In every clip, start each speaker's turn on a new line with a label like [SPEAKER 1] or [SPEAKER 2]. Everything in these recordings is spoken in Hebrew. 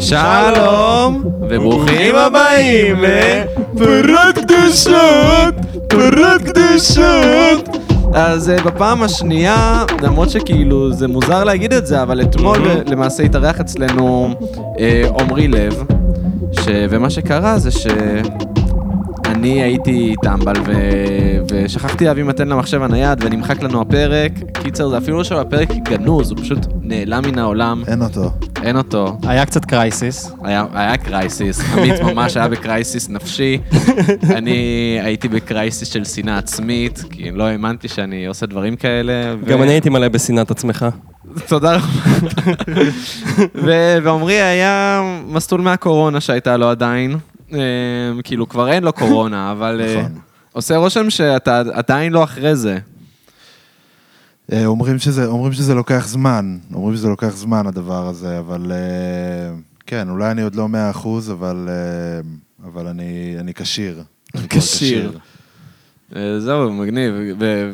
[SPEAKER 1] שלום, וברוכים הבאים לפרות קדושות, פרות קדושות. אז אה, בפעם השנייה, למרות שכאילו זה מוזר להגיד את זה, אבל אתמול אה, למעשה התארח אצלנו אה, עמרי לב, ש... ומה שקרה זה ש... אני הייתי טמבל ו... ושכחתי להביא מתן למחשב הנייד ונמחק לנו הפרק. קיצר, זה אפילו לא שהפרק גנוז, הוא פשוט נעלם מן העולם,
[SPEAKER 2] אין אותו.
[SPEAKER 1] אין אותו.
[SPEAKER 3] היה קצת קרייסיס.
[SPEAKER 1] היה, היה קרייסיס, עמית ממש היה בקרייסיס נפשי. אני הייתי בקרייסיס של שנאה עצמית, כי לא האמנתי שאני עושה דברים כאלה. ו-
[SPEAKER 4] גם אני הייתי מלא בשנאת עצמך.
[SPEAKER 1] תודה רבה. ו- ועמרי היה מסלול מהקורונה שהייתה לו עדיין. אה, כאילו, כבר אין לו קורונה, אבל אה,
[SPEAKER 2] נכון.
[SPEAKER 1] עושה רושם שאתה עדיין לא אחרי זה.
[SPEAKER 2] אה, אומרים שזה, אומרים שזה לוקח זמן, אומרים שזה לוקח זמן הדבר הזה, אבל אה, כן, אולי אני עוד לא מאה אחוז, אבל, אה, אבל אני, אני כשיר. אני כבר
[SPEAKER 1] כשיר. אה, זהו, מגניב. ו-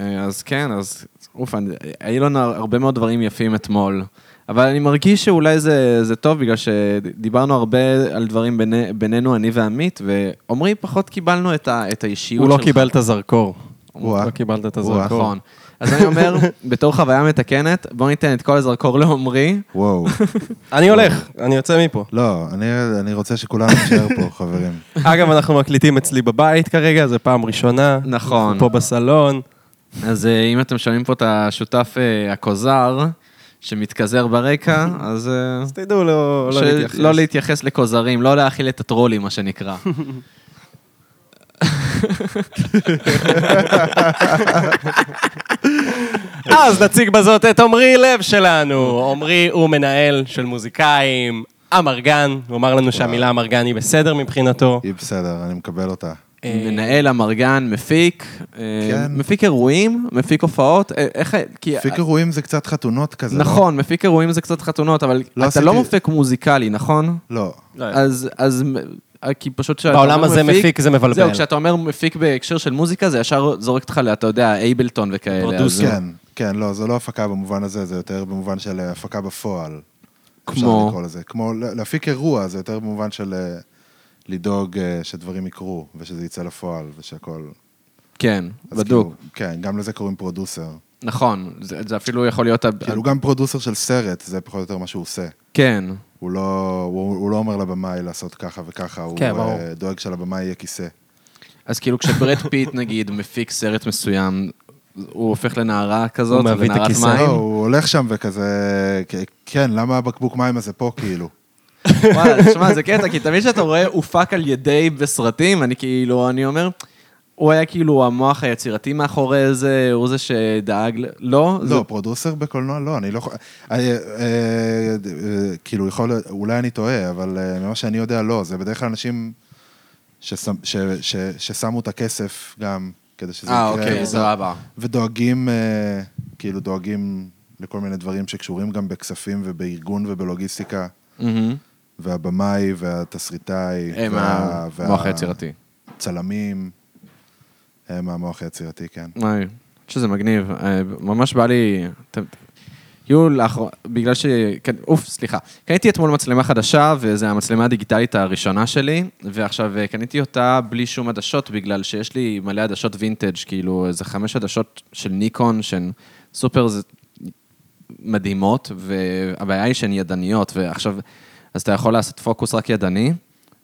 [SPEAKER 1] אה, אז כן, אז אוף, אני- היו לנו הרבה מאוד דברים יפים אתמול. אבל אני מרגיש שאולי זה, זה טוב, בגלל שדיברנו הרבה על דברים ביני, בינינו, אני ועמית, ועמרי, פחות קיבלנו את, ה, את האישיות
[SPEAKER 3] הוא
[SPEAKER 1] שלך.
[SPEAKER 3] לא קיבל את הזרקור.
[SPEAKER 2] וואה.
[SPEAKER 3] לא קיבלת את
[SPEAKER 2] וואה.
[SPEAKER 3] הזרקור.
[SPEAKER 1] נכון. אז אני אומר, בתור חוויה מתקנת, בוא ניתן את כל הזרקור לעמרי.
[SPEAKER 2] וואו.
[SPEAKER 4] אני הולך, אני יוצא מפה.
[SPEAKER 2] לא, אני, אני רוצה שכולם יישאר פה, חברים.
[SPEAKER 4] אגב, אנחנו מקליטים אצלי בבית כרגע, זו פעם ראשונה.
[SPEAKER 1] נכון.
[SPEAKER 4] פה בסלון.
[SPEAKER 1] אז אה, אם אתם שומעים פה את השותף אה, הכוזר, שמתכזר ברקע, אז... אה,
[SPEAKER 4] אז תדעו, לא לא
[SPEAKER 1] של-
[SPEAKER 4] להתייחס.
[SPEAKER 1] לא להתייחס לכוזרים, לא להאכיל את הטרולים, מה שנקרא.
[SPEAKER 4] אז נציג בזאת את עמרי לב שלנו. עמרי הוא מנהל של מוזיקאים, אמרגן. הוא אמר לנו שהמילה אמרגן היא בסדר מבחינתו.
[SPEAKER 2] היא בסדר, אני מקבל אותה.
[SPEAKER 1] מנהל אמרגן, מפיק, אה,
[SPEAKER 2] אה. כן.
[SPEAKER 1] מפיק אירועים, מפיק הופעות, אה, איך... ה- כי-
[SPEAKER 2] מפיק אירועים זה קצת חתונות כזה, לא?
[SPEAKER 1] נכון, מפיק אירועים זה קצת חתונות, אבל
[SPEAKER 2] לא
[SPEAKER 1] אתה לא
[SPEAKER 2] עשיתי-
[SPEAKER 1] מפיק מוזיקלי, נכון?
[SPEAKER 2] לא.
[SPEAKER 1] אז, אז, מ- כי פשוט כשאתה
[SPEAKER 3] אה. בעולם
[SPEAKER 1] אומר
[SPEAKER 3] הזה מפיק זה מבלבל.
[SPEAKER 1] זהו, כשאתה אומר מפיק בהקשר של מוזיקה, זה ישר זורק אותך לאתה יודע, אייבלטון וכאלה. אז-
[SPEAKER 3] פרודוסר.
[SPEAKER 2] כן, כן, לא, זו לא הפקה במובן הזה, זה יותר במובן של אה, הפקה בפועל. אפשר
[SPEAKER 1] כמו?
[SPEAKER 2] לקרוא לזה. כמו לה- להפיק אירוע, זה יותר במובן של אה, לדאוג אה, שדברים יקרו, ושזה יצא לפועל, ושהכול...
[SPEAKER 1] כן,
[SPEAKER 2] אז
[SPEAKER 1] בדוק.
[SPEAKER 2] כאילו, כן, גם לזה קוראים פרודוסר.
[SPEAKER 1] נכון, זה זה אפילו יכול להיות... ה-
[SPEAKER 2] כאילו, הוא גם פרודוסר של סרט, זה פחות או יותר מה שהוא עושה.
[SPEAKER 1] כן.
[SPEAKER 2] הוא לא, הוא, הוא לא אומר לבמאי לעשות ככה וככה, הוא
[SPEAKER 3] כן,
[SPEAKER 2] אה,
[SPEAKER 3] ברור.
[SPEAKER 2] דואג שלבמאי יהיה כיסא.
[SPEAKER 1] אז כאילו כשברד פיט, נגיד, מפיק סרט מסוים, הוא הופך לנערה כזאת,
[SPEAKER 4] הוא מביא את
[SPEAKER 1] לנערת
[SPEAKER 4] הכיסא.
[SPEAKER 2] לא,
[SPEAKER 1] מים.
[SPEAKER 2] הוא הולך שם וכזה, כ- כן, למה הבקבוק מים הזה פה, כאילו?
[SPEAKER 1] וואלה, תשמע, זה קטע, כי תמיד כשאתה רואה הופק על ידי בסרטים, אני כאילו, אני אומר, הוא היה כאילו המוח היצירתי מאחורי זה, הוא זה שדאג, ל- לא? זה-
[SPEAKER 2] לא, פרודוסר בקולנוע לא, אני לא יכול... אה, אה, אה, כאילו, יכול... להיות- אולי אני טועה, אבל אה, ממה שאני יודע, לא. זה בדרך כלל אנשים ששם- ש- ש- ששמו את הכסף גם, כדי שזה יקרה.
[SPEAKER 1] אה, אוקיי,
[SPEAKER 2] וזה-
[SPEAKER 1] סבבה.
[SPEAKER 2] ודואגים, אה, כאילו, דואגים לכל מיני דברים שקשורים גם בכספים ובארגון ובלוגיסטיקה,
[SPEAKER 1] מהמם.
[SPEAKER 2] והבמאי והתסריטאי.
[SPEAKER 1] הם
[SPEAKER 2] וה- וה-
[SPEAKER 1] אה, המוח היצירתי.
[SPEAKER 2] צלמים, הם המוח היצירתי, כן.
[SPEAKER 1] וואי, שזה מגניב, אה, ממש בא לי... ת- היו לאחרונה, בגלל ש... כן, אוף, סליחה. קניתי אתמול מצלמה חדשה, וזו המצלמה הדיגיטלית הראשונה שלי, ועכשיו אה, קניתי אותה בלי שום עדשות, בגלל שיש לי מלא עדשות וינטג', כאילו איזה חמש עדשות של ניקון, שהן סופר ז- מדהימות, והבעיה היא שהן ידניות, ועכשיו, אז אתה יכול לעשות פוקוס רק ידני.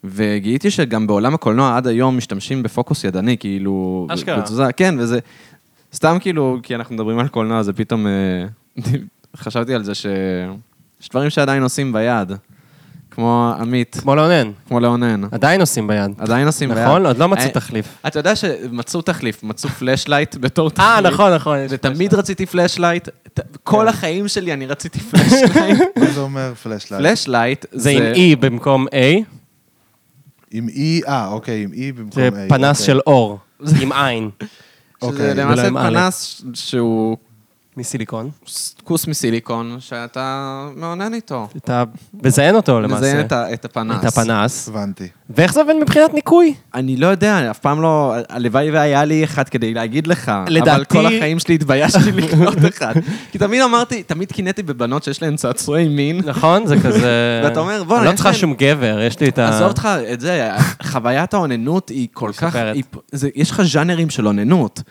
[SPEAKER 1] וגיליתי שגם בעולם הקולנוע עד היום משתמשים בפוקוס ידני, כאילו...
[SPEAKER 4] אשכרה.
[SPEAKER 1] בתזוזה, כן, וזה... סתם כאילו, כי אנחנו מדברים על קולנוע, זה פתאום... אה, חשבתי על זה ש... יש דברים שעדיין עושים ביד, כמו עמית,
[SPEAKER 4] כמו לאונן.
[SPEAKER 1] כמו לאונן.
[SPEAKER 4] עדיין עושים ביד.
[SPEAKER 1] עדיין עושים ביד.
[SPEAKER 4] נכון? עוד לא מצאו
[SPEAKER 1] אה,
[SPEAKER 4] תחליף.
[SPEAKER 1] אתה יודע שמצאו תחליף, מצאו פלאשלייט בתור תחליף.
[SPEAKER 4] אה, נכון, כן. נכון. יש-
[SPEAKER 1] ותמיד רציתי פלאשלייט, ת- כל החיים שלי אני רציתי פלאשלייט.
[SPEAKER 2] מה זה אומר פלאשלייט?
[SPEAKER 1] פלאשלייט
[SPEAKER 4] זה עם E במקום A.
[SPEAKER 2] עם E, אה, אוקיי, עם E במקום
[SPEAKER 4] זה
[SPEAKER 2] A,
[SPEAKER 4] פנס
[SPEAKER 2] אוקיי.
[SPEAKER 4] של אור, עם עין.
[SPEAKER 1] שזה
[SPEAKER 2] אוקיי,
[SPEAKER 4] לא
[SPEAKER 1] למעשה
[SPEAKER 4] ולא עם א'.
[SPEAKER 1] פנס שהוא
[SPEAKER 3] מסיליקון.
[SPEAKER 1] כוס מסיליקון שאתה מעונן איתו.
[SPEAKER 3] אתה מזיין אותו למעשה.
[SPEAKER 1] מזיין את ה- את הפנס.
[SPEAKER 3] את הפנס.
[SPEAKER 2] הבנתי.
[SPEAKER 3] ואיך זה עובד מבחינת ניקוי?
[SPEAKER 1] אני לא יודע, אף פעם לא... הלוואי והיה לי אחד כדי להגיד לך. אבל
[SPEAKER 3] לדעתי-
[SPEAKER 1] כל החיים שלי התביישתי לקנות אחד. כי תמיד אמרתי, תמיד קינאתי בבנות שיש להן צעצועי מין.
[SPEAKER 3] נכון, זה כזה...
[SPEAKER 1] ואתה אומר, בואנה,
[SPEAKER 3] אני לא
[SPEAKER 1] יש
[SPEAKER 3] צריכה
[SPEAKER 1] להם-
[SPEAKER 3] שום גבר, יש לי את ה...
[SPEAKER 1] עזוב אותך את זה, חוויית האוננות היא כל
[SPEAKER 3] היא
[SPEAKER 1] כך...
[SPEAKER 3] מספרת.
[SPEAKER 1] היא, זה, יש לך ז'אנרים של אוננות.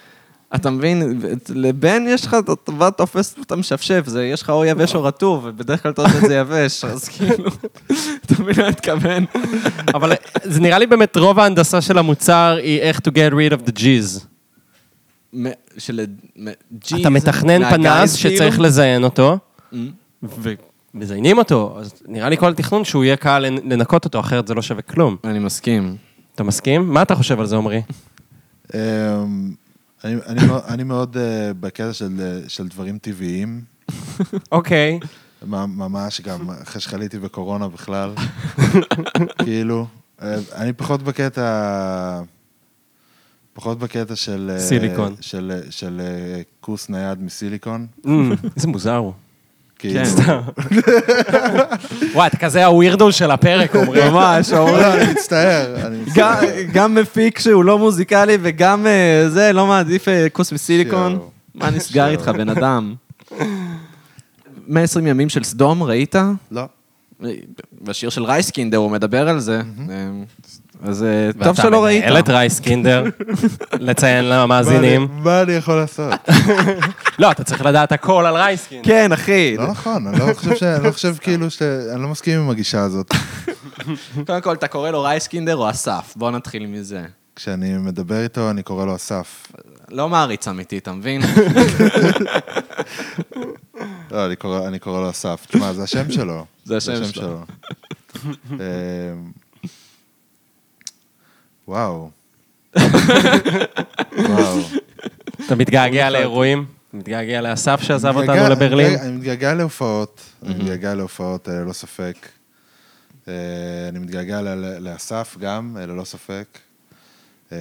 [SPEAKER 1] אתה מבין? לבן יש לך, אתה בא, תופס אותה משפשף, זה יש לך או יבש או רטוב, ובדרך כלל אתה עושה את זה יבש, אז כאילו, אתה מבין מה אני מתכוון?
[SPEAKER 3] אבל זה נראה לי באמת רוב ההנדסה של המוצר היא איך to get rid of the G's.
[SPEAKER 1] מ- של... מ- ג'יז,
[SPEAKER 3] אתה מתכנן
[SPEAKER 1] מהגייז,
[SPEAKER 3] פנס
[SPEAKER 1] כאילו?
[SPEAKER 3] שצריך לזיין אותו,
[SPEAKER 1] Mm.
[SPEAKER 3] ומזיינים אותו, אז נראה לי כל התכנון שהוא יהיה קל לנ- לנקות אותו, אחרת זה לא שווה כלום.
[SPEAKER 1] אני מסכים.
[SPEAKER 3] אתה מסכים? מה אתה חושב על זה, עמרי?
[SPEAKER 2] אמ, אני, אני, מאוד- אני מאוד אה, בקטע של, אה, של דברים טבעיים,
[SPEAKER 3] אוקיי.
[SPEAKER 2] מ- ממש גם אחרי שחליתי בקורונה בכלל, כאילו. אה, אני פחות בקטע... פחות בקטע של... אה,
[SPEAKER 3] סיליקון.
[SPEAKER 2] של, אה, של אה, כוס נייד מסיליקון.
[SPEAKER 3] Mm, איזה מוזר הוא.
[SPEAKER 2] כאילו,
[SPEAKER 3] וואי, אתה כזה הווירדו של הפרק, עמרי.
[SPEAKER 1] ממש, אומרים.
[SPEAKER 2] לא, אני מצטער, אני
[SPEAKER 1] גם-
[SPEAKER 2] מצטער.
[SPEAKER 1] גם מפיק שהוא לא מוזיקלי וגם אה, זה, לא מעדיף אה, כוס מסיליקון.
[SPEAKER 2] יואו.
[SPEAKER 1] מה נסגר
[SPEAKER 2] יואו.
[SPEAKER 1] איתך, בן אדם? 120 ימים של סדום, ראית?
[SPEAKER 2] לא.
[SPEAKER 1] בשיר של רייסקינדר הוא מדבר על זה. אה, אז אה, טוב
[SPEAKER 3] ואתה
[SPEAKER 1] שלא ראית.
[SPEAKER 3] מנהל את רייס קינדר, לציין למאזינים.
[SPEAKER 2] מה אני- מה אני יכול לעשות?
[SPEAKER 3] לא, אתה צריך לדעת הכל על רייס קינדר.
[SPEAKER 1] כן, אחי.
[SPEAKER 2] לא נכון, אני לא חושב ש... אני לא חושב כאילו ש... אני לא מסכים עם הגישה הזאת.
[SPEAKER 1] קודם כל, אתה קורא לו רייסקינדר או אסף? בואו נתחיל מזה.
[SPEAKER 2] כשאני מדבר איתו, אני קורא לו אסף.
[SPEAKER 1] לא מעריץ אמיתי, אתה מבין?
[SPEAKER 2] לא, אני קורא, אני קורא לו אסף. תשמע, זה השם שלו.
[SPEAKER 1] זה השם שלו.
[SPEAKER 2] שלו. אמ, וואו. וואו.
[SPEAKER 3] אתה מתגעגע לאירועים? מתגעגע אה, לאסף שעזב אותנו
[SPEAKER 2] מתגעגע-
[SPEAKER 3] לברלין?
[SPEAKER 2] אני מתגעגע להופעות. אני מתגעגע להופעות, אה, ללא ספק. אה, אני מתגעגע ל- ל- לאסף גם, אה, ללא ספק. אמ,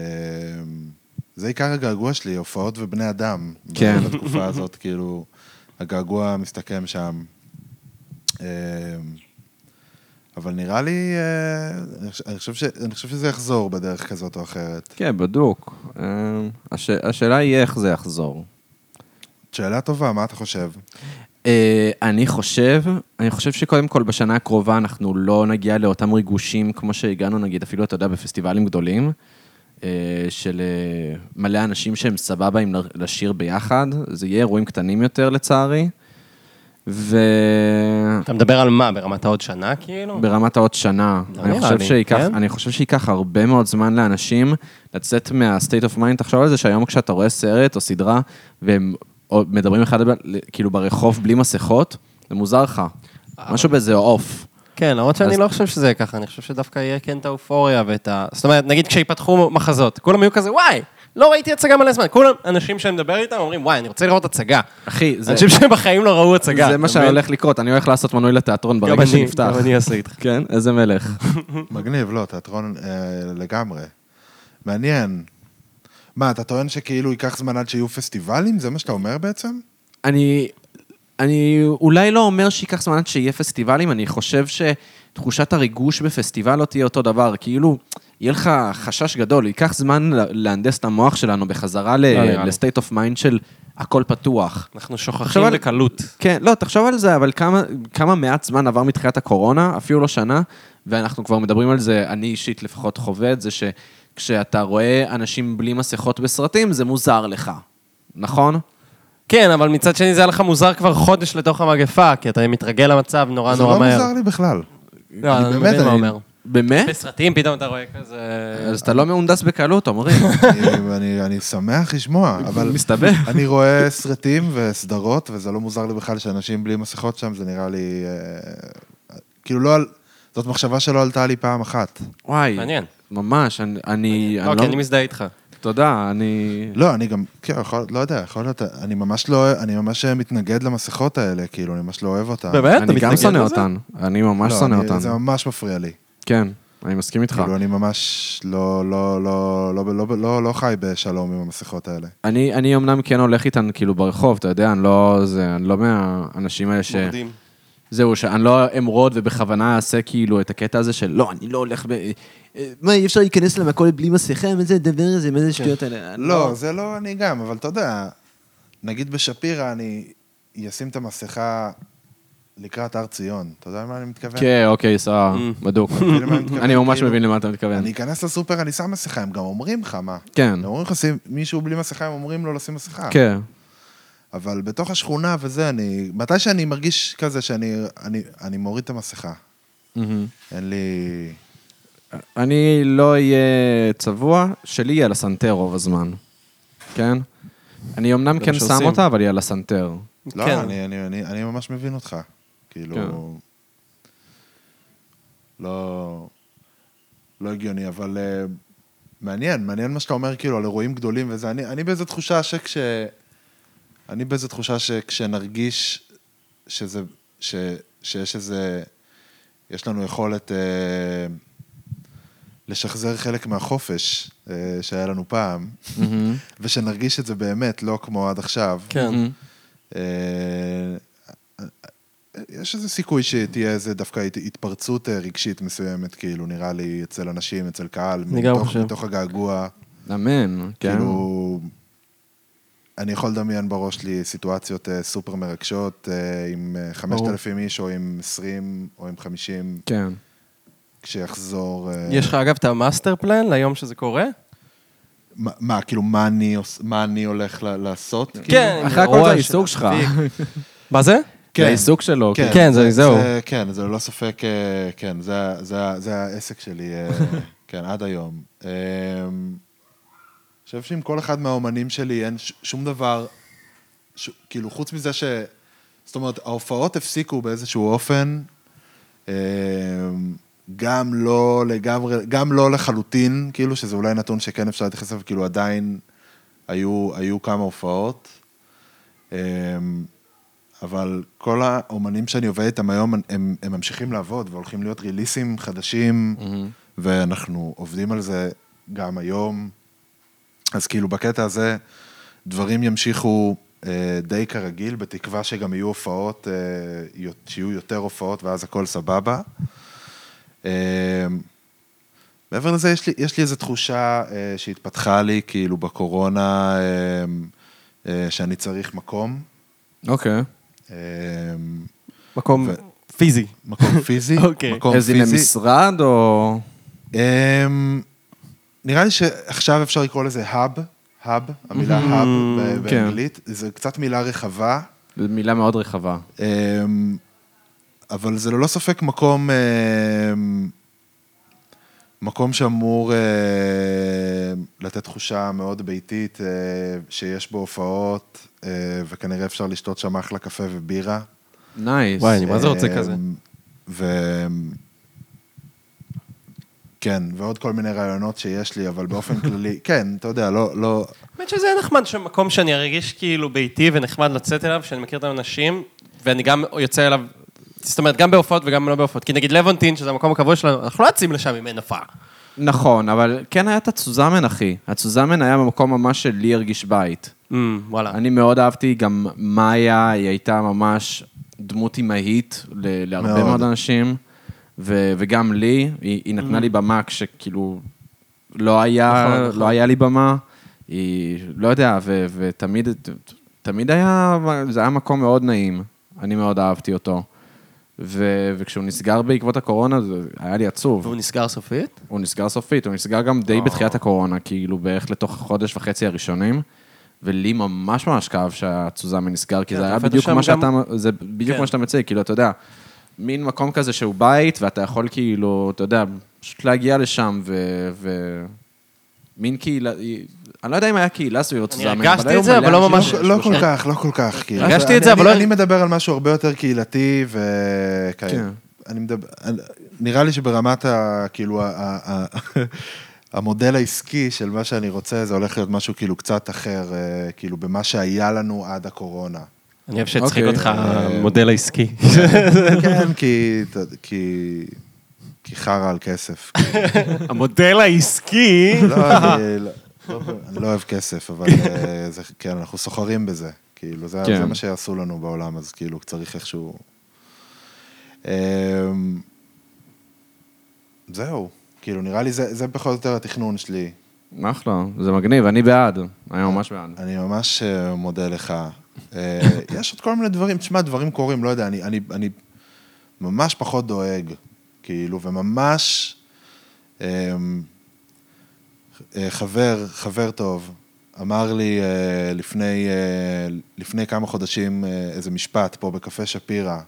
[SPEAKER 2] זה עיקר הגעגוע שלי, הופעות ובני אדם.
[SPEAKER 1] כן.
[SPEAKER 2] בתקופה הזאת, כאילו, הגעגוע מסתכם שם. אמ, אבל נראה לי, אה, אני חושב- אני חושב ש- אני חושב שזה יחזור בדרך כזאת או אחרת.
[SPEAKER 1] כן, בדוק. אה, הש- השאלה היא איך זה יחזור.
[SPEAKER 2] שאלה טובה, מה אתה חושב?
[SPEAKER 1] אה, אני חושב, אני חושב שקודם כל בשנה הקרובה אנחנו לא נגיע לאותם ריגושים כמו שהגענו, נגיד, אפילו, אתה יודע, בפסטיבלים גדולים, אה, של אה, מלא אנשים שהם סבבה עם ל- לשיר ביחד, זה יהיה אירועים קטנים יותר לצערי, וברמת
[SPEAKER 3] אתה מדבר על מה? ברמת העוד שנה, כאילו?
[SPEAKER 1] העוד שנה,
[SPEAKER 3] לא
[SPEAKER 1] אני
[SPEAKER 3] נראה
[SPEAKER 1] חושב,
[SPEAKER 3] לי,
[SPEAKER 1] שייקח,
[SPEAKER 3] כן?
[SPEAKER 1] אני חושב שייקח הרבה מאוד זמן לאנשים לצאת מה-state of mind, תחשוב על זה שהיום כשאתה רואה סרט או סדרה, והם או- מדברים אחד על- כאילו ברחוב בלי מסכות, זה מוזר לך. משהו באיזה עוף.
[SPEAKER 3] כן, למרות שאני לא חושב שזה יהיה ככה, אני חושב שדווקא יהיה כן את האופוריה ואת ה... זאת אומרת, נגיד כשיפתחו מחזות, כולם יהיו כזה, וואי, לא ראיתי הצגה מלא זמן. כולם, אנשים שאני מדבר איתם אומרים, וואי, אני רוצה לראות הצגה.
[SPEAKER 1] אחי, זה,
[SPEAKER 3] אנשים שבחיים לא ראו הצגה.
[SPEAKER 1] זה
[SPEAKER 3] אתה
[SPEAKER 1] מה
[SPEAKER 3] מבין?
[SPEAKER 1] שהולך לקרות, אני הולך לעשות מנוי לתיאטרון
[SPEAKER 3] גם
[SPEAKER 1] ברגע
[SPEAKER 3] אני-
[SPEAKER 1] שנפתח.
[SPEAKER 3] גם אני אעשה איתך.
[SPEAKER 1] כן, איזה מלך.
[SPEAKER 2] מגניב, לא, תיאטרון אה, לגמרי. מעניין. מה, אתה טוען שכאילו ייקח זמן עד שיהיו פסטיבלים? זה מה שאתה אומר בעצם?
[SPEAKER 1] אני, אני אולי לא אומר שייקח זמן עד שיהיה פסטיבלים, אני חושב שתחושת הריגוש בפסטיבל לא תהיה אותו דבר. כאילו, יהיה לך חשש גדול, ייקח זמן לה- להנדס את המוח שלנו בחזרה
[SPEAKER 3] נראה לי.
[SPEAKER 1] ל-state of mind של הכל פתוח.
[SPEAKER 3] אנחנו
[SPEAKER 1] עכשיו
[SPEAKER 3] שוכחים
[SPEAKER 1] על-
[SPEAKER 3] בקלות.
[SPEAKER 1] כן, לא, תחשוב על זה, אבל כמה, כמה מעט זמן עבר מתחילת הקורונה, אפילו לא שנה, ואנחנו כבר מדברים על זה, אני אישית לפחות חווה את זה, שכשאתה רואה אנשים בלי מסכות בסרטים, זה מוזר לך, נכון?
[SPEAKER 3] כן, אבל מצד שני זה היה לך מוזר כבר חודש לתוך המגפה, כי אתה מתרגל למצב נורא
[SPEAKER 2] זה
[SPEAKER 3] אה, נורא
[SPEAKER 2] לא
[SPEAKER 3] מהר.
[SPEAKER 2] מוזר לי בכלל.
[SPEAKER 3] לא,
[SPEAKER 2] אני
[SPEAKER 3] אני
[SPEAKER 2] באמת,
[SPEAKER 3] מבין מה
[SPEAKER 2] אני-
[SPEAKER 3] אומר.
[SPEAKER 1] באמת?
[SPEAKER 3] בסרטים פתאום אתה רואה כזה...
[SPEAKER 1] אז אתה לא מהונדס בקלות, אומרים.
[SPEAKER 2] אני- אני- אני שמח לשמוע, אבל...
[SPEAKER 1] מסתבר.
[SPEAKER 2] אני רואה סרטים וסדרות, וזה לא מוזר לי בכלל שאנשים בלי מסכות שם, זה נראה לי... אה, כאילו לא... על- זאת מחשבה שלא עלתה לי פעם אחת.
[SPEAKER 1] וואי.
[SPEAKER 3] מעניין.
[SPEAKER 1] ממש, אני... אני
[SPEAKER 3] לא, כי אני מזדהה איתך.
[SPEAKER 1] תודה, אני...
[SPEAKER 2] לא, אני גם, כן, יכול, לא יודע, יכול להיות, אני ממש לא, אני ממש מתנגד למסכות האלה, כאילו, אני ממש לא אוהב אותן.
[SPEAKER 3] באמת? אתה
[SPEAKER 1] אני גם
[SPEAKER 3] מתנגד
[SPEAKER 1] שונא
[SPEAKER 3] לזה?
[SPEAKER 1] אותן. אני ממש
[SPEAKER 2] לא,
[SPEAKER 1] שונא
[SPEAKER 2] אני-
[SPEAKER 1] אותן.
[SPEAKER 2] זה ממש מפריע לי.
[SPEAKER 1] כן. אני מסכים איתך.
[SPEAKER 2] כאילו, אני ממש לא, לא, לא, לא, לא, לא, לא חי בשלום עם המסכות האלה.
[SPEAKER 1] אני, אני אמנם כן הולך איתן כאילו ברחוב, אתה יודע, אני לא, זה, אני לא מהאנשים האלה ש...
[SPEAKER 4] מורדים.
[SPEAKER 1] זהו, שאני לא אמרוד ובכוונה אעשה כאילו את הקטע הזה של לא, אני לא הולך ב... אה, מה, אי אפשר להיכנס למכולת בלי מסכה? מה זה הדבר הזה? מה זה השטויות האלה? אני
[SPEAKER 2] כן. לא, זה לא אני גם, אבל אתה יודע, נגיד בשפירא אני אשים את המסכה לקראת הר ציון. אתה יודע למה אני מתכוון?
[SPEAKER 1] כן, אוקיי, סבבה,
[SPEAKER 3] Mm.
[SPEAKER 1] בדוק.
[SPEAKER 2] אתה מבין למה מתכוון?
[SPEAKER 1] אני ממש
[SPEAKER 2] כאילו,
[SPEAKER 1] מבין למה אתה מתכוון.
[SPEAKER 2] אני אכנס לסופר, אני שם מסכה, הם גם אומרים לך מה.
[SPEAKER 1] כן,
[SPEAKER 2] הם אומרים לך, שים- מישהו בלי מסכה, הם אומרים לו לשים מסכה.
[SPEAKER 1] כן.
[SPEAKER 2] אבל בתוך השכונה וזה, אני... מתי שאני מרגיש כזה שאני אני, אני מוריד את המסכה, Mm-hmm.
[SPEAKER 1] מהמם.
[SPEAKER 2] אין לי...
[SPEAKER 1] אני לא אהיה צבוע, שלי יהיה על הסנטר רוב הזמן, כן? אני אמנם
[SPEAKER 4] זה
[SPEAKER 1] כן
[SPEAKER 4] מה
[SPEAKER 1] שם
[SPEAKER 4] שעושים.
[SPEAKER 1] אותה, אבל היא על הסנטר.
[SPEAKER 2] לא,
[SPEAKER 4] כן.
[SPEAKER 2] אני, אני, אני, אני ממש מבין אותך. כאילו...
[SPEAKER 1] כן.
[SPEAKER 2] לא... לא הגיוני, אבל... אה, מעניין, מעניין מה שאתה אומר כאילו על אירועים גדולים וזה. אני, אני באיזו תחושה שכש... אני באיזו תחושה שכשנרגיש שזה... ש, שיש איזה... יש לנו יכולת אה, לשחזר חלק מהחופש אה, שהיה לנו פעם,
[SPEAKER 1] מהמם.
[SPEAKER 2] ושנרגיש את זה באמת, לא כמו עד עכשיו.
[SPEAKER 4] כן.
[SPEAKER 1] מהמם.
[SPEAKER 2] אה, יש איזה סיכוי שתהיה איזה דווקא הת- התפרצות אה, רגשית מסוימת, כאילו, נראה לי, אצל אנשים, אצל קהל,
[SPEAKER 4] אני גם
[SPEAKER 2] מתוך-
[SPEAKER 4] חושב.
[SPEAKER 2] מתוך הגעגוע,
[SPEAKER 1] אמן, כן.
[SPEAKER 2] כאילו... אני יכול לדמיין בראש שלי סיטואציות אה, סופר מרגשות אה, עם אה, 5,000 איש, או עם 20, או עם 50,
[SPEAKER 1] כן.
[SPEAKER 2] כשיחזור... אה,
[SPEAKER 4] יש לך אגב את המאסטר פלן ליום שזה קורה?
[SPEAKER 2] מה- מה, כאילו, מה אני עוש- מה אני הולך ל- לעשות? כאילו?
[SPEAKER 4] כן.
[SPEAKER 1] אחרי הכל
[SPEAKER 4] הרוע
[SPEAKER 1] זה
[SPEAKER 4] של
[SPEAKER 1] העיסוק שלך.
[SPEAKER 4] מה זה?
[SPEAKER 1] זה העיסוק שלו.
[SPEAKER 2] כן,
[SPEAKER 4] כן, זה- זהו.
[SPEAKER 2] זה- כן, זה ללא ספק, אה, כן, זה ה- זה ה- זה העסק שלי, אה, כן, עד היום. אה, אני חושב שעם כל אחד מהאומנים שלי אין ש- שום דבר, ש- כאילו, חוץ מזה ש... זאת אומרת, ההופעות הפסיקו באיזשהו אופן, אה, גם לא לגמרי, גם לא לחלוטין, כאילו, שזה אולי נתון שכן אפשר להתייחס אליו, כאילו, עדיין היו, היו כמה הופעות. אה, אבל כל האומנים שאני עובד איתם היום, הם, הם ממשיכים לעבוד והולכים להיות ריליסים חדשים, ואנחנו עובדים על זה גם היום. אז כאילו בקטע הזה, דברים ימשיכו אה, די כרגיל, בתקווה שגם יהו הופעות, אה, יו- שיהיו יותר הופעות ואז הכל סבבה. אה, מעבר לזה, יש לי, יש לי איזו תחושה אה, שהתפתחה לי, כאילו בקורונה, אה, אה, שאני צריך מקום.
[SPEAKER 1] אוקיי.
[SPEAKER 2] אמ,
[SPEAKER 4] מקום פיזי.
[SPEAKER 2] מקום פיזי,
[SPEAKER 4] אוקיי.
[SPEAKER 2] מקום
[SPEAKER 1] איזה הנה
[SPEAKER 2] פיזי.
[SPEAKER 1] משרד או...
[SPEAKER 2] אמ, נראה לי שעכשיו אפשר לקרוא לזה האב, האב, המילה האב ב-
[SPEAKER 1] כן.
[SPEAKER 2] באנגלית, זו קצת מילה רחבה,
[SPEAKER 1] זו מילה מאוד רחבה.
[SPEAKER 2] אמ, אבל זה ללא ספק מקום, אמ, מקום שאמור אמ, לתת תחושה מאוד ביתית, אה, שיש בו הופעות, אה, וכנראה אפשר לשתות שם אחלה קפה ובירה.
[SPEAKER 1] נייס.
[SPEAKER 4] וואי, אני מה זה רוצה
[SPEAKER 2] אמ,
[SPEAKER 4] כזה?
[SPEAKER 2] ו... כן, ועוד כל מיני רעיונות שיש לי, אבל באופן כללי, כן, אתה יודע, לא, לא,
[SPEAKER 4] האמת שזה נחמד, שמקום שאני ארגיש כאילו ביתי ונחמד לצאת אליו, שאני מכיר את האנשים, ואני גם יוצא אליו, זאת אומרת, גם בהופעות וגם לא בהופעות. כי נגיד לבונטין, שזה המקום הקבוע שלנו, אנחנו לא יוצאים לשם אם אין הופעה.
[SPEAKER 1] נכון, אבל כן היה את הצוזמן, אחי. הצוזמן היה במקום ממש שלי הרגיש בית.
[SPEAKER 3] Mm,
[SPEAKER 4] וואלה.
[SPEAKER 1] אני מאוד אהבתי, גם מאיה, היא הייתה ממש דמות אימהית ל- להרבה
[SPEAKER 2] מאוד.
[SPEAKER 1] מאוד אנשים, ו- וגם לי, היא היא נתנה לי במה כשכאילו לא היה
[SPEAKER 4] Mm-hmm. נכון, נכון.
[SPEAKER 1] לא היה לי במה, היא, לא יודע, ו- ותמיד תמיד היה, זה היה מקום מאוד נעים, אני מאוד אהבתי אותו. ו- וכשהוא נסגר בעקבות הקורונה, זה היה לי עצוב.
[SPEAKER 4] והוא נסגר סופית?
[SPEAKER 1] הוא נסגר סופית, הוא נסגר גם די בתחילת הקורונה, כאילו בערך לתוך חודש וחצי הראשונים, ולי ממש ממש כאב שהצוזמי נסגר, כי
[SPEAKER 4] כן,
[SPEAKER 1] זה היה
[SPEAKER 4] אתה
[SPEAKER 1] בדיוק
[SPEAKER 4] שם
[SPEAKER 1] מה
[SPEAKER 4] גם-
[SPEAKER 1] שאתה, זה בדיוק
[SPEAKER 4] כן.
[SPEAKER 1] מה שאתה מציג, כאילו, אתה יודע, מין מקום כזה שהוא בית, ואתה יכול כאילו, אתה יודע, פשוט להגיע לשם, ו... ו- מין קהילה, אני לא יודע אם היה קהילה סביב הצוזמי,
[SPEAKER 4] הרגשתי את זה, אבל לא ממש-
[SPEAKER 2] לא, לא כל כך, לא כל כך, כאילו.
[SPEAKER 4] הרגשתי
[SPEAKER 2] אני-
[SPEAKER 4] את זה, אבל
[SPEAKER 2] אני-
[SPEAKER 4] לא-
[SPEAKER 2] אני מדבר על משהו הרבה יותר קהילתי וכאלה.
[SPEAKER 1] כן.
[SPEAKER 2] אני מדבר, נראה לי שברמת ה... כאילו, ה- ה- ה- המודל העסקי של מה שאני רוצה, זה הולך להיות משהו כאילו קצת אחר, אה, כאילו, במה שהיה לנו עד הקורונה.
[SPEAKER 4] אני אוהב שהצחיק
[SPEAKER 3] אה,
[SPEAKER 1] אוקיי.
[SPEAKER 4] אותך המודל העסקי.
[SPEAKER 2] כן, כי, אתה- כי כי חרא על כסף.
[SPEAKER 4] המודל העסקי...
[SPEAKER 2] לא, אני לא- לא- אני לא אוהב כסף, אבל אה, זה, כן, אנחנו סוחרים בזה. כאילו, זה,
[SPEAKER 1] כן.
[SPEAKER 2] זה מה שעשו לנו בעולם, אז כאילו, צריך איכשהו... אמ, זהו. כאילו, נראה לי זה, זה פחות או יותר התכנון שלי.
[SPEAKER 1] אחלה, זה מגניב, אני בעד. אני ממש בעד.
[SPEAKER 2] אני ממש אה, מודה לך. אה, יש עוד כל מיני דברים, תשמע, דברים קורים, לא יודע, אני, אני, אני ממש פחות דואג, כאילו, וממש אמ, אה, חבר, חבר טוב, אמר לי אה, לפני, אה, לפני כמה חודשים אה, איזה משפט פה בקפה שפירא.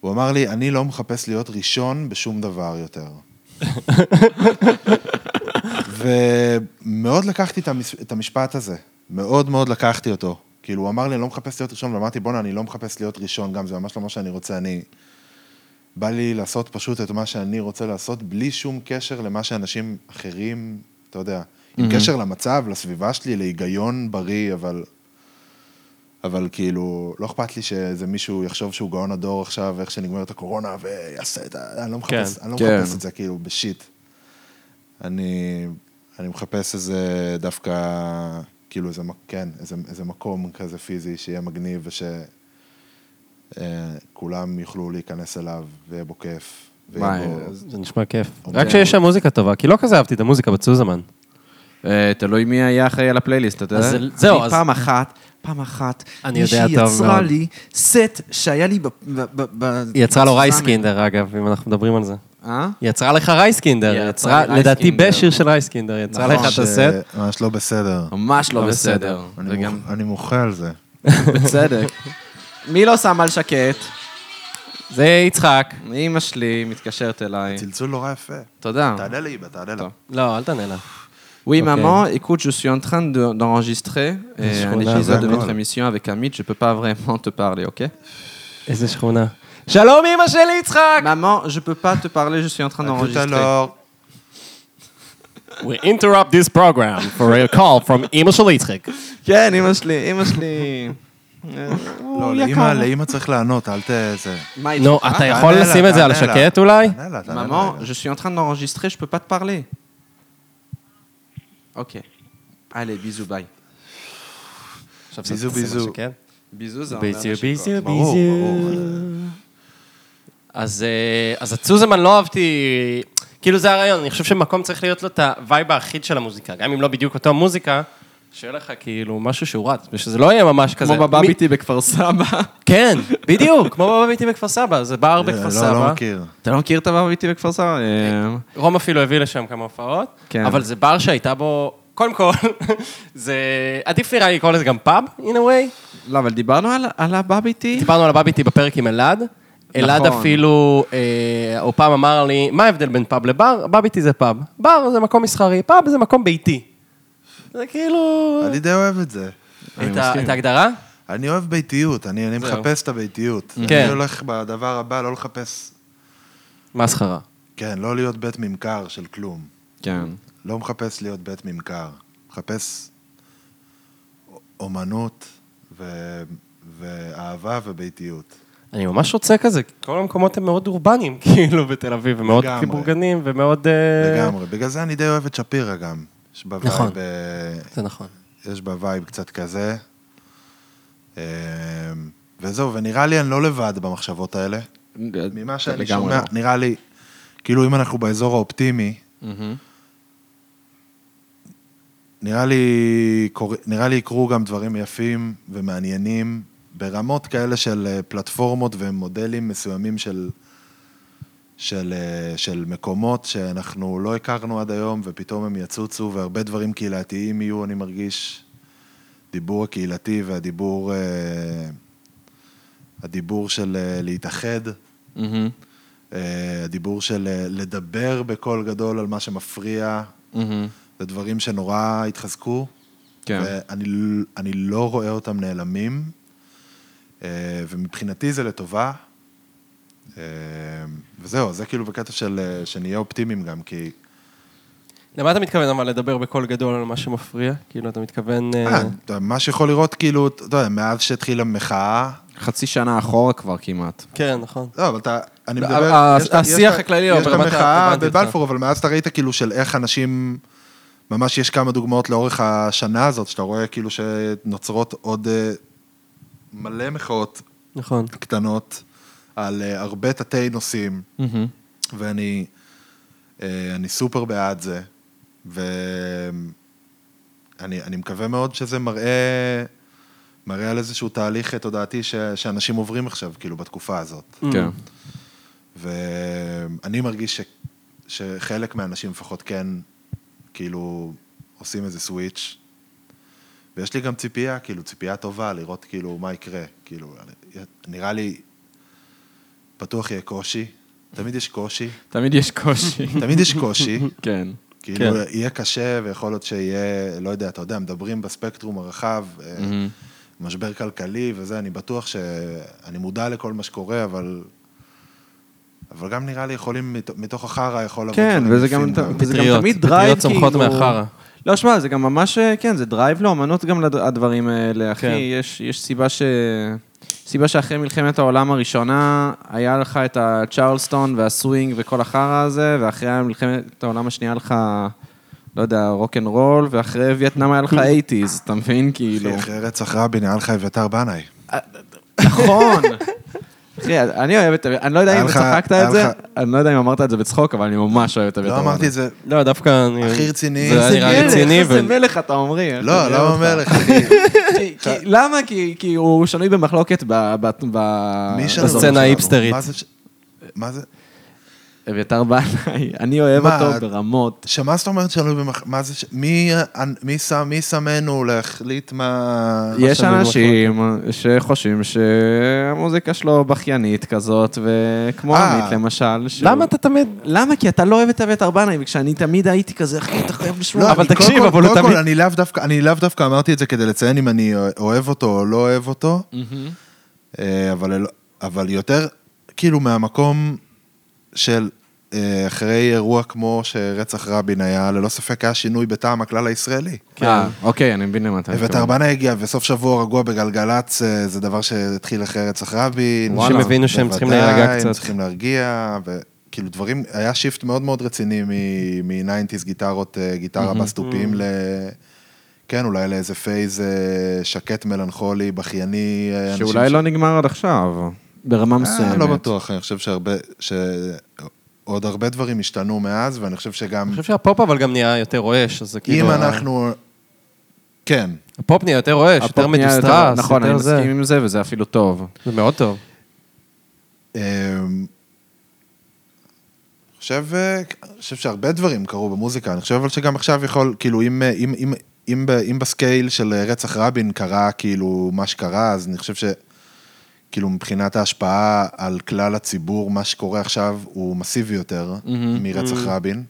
[SPEAKER 2] הוא אמר לי, אני לא מחפש להיות ראשון בשום דבר יותר. ומאוד לקחתי את המש- את המשפט הזה, מאוד מאוד לקחתי אותו. כאילו, הוא אמר לי, אני לא מחפש להיות ראשון, ואמרתי, בואנה, אני לא מחפש להיות ראשון גם, זה ממש לא מה שאני רוצה, אני... בא לי לעשות פשוט את מה שאני רוצה לעשות, בלי שום קשר למה שאנשים אחרים, אתה יודע, עם קשר למצב, לסביבה שלי, להיגיון בריא, אבל... אבל כאילו, לא אכפת לי שאיזה מישהו יחשוב שהוא גאון הדור עכשיו, איך שנגמרת הקורונה, ויעשה את ה... אני לא מחפש, אני לא
[SPEAKER 1] כן.
[SPEAKER 2] מחפש את זה, כאילו, בשיט. אני, אני מחפש איזה דווקא, כאילו איזה, מק- כן, איזה, איזה מקום כזה פיזי שיהיה מגניב ושכולם יוכלו להיכנס אליו ויהיה בו כיף. ויהיה
[SPEAKER 1] וואי,
[SPEAKER 2] בו-
[SPEAKER 1] אז-
[SPEAKER 3] זה נשמע כיף.
[SPEAKER 2] אוקיי.
[SPEAKER 3] רק שיש שם מוזיקה טובה, כי לא כזה אהבתי את המוזיקה בצוזמן.
[SPEAKER 1] אה, תלוי מי היה אחראי על הפלייליסט, אתה יודע?
[SPEAKER 3] אז זה- זהו,
[SPEAKER 1] אני
[SPEAKER 3] אז-
[SPEAKER 1] פעם אחת, פעם אחת,
[SPEAKER 3] אני יודע טוב
[SPEAKER 1] יצרה
[SPEAKER 3] מאוד.
[SPEAKER 1] לי סט שהיה לי ב... ב- ב- ב-
[SPEAKER 3] היא יצרה לו
[SPEAKER 1] בסאמר.
[SPEAKER 3] רייסקינדר, אגב, אם אנחנו מדברים על זה.
[SPEAKER 1] אה?
[SPEAKER 3] היא יצרה לך רייסקינדר,
[SPEAKER 1] היא
[SPEAKER 3] היא
[SPEAKER 1] יצרה
[SPEAKER 3] יצרה,
[SPEAKER 1] לי
[SPEAKER 3] לדעתי,
[SPEAKER 1] רייסקינדר.
[SPEAKER 3] בשיר של רייסקינדר, היא יצרה
[SPEAKER 1] נכון,
[SPEAKER 3] לך את
[SPEAKER 2] ש-
[SPEAKER 3] הסט.
[SPEAKER 2] ממש לא בסדר.
[SPEAKER 1] ממש לא
[SPEAKER 3] לא
[SPEAKER 1] בסדר.
[SPEAKER 3] בסדר.
[SPEAKER 2] אני,
[SPEAKER 1] וגם
[SPEAKER 2] מוח, אני מוחה על זה.
[SPEAKER 3] אה.
[SPEAKER 1] בצדק. מי לא שם על שקט?
[SPEAKER 3] זה יצחק.
[SPEAKER 1] אמא שלי מתקשרת אליי.
[SPEAKER 2] צלצול נורא יפה.
[SPEAKER 3] אה.
[SPEAKER 1] תודה.
[SPEAKER 2] תענה לי, איבא, תענה לה.
[SPEAKER 1] טוב.
[SPEAKER 3] לא, אל תענה לה.
[SPEAKER 1] Oui,
[SPEAKER 3] Ok.
[SPEAKER 1] maman, écoute, je suis en train de- d'enregistrer euh, un
[SPEAKER 3] qu'on a
[SPEAKER 1] épisode de
[SPEAKER 2] vraiment,
[SPEAKER 1] notre
[SPEAKER 2] là.
[SPEAKER 1] émission avec Amit. Je peux pas vraiment te parler, ok
[SPEAKER 3] איזה שכונה. שלום, אמא שלי, יצחק!
[SPEAKER 1] Maman, je peux pas te parler, je suis en
[SPEAKER 3] לא
[SPEAKER 1] train
[SPEAKER 2] tout à
[SPEAKER 1] d'enregistrer.
[SPEAKER 2] l'heure.
[SPEAKER 3] We interrupt this program for a call from אמא של יצחק.
[SPEAKER 1] כן, אמא שלי, אמא שלי. אה,
[SPEAKER 2] לא,
[SPEAKER 1] הוא יקר.
[SPEAKER 2] לאמא, לאמא צריך לענות, אל ת... זה.
[SPEAKER 1] מה
[SPEAKER 3] נו,
[SPEAKER 1] איתך?
[SPEAKER 3] אתה
[SPEAKER 2] תענה
[SPEAKER 3] יכול
[SPEAKER 2] לה,
[SPEAKER 3] לשים את זה על
[SPEAKER 2] תענה לה.
[SPEAKER 3] שקט אולי?
[SPEAKER 2] תענה לה, תענה לה.
[SPEAKER 1] Maman,
[SPEAKER 2] רגע.
[SPEAKER 1] je suis en train d'enregistrer, je peux pas te parler. Ok. Allez, bisous, bye.
[SPEAKER 2] ביזו, ביזו.
[SPEAKER 1] Bisous, hein,
[SPEAKER 2] לא,
[SPEAKER 1] זה אומר
[SPEAKER 3] ביזיו,
[SPEAKER 1] נשיקות.
[SPEAKER 3] ביזיו,
[SPEAKER 2] ברור,
[SPEAKER 3] ביזיו.
[SPEAKER 2] ברור.
[SPEAKER 3] אז, אה, אז את סוזמן לא אהבתי, כאילו זה הרעיון, אני חושב שמקום צריך להיות לו את הווייב האחיד של המוזיקה, גם אם לא בדיוק אותו מוזיקה, שיהיה לך כאילו משהו שהוא רץ, ושזה לא יהיה ממש כזה.
[SPEAKER 1] כמו
[SPEAKER 3] מי-
[SPEAKER 1] בבאביטי בכפר סבא.
[SPEAKER 3] כן, בדיוק, כמו בבאביטי בכפר סבא, זה בר
[SPEAKER 2] לא,
[SPEAKER 3] בכפר
[SPEAKER 2] לא
[SPEAKER 3] סבא.
[SPEAKER 2] מכיר.
[SPEAKER 1] אתה לא מכיר את הבאביטי בכפר סבא? אה,
[SPEAKER 3] רום אפילו הביא לשם כמה הופעות,
[SPEAKER 1] כן.
[SPEAKER 3] אבל זה בר שהייתה בו, קודם כל, זה, עדיף נראה לי לקרוא לזה גם פאב, in a way.
[SPEAKER 1] לא, אבל דיברנו על- על הבאביטי.
[SPEAKER 3] דיברנו על הבאביטי בפרק עם אלעד. אלעד
[SPEAKER 1] נכון.
[SPEAKER 3] אפילו, אה, הוא פעם אמר לי, מה ההבדל בין פאב לבר? בביטי זה פאב. בר זה מקום מסחרי, פאב זה מקום ביתי. זה כאילו...
[SPEAKER 2] אני די אוהב את זה.
[SPEAKER 1] אני
[SPEAKER 3] את ה-
[SPEAKER 1] מסכים.
[SPEAKER 3] את ההגדרה?
[SPEAKER 2] אני אוהב ביתיות, אני, אני מחפש את הביתיות.
[SPEAKER 3] כן.
[SPEAKER 2] אני הולך בדבר הבא, לא לחפש...
[SPEAKER 3] מסחרה.
[SPEAKER 2] כן, לא להיות בית ממכר של כלום.
[SPEAKER 1] כן.
[SPEAKER 2] לא מחפש להיות בית ממכר. מחפש א- אומנות ו... ואהבה וביתיות.
[SPEAKER 3] אני ממש רוצה כזה, כל המקומות הם מאוד אורבניים, כאילו, בתל אביב, הם מאוד
[SPEAKER 2] לגמרי.
[SPEAKER 3] קיבורגנים ומאוד... אה,
[SPEAKER 2] לגמרי. בגלל זה אני די אוהב את שפירא גם. יש בה
[SPEAKER 3] נכון.
[SPEAKER 2] וייב, אה,
[SPEAKER 3] זה נכון.
[SPEAKER 2] יש בה וייב קצת כזה. אה, וזהו, ונראה לי אני לא לבד במחשבות האלה. ממה שאני
[SPEAKER 1] לגמרי
[SPEAKER 2] שומע,
[SPEAKER 1] לא.
[SPEAKER 2] נראה לי, כאילו אם אנחנו באזור האופטימי,
[SPEAKER 1] מהמם.
[SPEAKER 2] נראה לי, קור- נראה לי יקרו גם דברים יפים ומעניינים ברמות כאלה של אה, פלטפורמות ומודלים מסוימים של, של, אה, של מקומות שאנחנו לא הכרנו עד היום ופתאום הם יצוצו והרבה דברים קהילתיים יהיו, אני מרגיש, דיבור הקהילתי והדיבור, אה, הדיבור של אה, להתאחד.
[SPEAKER 1] מהמם.
[SPEAKER 2] אה, הדיבור של אה, לדבר בקול גדול על מה שמפריע,
[SPEAKER 1] מהמם.
[SPEAKER 2] זה דברים שנורא התחזקו.
[SPEAKER 1] כן.
[SPEAKER 2] ואני ל- אני לא רואה אותם נעלמים, אה, ומבחינתי זה לטובה. אה, וזהו, זה כאילו בקטע של אה, שנהיה אופטימיים גם, כי...
[SPEAKER 3] למה אתה מתכוון אבל לדבר בקול גדול על מה שמפריע? כאילו, אתה מתכוון... אה,
[SPEAKER 2] אה, אתה ממש יכול לראות כאילו, אתה יודע, מאז שהתחילה המחאה,
[SPEAKER 1] חצי שנה אחורה כבר כמעט.
[SPEAKER 3] כן, נכון.
[SPEAKER 2] לא, אבל אתה... אני
[SPEAKER 1] לא,
[SPEAKER 2] מדבר...
[SPEAKER 1] ה-
[SPEAKER 2] יש את ה-
[SPEAKER 1] השיח
[SPEAKER 2] יש את ה-
[SPEAKER 1] הכללי,
[SPEAKER 2] יש את
[SPEAKER 1] ברמת
[SPEAKER 2] המחאה
[SPEAKER 1] הרלוונטיות,
[SPEAKER 2] בבלפור, אבל מאז אתה ראית כאילו של איך אנשים... ממש יש כמה דוגמאות לאורך השנה הזאת, שאתה רואה כאילו שנוצרות עוד אה, מלא מחאות
[SPEAKER 4] נכון.
[SPEAKER 2] קטנות על אה, הרבה תתי נושאים,
[SPEAKER 1] מהמם.
[SPEAKER 2] ואני אה, אני סופר בעד זה, ואני אני מקווה מאוד שזה מראה, מראה על איזשהו תהליך אה, תודעתי ש, שאנשים עוברים עכשיו, כאילו, בתקופה הזאת.
[SPEAKER 1] כן.
[SPEAKER 2] ואני מרגיש ש, שחלק מהאנשים לפחות כן, כאילו, עושים איזה סוויץ'. ויש לי גם ציפייה, כאילו, ציפייה טובה, לראות כאילו מה יקרה. כאילו, אני- נראה לי, בטוח יהיה קושי. תמיד יש קושי,
[SPEAKER 1] תמיד יש קושי.
[SPEAKER 2] תמיד יש קושי.
[SPEAKER 1] כן.
[SPEAKER 2] כאילו, כן. יהיה קשה, ויכול להיות שיהיה, לא יודע, אתה יודע, מדברים בספקטרום הרחב, אה,
[SPEAKER 1] מהמם.
[SPEAKER 2] משבר כלכלי וזה, אני בטוח ש... אני מודע לכל מה שקורה, אבל... אבל גם נראה לי יכולים, מת- מתוך החרא יכול לבוא...
[SPEAKER 1] כן,
[SPEAKER 2] דברים
[SPEAKER 1] וזה
[SPEAKER 2] יפים
[SPEAKER 1] גם וזה גם
[SPEAKER 4] פטריות.
[SPEAKER 1] תמיד
[SPEAKER 4] פטריות
[SPEAKER 1] דרייב, כאילו...
[SPEAKER 4] צומחות מהחרא.
[SPEAKER 1] לא, שמע, זה גם ממש, אה, כן, זה דרייב לאומנות גם לד- הדברים האלה, אחי.
[SPEAKER 4] כן.
[SPEAKER 1] יש יש סיבה ש... סיבה שאחרי מלחמת העולם הראשונה, היה לך את הצ'רלסטון והסווינג וכל החרא הזה, ואחרי מלחמת העולם השנייה היה לך, לא יודע, רוקנרול, ואחרי וייטנאם היה לך 80's, אתה מבין? כאילו...
[SPEAKER 2] אחי, אחרי רצח רבין, נראה לך אביתר בנאי.
[SPEAKER 1] נכון. אחי, אני אוהב את... אני לא יודע
[SPEAKER 2] היה
[SPEAKER 1] אם
[SPEAKER 2] לך-
[SPEAKER 1] צחקת
[SPEAKER 2] היה
[SPEAKER 1] את זה,
[SPEAKER 2] לך-
[SPEAKER 1] אני לא יודע אם אמרת את זה בצחוק, אבל אני ממש אוהב את
[SPEAKER 2] לא
[SPEAKER 1] אביתר
[SPEAKER 2] אמרתי את זה,
[SPEAKER 4] לא, דווקא אני...
[SPEAKER 2] הכי רציני. כן,
[SPEAKER 4] זה
[SPEAKER 1] איזה
[SPEAKER 4] היה נראה
[SPEAKER 1] מלך,
[SPEAKER 4] רציני
[SPEAKER 1] איזה
[SPEAKER 4] ו-
[SPEAKER 1] מלך אתה עומרי.
[SPEAKER 2] לא, לא אומר לך, אחי.
[SPEAKER 1] כי- כי- למה? כי כי הוא שנוי במחלוקת ב... ב- ב-
[SPEAKER 2] מי
[SPEAKER 1] בסצנה.
[SPEAKER 2] שלנו
[SPEAKER 4] בסצנה
[SPEAKER 2] שלנו.
[SPEAKER 4] אה, ההיפסטרית.
[SPEAKER 2] מה זה ש- מה זה?
[SPEAKER 1] אביתר בנאי, אני אוהב
[SPEAKER 2] מה?
[SPEAKER 1] אותו ברמות.
[SPEAKER 2] שמה זאת אומרת שלנו במח... מה זה ש... מי, מי, שם, מי שמנו להחליט מה...
[SPEAKER 1] יש
[SPEAKER 4] שנוי
[SPEAKER 1] אנשים שחושבים שהמוזיקה שלו בכיינית כזאת, וכמו
[SPEAKER 2] אה.
[SPEAKER 1] עמית למשל. שהוא-
[SPEAKER 4] למה אתה תמיד...
[SPEAKER 1] למה? כי אתה לא אוהב את אביתר בנאי, וכשאני תמיד הייתי כזה, אחי, אתה חייב לשמוע.
[SPEAKER 2] לא,
[SPEAKER 4] אבל
[SPEAKER 2] אני- קודם
[SPEAKER 4] תקשיב,
[SPEAKER 2] כל-
[SPEAKER 4] אבל הוא
[SPEAKER 2] קודם כל,
[SPEAKER 4] תמיד-
[SPEAKER 2] אני לאו דווקא- אני לאו דווקא אמרתי את זה כדי לציין אם אני אוהב אותו או לא אוהב אותו, אה, אבל אל- אבל יותר כאילו מהמקום של אה, אחרי אירוע כמו שרצח רבין היה, ללא ספק היה שינוי בטעם הכלל הישראלי.
[SPEAKER 1] אה, אוקיי, אני מבין למה אתה
[SPEAKER 4] כן,
[SPEAKER 2] כן. אביתר בנה הגיע, וסוף שבוע רגוע בגלגלצ, אה, זה דבר שהתחיל אחרי רצח רבין.
[SPEAKER 1] אנשים
[SPEAKER 2] וואלה.
[SPEAKER 4] הבינו שהם צריכים
[SPEAKER 2] בוודאי,
[SPEAKER 4] להירגע
[SPEAKER 2] הם
[SPEAKER 4] קצת.
[SPEAKER 2] צריכים להרגיע, וכאילו דברים, היה שיפט מאוד מאוד רציני מ-90's גיטרות, אה, גיטרה בסטופים ל... כן, אולי לאיזה פייז אה, שקט מלנכולי, בכייני. אה, אנשים
[SPEAKER 1] שאולי
[SPEAKER 2] ש-
[SPEAKER 1] לא נגמר עד עכשיו, ברמה
[SPEAKER 2] אה,
[SPEAKER 1] מסוימת.
[SPEAKER 2] לא בטוח, אני חושב שהרבה, שעוד הרבה דברים השתנו מאז, ואני חושב שגם
[SPEAKER 4] אני חושב שהפופ אבל גם נהיה יותר רועש, אז זה כאילו...
[SPEAKER 2] אם אנחנו... כן.
[SPEAKER 4] הפופ נהיה יותר רועש, יותר
[SPEAKER 1] הפופ נהיה
[SPEAKER 4] מדוסטרס,
[SPEAKER 1] נכון, אני
[SPEAKER 4] יותר זה.
[SPEAKER 1] מסכים עם זה, וזה אפילו טוב.
[SPEAKER 4] זה מאוד טוב.
[SPEAKER 2] אמ, חושב, אה, אני חושב שהרבה דברים קרו במוזיקה, אני חושב אבל שגם עכשיו יכול, כאילו, אם, אה, אם, אם, אם, ב- אם בסקייל של אה, רצח רבין קרה, כאילו, מה שקרה, אז אני חושב ש... כאילו, מבחינת ההשפעה על כלל הציבור, מה שקורה עכשיו הוא מסיבי יותר מרצח רבין.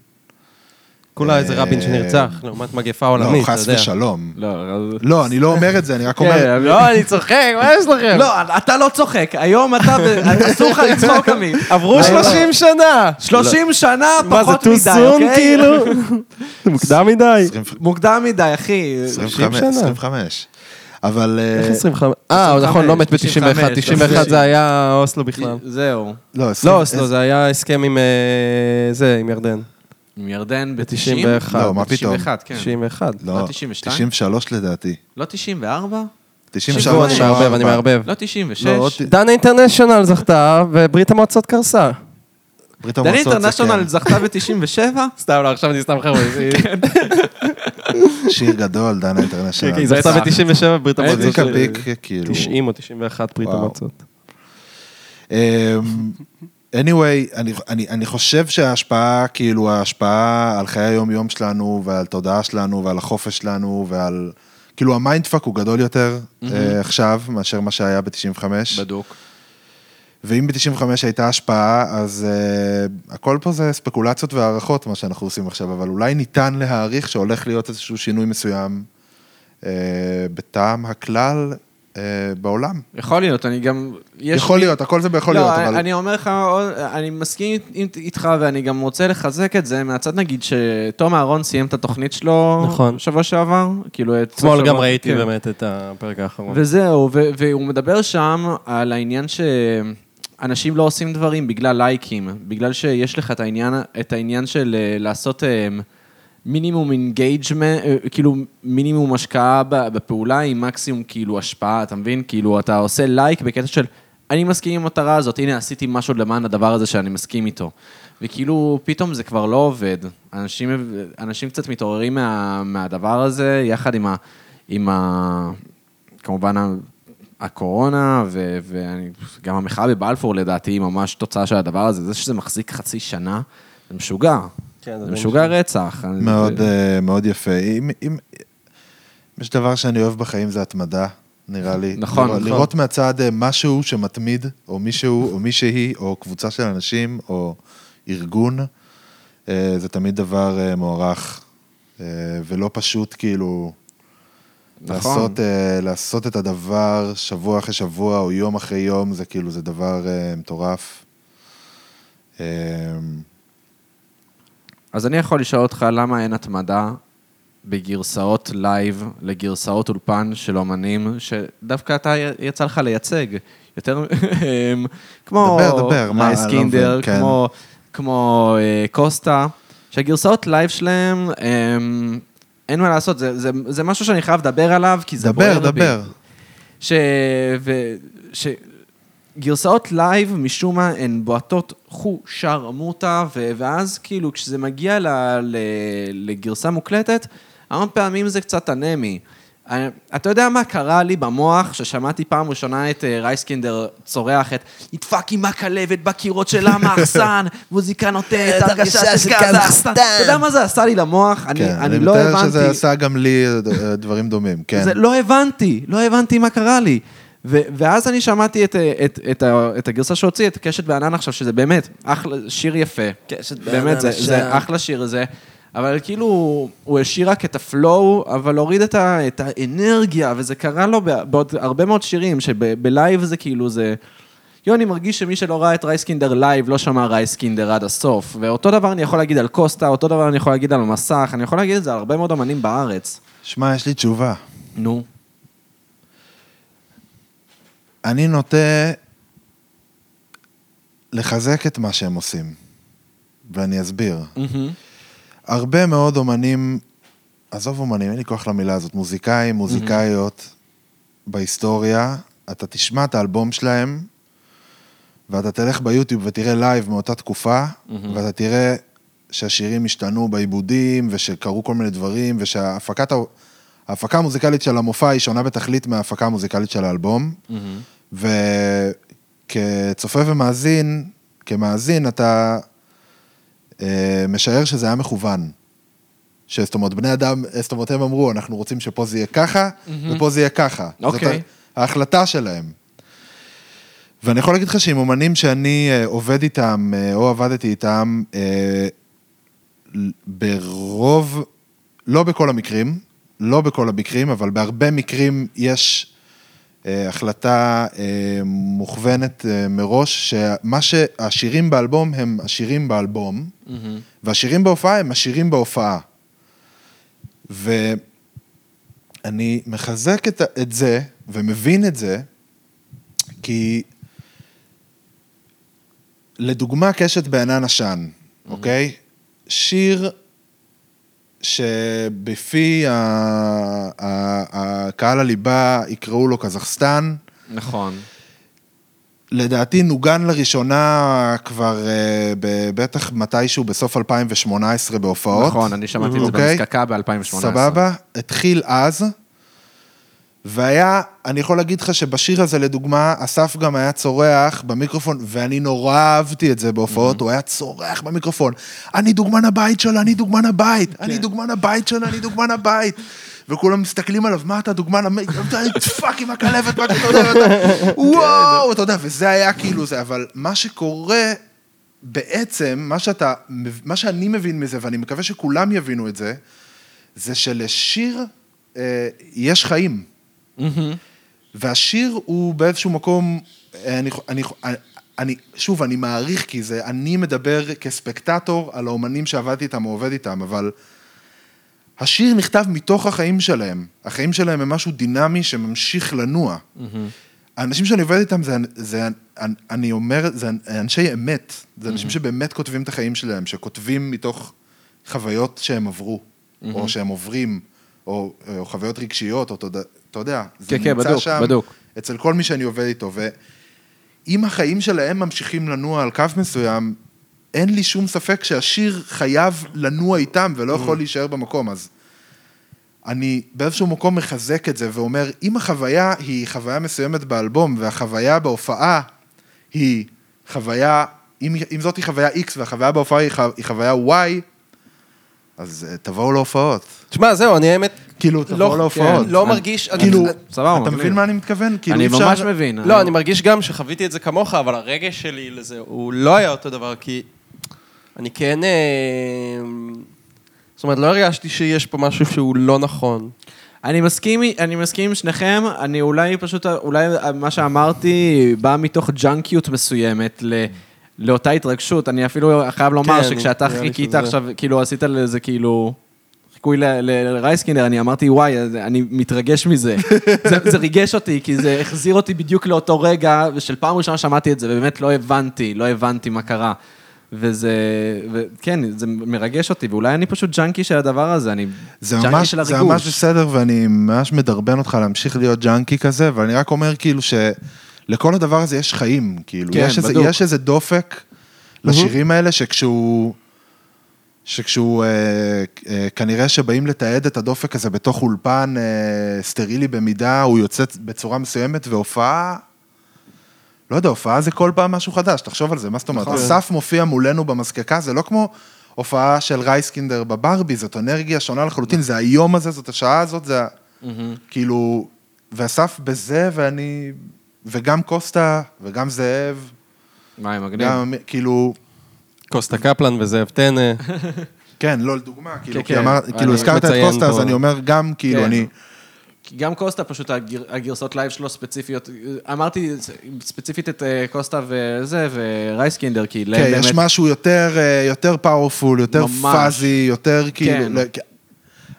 [SPEAKER 4] כולה איזה
[SPEAKER 2] אה,
[SPEAKER 4] רבין שנרצח, לעומת מגפה
[SPEAKER 2] לא,
[SPEAKER 4] עולמית, אתה
[SPEAKER 2] חס
[SPEAKER 4] יודע.
[SPEAKER 2] ושלום.
[SPEAKER 1] לא, אז-
[SPEAKER 2] לא, אני לא אומר את זה, אני רק אומר...
[SPEAKER 1] כן,
[SPEAKER 4] לא, אני צוחק, מה יש לכם?
[SPEAKER 1] לא, אתה לא צוחק, היום אתה, ב- אסור לך לצחוק עמית.
[SPEAKER 4] עברו 30 שנה!
[SPEAKER 1] 30 שנה
[SPEAKER 4] לא. מה זה
[SPEAKER 1] פחות
[SPEAKER 4] too
[SPEAKER 1] מדי,
[SPEAKER 4] soon,
[SPEAKER 1] אוקיי?
[SPEAKER 4] כאילו? מוקדם מדי.
[SPEAKER 2] 25,
[SPEAKER 1] מוקדם מדי, אחי.
[SPEAKER 2] 25,
[SPEAKER 4] כן, שנה.
[SPEAKER 2] 25. אבל... אה,
[SPEAKER 4] איך 25? אה, נכון, לא מת ב-91, 91 זה היה אוסלו בכלל.
[SPEAKER 1] זהו.
[SPEAKER 2] לא, 20,
[SPEAKER 4] לא אוסלו, זה היה הסכם עם אה, זה, עם ירדן.
[SPEAKER 1] עם ירדן ב-90?
[SPEAKER 4] ב-91.
[SPEAKER 2] לא, מה פתאום?
[SPEAKER 1] 91, כן.
[SPEAKER 4] 91.
[SPEAKER 1] לא,
[SPEAKER 2] לא,
[SPEAKER 1] 92?
[SPEAKER 2] 93 לדעתי.
[SPEAKER 1] לא 94?
[SPEAKER 2] 93.
[SPEAKER 4] שבו אני מערבב, אני מערבב.
[SPEAKER 1] לא 96?
[SPEAKER 2] לא, עוד-
[SPEAKER 4] דן אינטרנשיונל זכתה, וברית המועצות קרסה.
[SPEAKER 2] ברית
[SPEAKER 1] דני
[SPEAKER 2] המועצות זה
[SPEAKER 1] אינטרנשיונל
[SPEAKER 2] כן.
[SPEAKER 1] זכתה ב-97?
[SPEAKER 4] סתם, לא, עכשיו אני סתם חבר'ה. זה-
[SPEAKER 2] שיר גדול, דן
[SPEAKER 4] כן,
[SPEAKER 2] אינטרנשיונל.
[SPEAKER 4] כן, היא זכתה ב-97 ברית המועצות.
[SPEAKER 2] מוזיקה
[SPEAKER 4] של-
[SPEAKER 2] ביק, כאילו.
[SPEAKER 4] 90 או 91 ברית
[SPEAKER 2] וואו.
[SPEAKER 4] המועצות.
[SPEAKER 2] אמ, anyway, אני, אני, אני חושב שההשפעה, כאילו ההשפעה על חיי היום-יום שלנו, ועל תודעה שלנו, ועל החופש שלנו, ועל... כאילו המיינדפאק הוא גדול יותר אה, עכשיו, מאשר מה שהיה ב-95.
[SPEAKER 1] בדוק.
[SPEAKER 2] ואם ב-95 הייתה השפעה, אז uh, הכל פה זה ספקולציות והערכות, מה שאנחנו עושים עכשיו, אבל אולי ניתן להעריך שהולך להיות איזשהו שינוי מסוים uh, בטעם הכלל uh, בעולם.
[SPEAKER 1] יכול להיות, אני גם... יש
[SPEAKER 2] יכול
[SPEAKER 1] לי-
[SPEAKER 2] להיות, הכל זה ביכול להיות,
[SPEAKER 1] לא,
[SPEAKER 2] אבל...
[SPEAKER 1] אני אומר לך, עוד- אני מסכים אית- איתך, ואני גם רוצה לחזק את זה מהצד, נגיד, שתום אהרון סיים את התוכנית שלו,
[SPEAKER 4] נכון.
[SPEAKER 1] שבוע שעבר, כאילו, את...
[SPEAKER 4] אתמול
[SPEAKER 1] שבוע-
[SPEAKER 4] גם ראיתי
[SPEAKER 1] כן.
[SPEAKER 4] באמת את הפרק האחרון.
[SPEAKER 1] וזהו, ו- והוא מדבר שם על העניין ש... אנשים לא עושים דברים בגלל לייקים, בגלל שיש לך את העניין, את העניין של אה, לעשות אה, מינימום אינגייג'מנט, כאילו מינימום השקעה ב- בפעולה עם מקסימום כאילו השפעה, אתה מבין? כאילו אתה עושה לייק בקטע של אני מסכים עם המטרה הזאת, הנה עשיתי משהו למען הדבר הזה שאני מסכים איתו. וכאילו פתאום זה כבר לא עובד. אנשים, אנשים קצת מתעוררים מה, מהדבר הזה, יחד עם ה... עם ה כמובן ה- הקורונה, ו- ואני- גם המחאה בבלפור לדעתי היא ממש תוצאה של הדבר הזה. זה שזה מחזיק חצי שנה, זה משוגע.
[SPEAKER 3] כן, זה
[SPEAKER 1] זה משוגע רצח. אני-
[SPEAKER 2] מאוד,
[SPEAKER 1] זה-
[SPEAKER 2] אה, מאוד יפה. אם, אם... יש דבר שאני אוהב בחיים זה התמדה, נראה לי.
[SPEAKER 1] נכון,
[SPEAKER 2] לראות,
[SPEAKER 1] נכון.
[SPEAKER 2] לראות מהצד אה, משהו שמתמיד, או מישהו, או מישהי, או קבוצה של אנשים, או ארגון, אה, זה תמיד דבר אה, מוערך, אה, ולא פשוט כאילו...
[SPEAKER 1] נכון.
[SPEAKER 2] לעשות, אה, לעשות את הדבר שבוע אחרי שבוע, או יום אחרי יום, זה כאילו, זה דבר אה, מטורף. אה,
[SPEAKER 1] אז אני יכול לשאול אותך למה אין התמדה בגרסאות לייב לגרסאות אולפן של אומנים, שדווקא אתה י- יצא לך לייצג. יותר אמ, כמו
[SPEAKER 2] דבר, דבר, מה,
[SPEAKER 1] רייס
[SPEAKER 2] אני לא
[SPEAKER 1] קינדר,
[SPEAKER 2] מבין, כן.
[SPEAKER 1] כמו- כמו אה, קוסטה, שהגרסאות לייב שלהם, אמ, אין מה לעשות, זה- זה- זה משהו שאני חייב לדבר עליו, כי זה בוער
[SPEAKER 2] דבר,
[SPEAKER 1] בי.
[SPEAKER 2] דבר.
[SPEAKER 1] ש... ו... ש... גרסאות לייב, משום מה, הן בועטות חושרמוטה, ו... ואז כאילו, כשזה מגיע ל... ל... לגרסה מוקלטת, המון פעמים זה קצת אנמי. אני- אתה יודע מה קרה לי במוח כששמעתי פעם ראשונה את אה, רייסקינדר צורח את נדפק עם הכלבת בקירות של המאכסן, מוזיקה נותנת הרגשה של קזחסטן. אתה יודע מה זה עשה לי למוח? אני
[SPEAKER 2] כן,
[SPEAKER 1] אני לא
[SPEAKER 2] אני מתאר שזה
[SPEAKER 1] הבנתי.
[SPEAKER 2] עשה גם לי אה, דברים דומים, כן.
[SPEAKER 1] זה, לא הבנתי, לא הבנתי מה קרה לי. ו- ואז אני שמעתי את, את, את, את, ה- את הגרסה שהוציא, את קשת בענן עכשיו, שזה באמת אחלה, שיר יפה.
[SPEAKER 4] קשת בענן
[SPEAKER 1] באמת, זה,
[SPEAKER 4] עכשיו.
[SPEAKER 1] זה אחלה שיר הזה. אבל כאילו, הוא השאיר רק את הפלואו, אבל הוריד את, ה, את האנרגיה, וזה קרה לו ב- בעוד הרבה מאוד שירים, שבלייב זה כאילו, זה... יוני מרגיש שמי שלא ראה את רייסקינדר לייב, לא שמע רייסקינדר עד הסוף. ואותו דבר אני יכול להגיד על קוסטה, אותו דבר אני יכול להגיד על המסך, אני יכול להגיד את זה על הרבה מאוד אמנים בארץ.
[SPEAKER 2] שמע, יש לי תשובה.
[SPEAKER 1] נו.
[SPEAKER 2] אני נוטה לחזק את מה שהם עושים, ואני אסביר. הרבה מאוד אומנים, עזוב אומנים, אין לי כוח למילה הזאת, מוזיקאים, מוזיקאיות, בהיסטוריה, אתה תשמע את האלבום שלהם, ואתה תלך ביוטיוב ותראה לייב מאותה תקופה, ואתה תראה שהשירים השתנו בעיבודים, ושקרו כל מיני דברים, ושההפקת... ה- ההפקה המוזיקלית של המופע היא שונה בתכלית מההפקה המוזיקלית של האלבום. וכצופה ומאזין, כמאזין, אתה אה, משער שזה היה מכוון. שזאת אומרת, בני אדם, זאת אומרת, הם אמרו, אנחנו רוצים שפה זה יהיה ככה, ופה זה יהיה ככה. זאת
[SPEAKER 1] אוקיי.
[SPEAKER 2] ה- ההחלטה שלהם. ואני יכול להגיד לך שעם אומנים שאני אה, עובד איתם, אה, או עבדתי איתם, אה, ל- ברוב, לא בכל המקרים, לא בכל המקרים, אבל בהרבה מקרים יש אה, החלטה אה, מוכוונת אה, מראש, שמה שהשירים באלבום הם השירים באלבום,
[SPEAKER 1] נכון.
[SPEAKER 2] והשירים בהופעה הם השירים בהופעה. ואני מחזק את, ה- את זה, ומבין את זה, כי לדוגמה, קשת בענן עשן, אוקיי? שיר שבפי ה- ה- הקהל הליבה יקראו לו קזחסטן,
[SPEAKER 1] נכון.
[SPEAKER 2] לדעתי נוגן לראשונה כבר אה, ב- בטח מתישהו בסוף 2018 בהופעות.
[SPEAKER 1] נכון, אני שמעתי את זה
[SPEAKER 2] אוקיי?
[SPEAKER 1] במזקקה ב-2018.
[SPEAKER 2] סבבה, התחיל אז, והיה, אני יכול להגיד לך שבשיר הזה, לדוגמה, אסף גם היה צורח במיקרופון, ואני נורא אהבתי את זה בהופעות, הוא היה צורח במיקרופון, אני דוגמן הבית שלה, אני דוגמן הבית, אני דוגמן הבית שלה, אני דוגמן הבית. וכולם מסתכלים עליו, מה אתה דוגמן, המ- אתה פאק עם הכלבת, מה אתה אתה יודע, אתה- וואו, אתה יודע, וזה היה כאילו זה, אבל מה שקורה, בעצם, מה שאתה, מה שאני מבין מזה, ואני מקווה שכולם יבינו את זה, זה שלשיר אה, יש חיים. והשיר הוא באיזשהו מקום, אה, אני, אני, אני, שוב, אני מעריך כי זה, אני מדבר כספקטטור על האומנים שעבדתי איתם או עובד איתם, אבל השיר נכתב מתוך החיים שלהם. החיים שלהם הם משהו דינמי שממשיך לנוע. האנשים שאני עובד איתם, זה, זה, אני אומר, זה אנשי אמת. זה אנשים שבאמת כותבים את החיים שלהם, שכותבים מתוך חוויות שהם עברו, או שהם עוברים, או, אה, או חוויות רגשיות, או תודה, אתה יודע, זה
[SPEAKER 1] כן, כן,
[SPEAKER 2] נמצא
[SPEAKER 1] בדוק,
[SPEAKER 2] שם,
[SPEAKER 1] בדוק.
[SPEAKER 2] אצל כל מי שאני עובד איתו, ואם החיים שלהם ממשיכים לנוע על קו מסוים, אין לי שום ספק שהשיר חייב לנוע איתם ולא יכול להישאר במקום, אז... אני באיזשהו מקום מחזק את זה ואומר, אם החוויה היא חוויה מסוימת באלבום, והחוויה בהופעה היא חוויה, אם, אם זאת היא חוויה X והחוויה בהופעה היא, חו- היא חוויה Y, אז אה, תבואו להופעות.
[SPEAKER 4] תשמע, זהו, אני האמת...
[SPEAKER 2] כאילו,
[SPEAKER 4] לא-
[SPEAKER 2] תבואו להופעות.
[SPEAKER 4] כן, לא מרגיש... אני-
[SPEAKER 2] כאילו,
[SPEAKER 1] סבבה,
[SPEAKER 2] אתה
[SPEAKER 1] מגניב.
[SPEAKER 2] מבין מה אני מתכוון? כאילו,
[SPEAKER 1] אני
[SPEAKER 2] אי אפשר-
[SPEAKER 1] ממש מבין.
[SPEAKER 4] לא, אני מרגיש גם שחוויתי את זה כמוך, אבל הרגש שלי לזה, הוא לא היה אותו דבר, כי אני כן... אה, זאת אומרת, לא הרגשתי שיש פה משהו שהוא לא נכון.
[SPEAKER 1] אני מסכים, אני מסכים עם שניכם, אני אולי פשוט, אולי מה שאמרתי בא מתוך ג'אנקיות מסוימת ל, לאותה התרגשות. אני אפילו חייב לומר
[SPEAKER 4] כן,
[SPEAKER 1] שכשאתה
[SPEAKER 4] נראה לי
[SPEAKER 1] חיכית
[SPEAKER 4] שזה.
[SPEAKER 1] עכשיו, כאילו עשית לזה כאילו... חיקוי ל- ל- לרייסקינר, אני אמרתי, וואי, אז אני מתרגש מזה. זה, זה ריגש אותי, כי זה החזיר אותי בדיוק לאותו רגע, ושל פעם ראשונה שמעתי את זה, ובאמת לא הבנתי, לא הבנתי מה קרה. וזה, וכן, זה מרגש אותי, ואולי אני פשוט ג'אנקי של הדבר הזה, אני
[SPEAKER 2] זה
[SPEAKER 1] ג'אנקי
[SPEAKER 2] ממש,
[SPEAKER 1] של הריגוש.
[SPEAKER 2] זה ממש בסדר, ואני ממש מדרבן אותך להמשיך להיות ג'אנקי כזה, ואני רק אומר כאילו שלכל הדבר הזה יש חיים, כאילו,
[SPEAKER 1] כן,
[SPEAKER 2] יש, איזה,
[SPEAKER 1] בדוק.
[SPEAKER 2] יש איזה דופק לשירים האלה, שכשהוא, שכשהוא, אה, אה, כנראה שבאים לתעד את הדופק הזה בתוך אולפן אה, סטרילי במידה, הוא יוצא בצורה מסוימת, והופעה... לא יודע, הופעה זה כל פעם משהו חדש, תחשוב על זה, מה זאת אומרת?
[SPEAKER 1] נכון.
[SPEAKER 2] אסף מופיע מולנו במזקקה, זה לא כמו הופעה של רייסקינדר בברבי, זאת אנרגיה שונה לחלוטין,
[SPEAKER 1] נכון.
[SPEAKER 2] זה היום הזה, זאת השעה הזאת, זה... ה- כאילו, ואסף בזה, ואני... וגם קוסטה, וגם זאב,
[SPEAKER 1] וואי, מגניב.
[SPEAKER 2] גם, כאילו...
[SPEAKER 4] קוסטה קפלן וזאב טנא.
[SPEAKER 2] כן, לא, לדוגמה, כאילו,
[SPEAKER 1] כן,
[SPEAKER 2] כי
[SPEAKER 1] כן.
[SPEAKER 2] אמר,
[SPEAKER 1] אני
[SPEAKER 2] כאילו, הזכרת את
[SPEAKER 4] מציין
[SPEAKER 2] קוסטה, אז
[SPEAKER 4] פה.
[SPEAKER 2] אני אומר גם, כאילו,
[SPEAKER 1] כן.
[SPEAKER 2] אני...
[SPEAKER 1] כי גם קוסטה, פשוט הגר, הגרסות לייב שלו ספציפיות, אמרתי ספציפית את אה, קוסטה וזה, ורייסקינדר, כי להם
[SPEAKER 2] כן,
[SPEAKER 1] באמת...
[SPEAKER 2] יש משהו יותר, אה, יותר פאורפול, יותר
[SPEAKER 1] ממש.
[SPEAKER 2] פאזי, יותר כאילו...
[SPEAKER 1] כן.
[SPEAKER 2] לא, כ-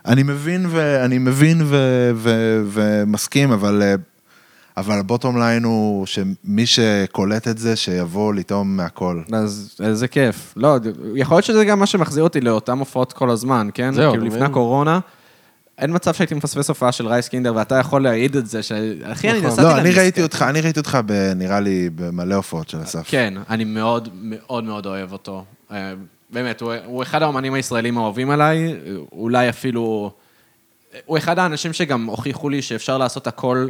[SPEAKER 2] אני מבין, ו, אני מבין ו, ו, ומסכים, אבל, אה, אבל הבוטום ליין הוא שמי שקולט את זה, שיבוא לטעום מהכל.
[SPEAKER 1] אז איזה כיף. לא, יכול להיות שזה גם מה שמחזיר אותי לאותן הופעות כל הזמן, כן?
[SPEAKER 4] זהו,
[SPEAKER 1] כאילו,
[SPEAKER 4] אתה
[SPEAKER 1] לפני
[SPEAKER 4] מבין?
[SPEAKER 1] הקורונה, אין מצב שהייתי מפספס הופעה של רייסקינדר, ואתה יכול להעיד את זה, שאחי, אני נסעתי...
[SPEAKER 2] לא, אני
[SPEAKER 1] למזקק.
[SPEAKER 2] ראיתי אותך, אני ראיתי אותך, ב- נראה לי, במלא הופעות של אסף.
[SPEAKER 1] כן, אני מאוד מאוד מאוד אוהב אותו. אה, באמת, הוא, הוא אחד האומנים הישראלים האוהבים עליי, אולי אפילו... הוא אחד האנשים שגם הוכיחו לי שאפשר לעשות הכל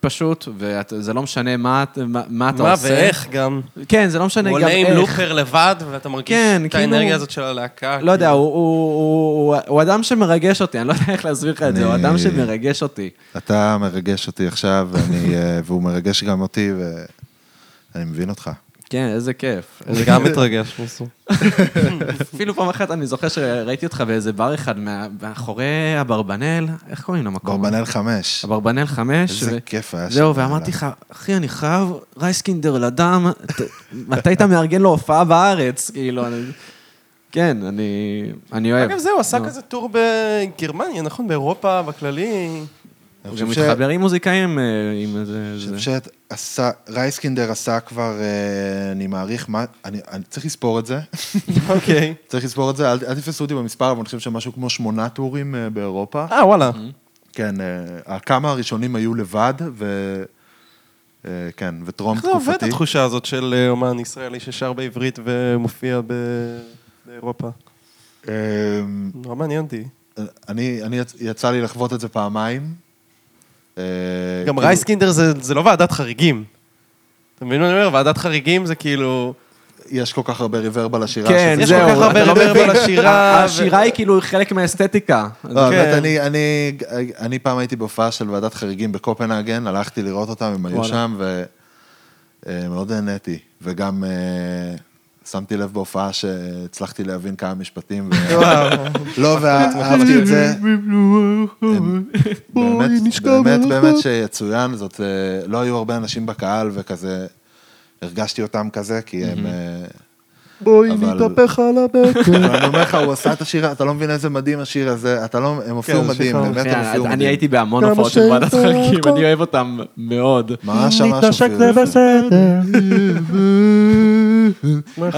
[SPEAKER 1] פשוט, וזה לא משנה מה, את- מה, מה אתה
[SPEAKER 4] מה
[SPEAKER 1] עושה.
[SPEAKER 4] ואיך גם.
[SPEAKER 1] כן, זה לא משנה
[SPEAKER 4] הוא
[SPEAKER 1] גם
[SPEAKER 4] עולה
[SPEAKER 1] איך.
[SPEAKER 4] עם לופר לבד, ואתה מרגיש
[SPEAKER 1] כן,
[SPEAKER 4] את
[SPEAKER 1] כאילו-
[SPEAKER 4] האנרגיה הזאת של הלהקה. כאילו.
[SPEAKER 1] לא יודע, הוא, הוא, הוא, הוא, הוא אדם שמרגש אותי, אני לא יודע איך להסביר לך את זה, הוא
[SPEAKER 2] אני-
[SPEAKER 1] אדם שמרגש אותי.
[SPEAKER 2] אתה מרגש אותי עכשיו, ואני, אה, והוא מרגש גם אותי, ואני מבין אותך.
[SPEAKER 1] כן, איזה כיף.
[SPEAKER 4] אני גם מתרגש מזה.
[SPEAKER 1] אפילו פעם אחת אני זוכר שראיתי אותך באיזה בר אחד מה- מאחורי אברבנל, איך קוראים למקום?
[SPEAKER 2] אברבנל חמש.
[SPEAKER 1] אברבנל חמש.
[SPEAKER 2] איזה כיף היה
[SPEAKER 1] זהו,
[SPEAKER 2] שם,
[SPEAKER 1] ואמרתי לך,
[SPEAKER 2] יאללה.
[SPEAKER 1] אחי, אני חייב רייסקינדר לדם, ת- מתי אתה מארגן לו הופעה בארץ? כאילו, אני... כן, אני, אני אוהב.
[SPEAKER 4] אגב, זהו, הוא עשה
[SPEAKER 1] נו.
[SPEAKER 4] כזה טור בגרמניה, נכון? באירופה, בכללי.
[SPEAKER 2] אני
[SPEAKER 1] גם
[SPEAKER 2] חושב ש-
[SPEAKER 1] מתחבר עם מוזיקאים אה, עם איזה...
[SPEAKER 2] אני
[SPEAKER 1] זה.
[SPEAKER 2] חושב שרייסקינדר עשה כבר, אה, אני מעריך, מה, אני אני צריך לספור את זה,
[SPEAKER 4] אוקיי.
[SPEAKER 2] צריך לספור את זה, אל אל תתפסו אותי במספר, אבל אני חושב שמשהו כמו שמונה טורים אה, באירופה.
[SPEAKER 4] אה, וואלה.
[SPEAKER 2] כן, אה, הכמה הראשונים היו לבד, ו... אה, כן, וטרום
[SPEAKER 4] איך זה לא, עובד
[SPEAKER 2] תקופתי.
[SPEAKER 4] התחושה הזאת של אה, אומן ישראלי ששר בעברית ומופיע ב- באירופה?
[SPEAKER 2] אה,
[SPEAKER 4] נורא מעניין אותי.
[SPEAKER 2] אני, אני יצ- יצא לי לחוות את זה פעמיים. אה,
[SPEAKER 4] גם
[SPEAKER 2] כאילו-
[SPEAKER 4] רייסקינדר זה זה לא ועדת חריגים. אתה מבין מה אני אומר? ועדת חריגים זה כאילו...
[SPEAKER 2] יש כל כך הרבה ריברב על השירה.
[SPEAKER 1] כן,
[SPEAKER 2] שזה-
[SPEAKER 4] יש
[SPEAKER 1] זהו,
[SPEAKER 4] כל כך הרבה
[SPEAKER 1] אתה לא
[SPEAKER 4] רברב
[SPEAKER 1] מבין.
[SPEAKER 4] על השירה, ו-
[SPEAKER 1] השירה היא כאילו חלק מהאסתטיקה. אז-
[SPEAKER 2] לא,
[SPEAKER 4] כן.
[SPEAKER 2] באמת, אני, אני, אני פעם הייתי בהופעה של ועדת חריגים בקופנהגן, הלכתי לראות אותם, הם היו
[SPEAKER 1] וואלה.
[SPEAKER 2] שם, ומאוד נהניתי. וגם אה, שמתי לב בהופעה שהצלחתי להבין כמה משפטים. ו- לא, ואהבתי את זה. באמת, באמת, באמת שיצוין, זאת, אה, לא היו הרבה אנשים בקהל וכזה, הרגשתי אותם כזה, כי הם... אה, בואי
[SPEAKER 5] אבל-
[SPEAKER 2] נתהפך על הבטן. אבל אני אומר לך, הוא עשה את השיר, אתה לא מבין איזה מדהים השיר הזה, אתה לא, הם הופיעו
[SPEAKER 5] זה
[SPEAKER 2] מדהים,
[SPEAKER 5] שיר
[SPEAKER 2] באמת הם הופיעו
[SPEAKER 1] כן, אני
[SPEAKER 2] מדהים.
[SPEAKER 1] הייתי בהמון
[SPEAKER 5] כמה
[SPEAKER 1] הופעות של ועדת
[SPEAKER 5] שיותר
[SPEAKER 1] חלקים,
[SPEAKER 5] הכל.
[SPEAKER 1] אני אוהב אותם מאוד.
[SPEAKER 2] מה שמע
[SPEAKER 5] נתנשק זה בסדר.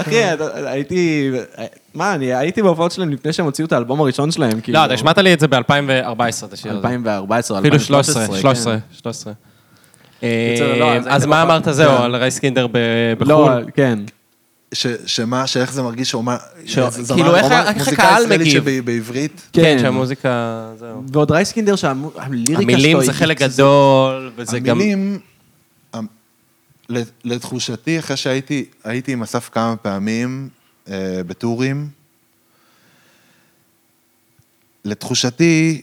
[SPEAKER 1] אחי, אתה- הייתי... אה, מה, אני הייתי בהופעות שלהם לפני שהם הוציאו את האלבום הראשון שלהם, כאילו...
[SPEAKER 4] לא, אתה השמעת לי את זה ב-2014, את
[SPEAKER 1] כן.
[SPEAKER 4] השיר הזה.
[SPEAKER 1] 2014, 2013.
[SPEAKER 4] אפילו 13,
[SPEAKER 1] כן.
[SPEAKER 4] 13, 13.
[SPEAKER 1] קיצר, לא, אז
[SPEAKER 4] אה, אז
[SPEAKER 1] הייתם
[SPEAKER 4] מה
[SPEAKER 1] בפעם-
[SPEAKER 4] אמרת זהו, על רייס קינדר ב-
[SPEAKER 1] לא,
[SPEAKER 4] בחו"ל?
[SPEAKER 1] כן.
[SPEAKER 2] ש- שמה, שאיך זה מרגיש שאומן,
[SPEAKER 4] ש- כאילו, איך ה- איך הקהל מגיב?
[SPEAKER 2] שבעברית,
[SPEAKER 4] כן,
[SPEAKER 1] כן.
[SPEAKER 4] שהמוזיקה, זהו.
[SPEAKER 1] ועוד רייסקינדר שהליריקה שלו...
[SPEAKER 4] המילים
[SPEAKER 1] היא-
[SPEAKER 4] זה חלק גדול, וזה גם...
[SPEAKER 2] המילים, המ- לת- לתחושתי, אחרי שהייתי הייתי עם אסף כמה פעמים אה, בטורים, לתחושתי,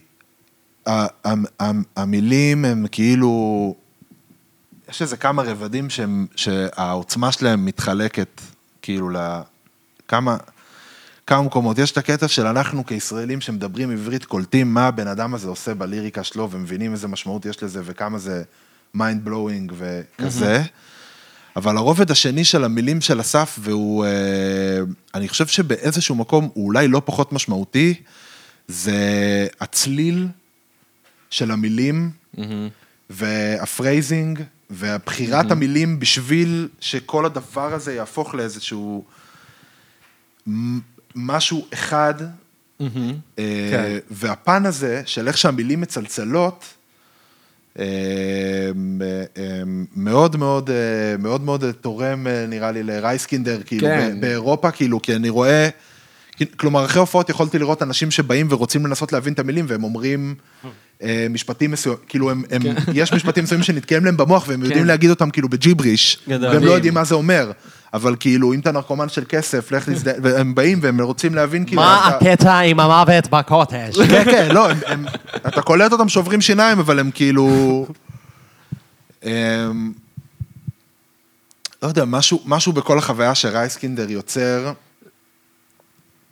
[SPEAKER 2] ה- ה- ה- המילים הם כאילו, יש איזה כמה רבדים שהם, שהעוצמה שלהם מתחלקת, כאילו, לכמה... כמה מקומות. יש את הקטע של אנחנו כישראלים שמדברים עברית, קולטים מה הבן אדם הזה עושה בליריקה שלו, ומבינים איזה משמעות יש לזה, וכמה זה מיינד בלואוינג וכזה. אבל הרובד השני של המילים של אסף, והוא, אה, אני חושב שבאיזשהו מקום, הוא אולי לא פחות משמעותי, זה הצליל של המילים, והפרייזינג, והבחירת המילים בשביל שכל הדבר הזה יהפוך לאיזשהו... מ- משהו אחד, אה, והפן הזה של איך שהמילים מצלצלות, אה, אה, מאוד מאוד, אה, מאוד מאוד תורם, אה, נראה לי, לרייסקינדר, כאילו,
[SPEAKER 1] כן.
[SPEAKER 2] ב- באירופה, כאילו, כי אני רואה... כלומר, אחרי הופעות יכולתי לראות אנשים שבאים ורוצים לנסות להבין את המילים, והם אומרים אה, משפטים מסוימים, כאילו, הם, הם, יש משפטים מסוימים שנתקעים להם במוח, והם יודעים להגיד אותם כאילו בג'יבריש,
[SPEAKER 4] גדול.
[SPEAKER 2] והם לא יודעים מה זה אומר. אבל כאילו, אם אתה נרקומן של כסף, לך תזדהה, והם באים והם רוצים להבין, כאילו... אז אתה-
[SPEAKER 4] הקטע עם המוות בקוטג'?
[SPEAKER 2] כן, כן, לא, הם- הם- אתה קולט אותם שוברים שיניים, אבל הם כאילו... אמ, לא יודע, משהו, משהו בכל החוויה שרייסקינדר יוצר,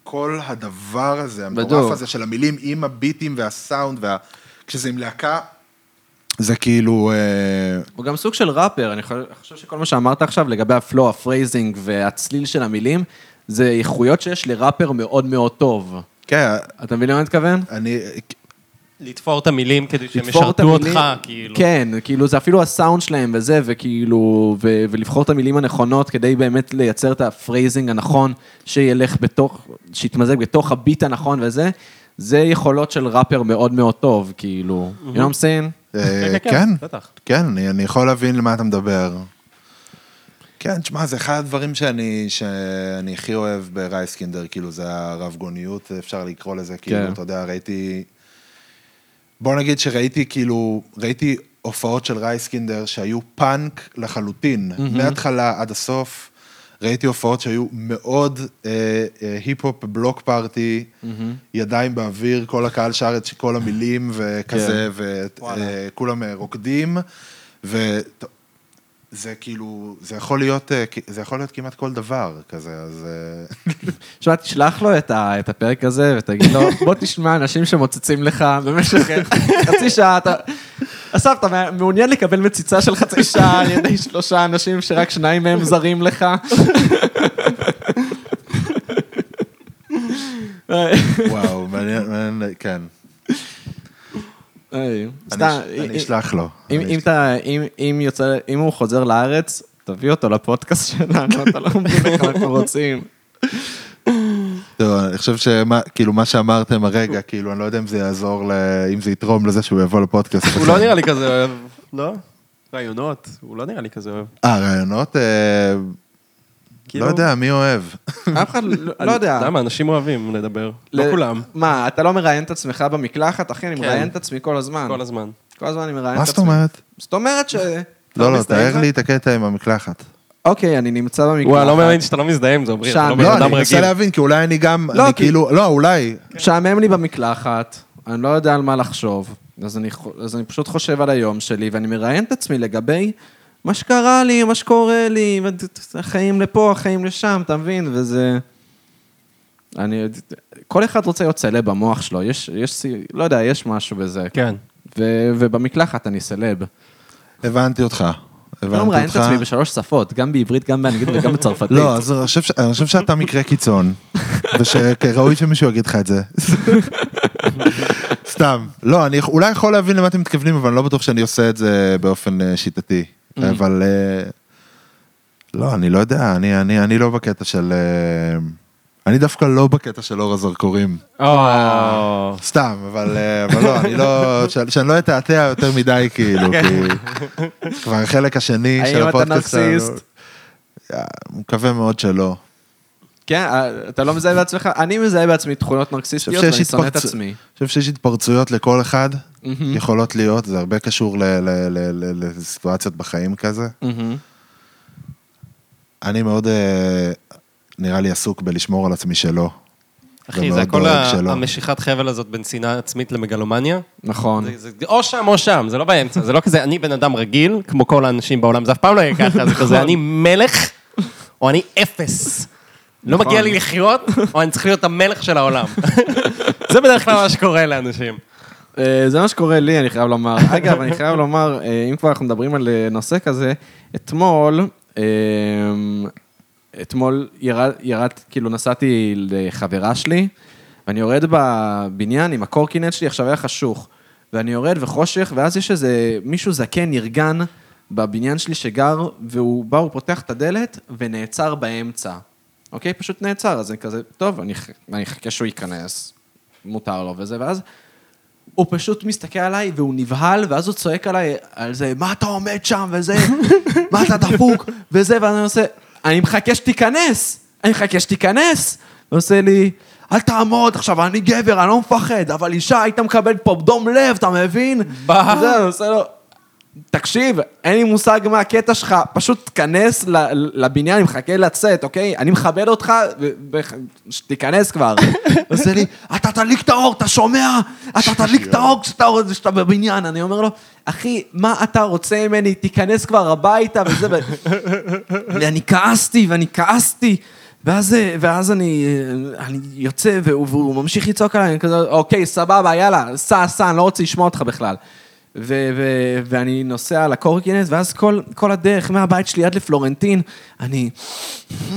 [SPEAKER 2] כל הדבר הזה, המטורף
[SPEAKER 1] בדיוק.
[SPEAKER 2] הזה של המילים עם הביטים והסאונד, וה... כשזה עם להקה, זה כאילו... אה,
[SPEAKER 1] הוא גם סוג של ראפר, אני חו- חושב שכל מה שאמרת עכשיו לגבי הפלואו, הפרייזינג והצליל של המילים, זה איכויות שיש לראפר מאוד מאוד טוב.
[SPEAKER 2] כן,
[SPEAKER 1] אתה מבין למה אני מתכוון?
[SPEAKER 2] אני...
[SPEAKER 4] לתפור את המילים כדי שהם
[SPEAKER 1] לתפור את
[SPEAKER 4] ישרתו
[SPEAKER 1] המילים-
[SPEAKER 4] אותך, כאילו.
[SPEAKER 1] כן, כאילו זה אפילו הסאונד שלהם וזה, וכאילו, ו- ולבחור את המילים הנכונות כדי באמת לייצר את הפרייזינג הנכון, שילך בתוך, שיתמזג בתוך הביט הנכון וזה, זה יכולות של ראפר מאוד מאוד טוב, כאילו. You know what I'm saying?
[SPEAKER 2] אה, כן, כן, אני, אני יכול להבין למה אתה מדבר. כן, תשמע, זה אחד הדברים שאני, שאני הכי אוהב ברייסקינדר, כאילו, זה הרבגוניות, אפשר לקרוא לזה, כאילו,
[SPEAKER 1] כן.
[SPEAKER 2] אתה יודע, ראיתי... בוא נגיד שראיתי, כאילו, ראיתי הופעות של רייסקינדר שהיו פאנק לחלוטין, מההתחלה עד הסוף. ראיתי הופעות שהיו מאוד אה, אה, היפ-הופ, בלוק פארטי, ידיים באוויר, כל הקהל שר את כל המילים וכזה, וכולם אה, רוקדים, ו- זה כאילו, זה יכול להיות, אה, כ- זה יכול להיות כמעט כל דבר כזה, אז... אה,
[SPEAKER 1] תשמע, תשלח לו את ה- את הפרק הזה ותגיד לו, בוא תשמע אנשים שמוצצים לך במשך חצי שעה, אתה... אסף, אתה מעוניין לקבל מציצה של חצי שעה על ידי שלושה אנשים שרק שניים מהם זרים לך?
[SPEAKER 2] וואו, מעניין, מעניין, כן.
[SPEAKER 1] היי,
[SPEAKER 2] אני
[SPEAKER 1] סתם, אה,
[SPEAKER 2] אש-
[SPEAKER 1] אם-
[SPEAKER 2] אני אשלח לו.
[SPEAKER 1] אם-
[SPEAKER 2] אני
[SPEAKER 1] אם אתה- אם- אם יוצא- אם הוא חוזר לארץ, תביא אותו לפודקאסט שלנו, אתה לא מבין איך אנחנו רוצים.
[SPEAKER 2] טוב, אני חושב שמה, כאילו, מה שאמרתם הרגע, כאילו, אני לא יודע אם זה יעזור, ל... אם זה יתרום לזה שהוא יבוא לפודקאסט.
[SPEAKER 4] הוא לא נראה לי כזה אוהב, לא? רעיונות, הוא לא נראה לי כזה אוהב.
[SPEAKER 2] אה, רעיונות? אה,
[SPEAKER 4] כאילו-
[SPEAKER 2] לא יודע, מי אוהב?
[SPEAKER 1] אף אחד לא לא יודע.
[SPEAKER 4] למה? אנשים אוהבים לדבר. לא
[SPEAKER 1] ל-
[SPEAKER 4] כולם.
[SPEAKER 1] מה, אתה לא מראיין את עצמך במקלחת? אחי, אני
[SPEAKER 4] כן.
[SPEAKER 1] מראיין את עצמי כל הזמן.
[SPEAKER 4] כל הזמן.
[SPEAKER 1] כל הזמן אני מראיין את עצמי.
[SPEAKER 2] מה זאת אומרת?
[SPEAKER 1] זאת אומרת ש...
[SPEAKER 2] לא, לא,
[SPEAKER 1] מזדהה עם
[SPEAKER 2] תאר
[SPEAKER 1] זה?
[SPEAKER 2] לי את הקטע עם המקלחת.
[SPEAKER 1] אוקיי, אני נמצא במקלחת.
[SPEAKER 4] וואי, לא מאמין שאתה לא מזדהה עם זה, עמרי, אתה
[SPEAKER 1] שם.
[SPEAKER 4] לא
[SPEAKER 2] לא,
[SPEAKER 4] בן
[SPEAKER 2] אני
[SPEAKER 4] אדם
[SPEAKER 2] מנסה
[SPEAKER 4] רגיל.
[SPEAKER 2] להבין, כי אולי אני גם,
[SPEAKER 1] אוקיי, לא,
[SPEAKER 2] אני
[SPEAKER 1] כי-
[SPEAKER 2] כאילו, לא, אולי,
[SPEAKER 1] כן. משעמם לי במקלחת, אני לא יודע על מה לחשוב, אז אני, חו- אז אני פשוט חושב על היום שלי, ואני מראיין את עצמי לגבי מה שקרה לי, מה שקורה לי, ו- החיים לפה, החיים לשם, אתה מבין? וזה... אני... כל אחד רוצה להיות סלב במוח שלו, יש, יש, סי- לא יודע, יש משהו בזה.
[SPEAKER 4] כן.
[SPEAKER 1] ו, ובמקלחת אני סלב.
[SPEAKER 2] הבנתי אותך.
[SPEAKER 1] אני לא מראיין את עצמי בשלוש שפות, גם בעברית, גם באנגלית וגם בצרפתית.
[SPEAKER 2] לא, אז אני חושב ש- אני חושב שאתה מקרה קיצון, ושראוי שמישהו יגיד לך את זה. סתם. לא, אני אולי יכול להבין למה אתם מתכוונים, אבל אני לא בטוח שאני עושה את זה באופן אה, שיטתי.
[SPEAKER 1] Mm.
[SPEAKER 2] אבל... אה, לא, אני לא יודע, אני- אני אני לא בקטע של... אה, אני דווקא לא בקטע של אור הזרקורים.
[SPEAKER 3] או,
[SPEAKER 2] סתם, אבל, אה, אבל לא, אני לא... ש- שאני לא אתעתע יותר מדי, כאילו, כי... כבר החלק השני
[SPEAKER 1] האם
[SPEAKER 2] של
[SPEAKER 1] אתה
[SPEAKER 2] הפודקאסט...
[SPEAKER 1] נרקסיסט?
[SPEAKER 2] אה, מקווה מאוד שלא.
[SPEAKER 1] כן, אה, אתה לא מזהה בעצמך? אני מזהה בעצמי תכונות נרקסיסטיות,
[SPEAKER 2] חושב שיש
[SPEAKER 1] ואני שונא את
[SPEAKER 2] התפרצ-
[SPEAKER 1] עצמי.
[SPEAKER 2] אני חושב שיש התפרצויות לכל אחד, יכולות להיות, זה הרבה קשור ל- ל- ל- ל- לסיטואציות בחיים כזה.
[SPEAKER 1] מהמם.
[SPEAKER 2] אני מאוד, אה, נראה לי, עסוק בלשמור על עצמי שלא.
[SPEAKER 4] אחי,
[SPEAKER 2] ומאוד
[SPEAKER 4] זה הכל
[SPEAKER 2] דואג
[SPEAKER 4] ה-
[SPEAKER 2] שלא.
[SPEAKER 4] המשיכת חבל הזאת בין שנאה עצמית למגלומניה.
[SPEAKER 1] נכון.
[SPEAKER 4] זה- זה- או שם או שם, זה לא באמצע, זה לא כזה, אני בן אדם רגיל, כמו כל האנשים בעולם, זה אף פעם לא יהיה ככה, זה כזה, אני מלך, או אני אפס. לא
[SPEAKER 1] נכון.
[SPEAKER 4] מגיע לי לחיות, או אני צריך להיות המלך של העולם. זה בדרך כלל מה שקורה לאנשים.
[SPEAKER 1] אה, זה מה שקורה לי, אני חייב לומר. אגב, אני חייב לומר, אה, אם כבר אנחנו מדברים על אה, נושא כזה, אתמול, אה, אתמול ירד, ירד, כאילו נסעתי לחברה שלי, ואני יורד בבניין עם הקורקינט שלי, עכשיו היה חשוך. ואני יורד וחושך, ואז יש איזה מישהו זקן, נרגן, בבניין שלי שגר, והוא בא, הוא פותח את הדלת, ונעצר באמצע. אוקיי? פשוט נעצר, אז אני כזה, טוב, אני אח- אני אחכה שהוא ייכנס, מותר לו וזה, ואז הוא פשוט מסתכל עליי והוא נבהל, ואז הוא צועק עליי על זה, מה אתה עומד שם וזה, מה אתה דפוק וזה, ואני עושה, אני מחכה שתיכנס, אני מחכה שתיכנס. הוא עושה לי, אל תעמוד, עכשיו אני גבר, אני לא מפחד, אבל אישה היית מקבל פה דום לב, אתה מבין?
[SPEAKER 4] מה?
[SPEAKER 1] זה, אני עושה לו, תקשיב, אין לי מושג מה הקטע שלך, פשוט תיכנס ל- לבניין, אני מחכה לצאת, אוקיי? אני מכבד אותך, ו- ו- שתיכנס כבר. עושה לי, אתה תדליק את האור, אתה שומע? אתה תדליק את האור כשאתה כשאתה בבניין. אני אומר לו, אחי, מה אתה רוצה ממני? תיכנס כבר הביתה וזה, ו- ואני כעסתי, ואני כעסתי. ואז, אה, ואז אני, אה, אני יוצא, והוא, והוא ממשיך לצעוק עליי, אני כזה, אוקיי, סבבה, יאללה, סע, סע, אני לא רוצה לשמוע אותך בכלל. ו- ו- ואני נוסע על הקורקינט, ואז כל, כל הדרך מהבית שלי עד לפלורנטין, אני...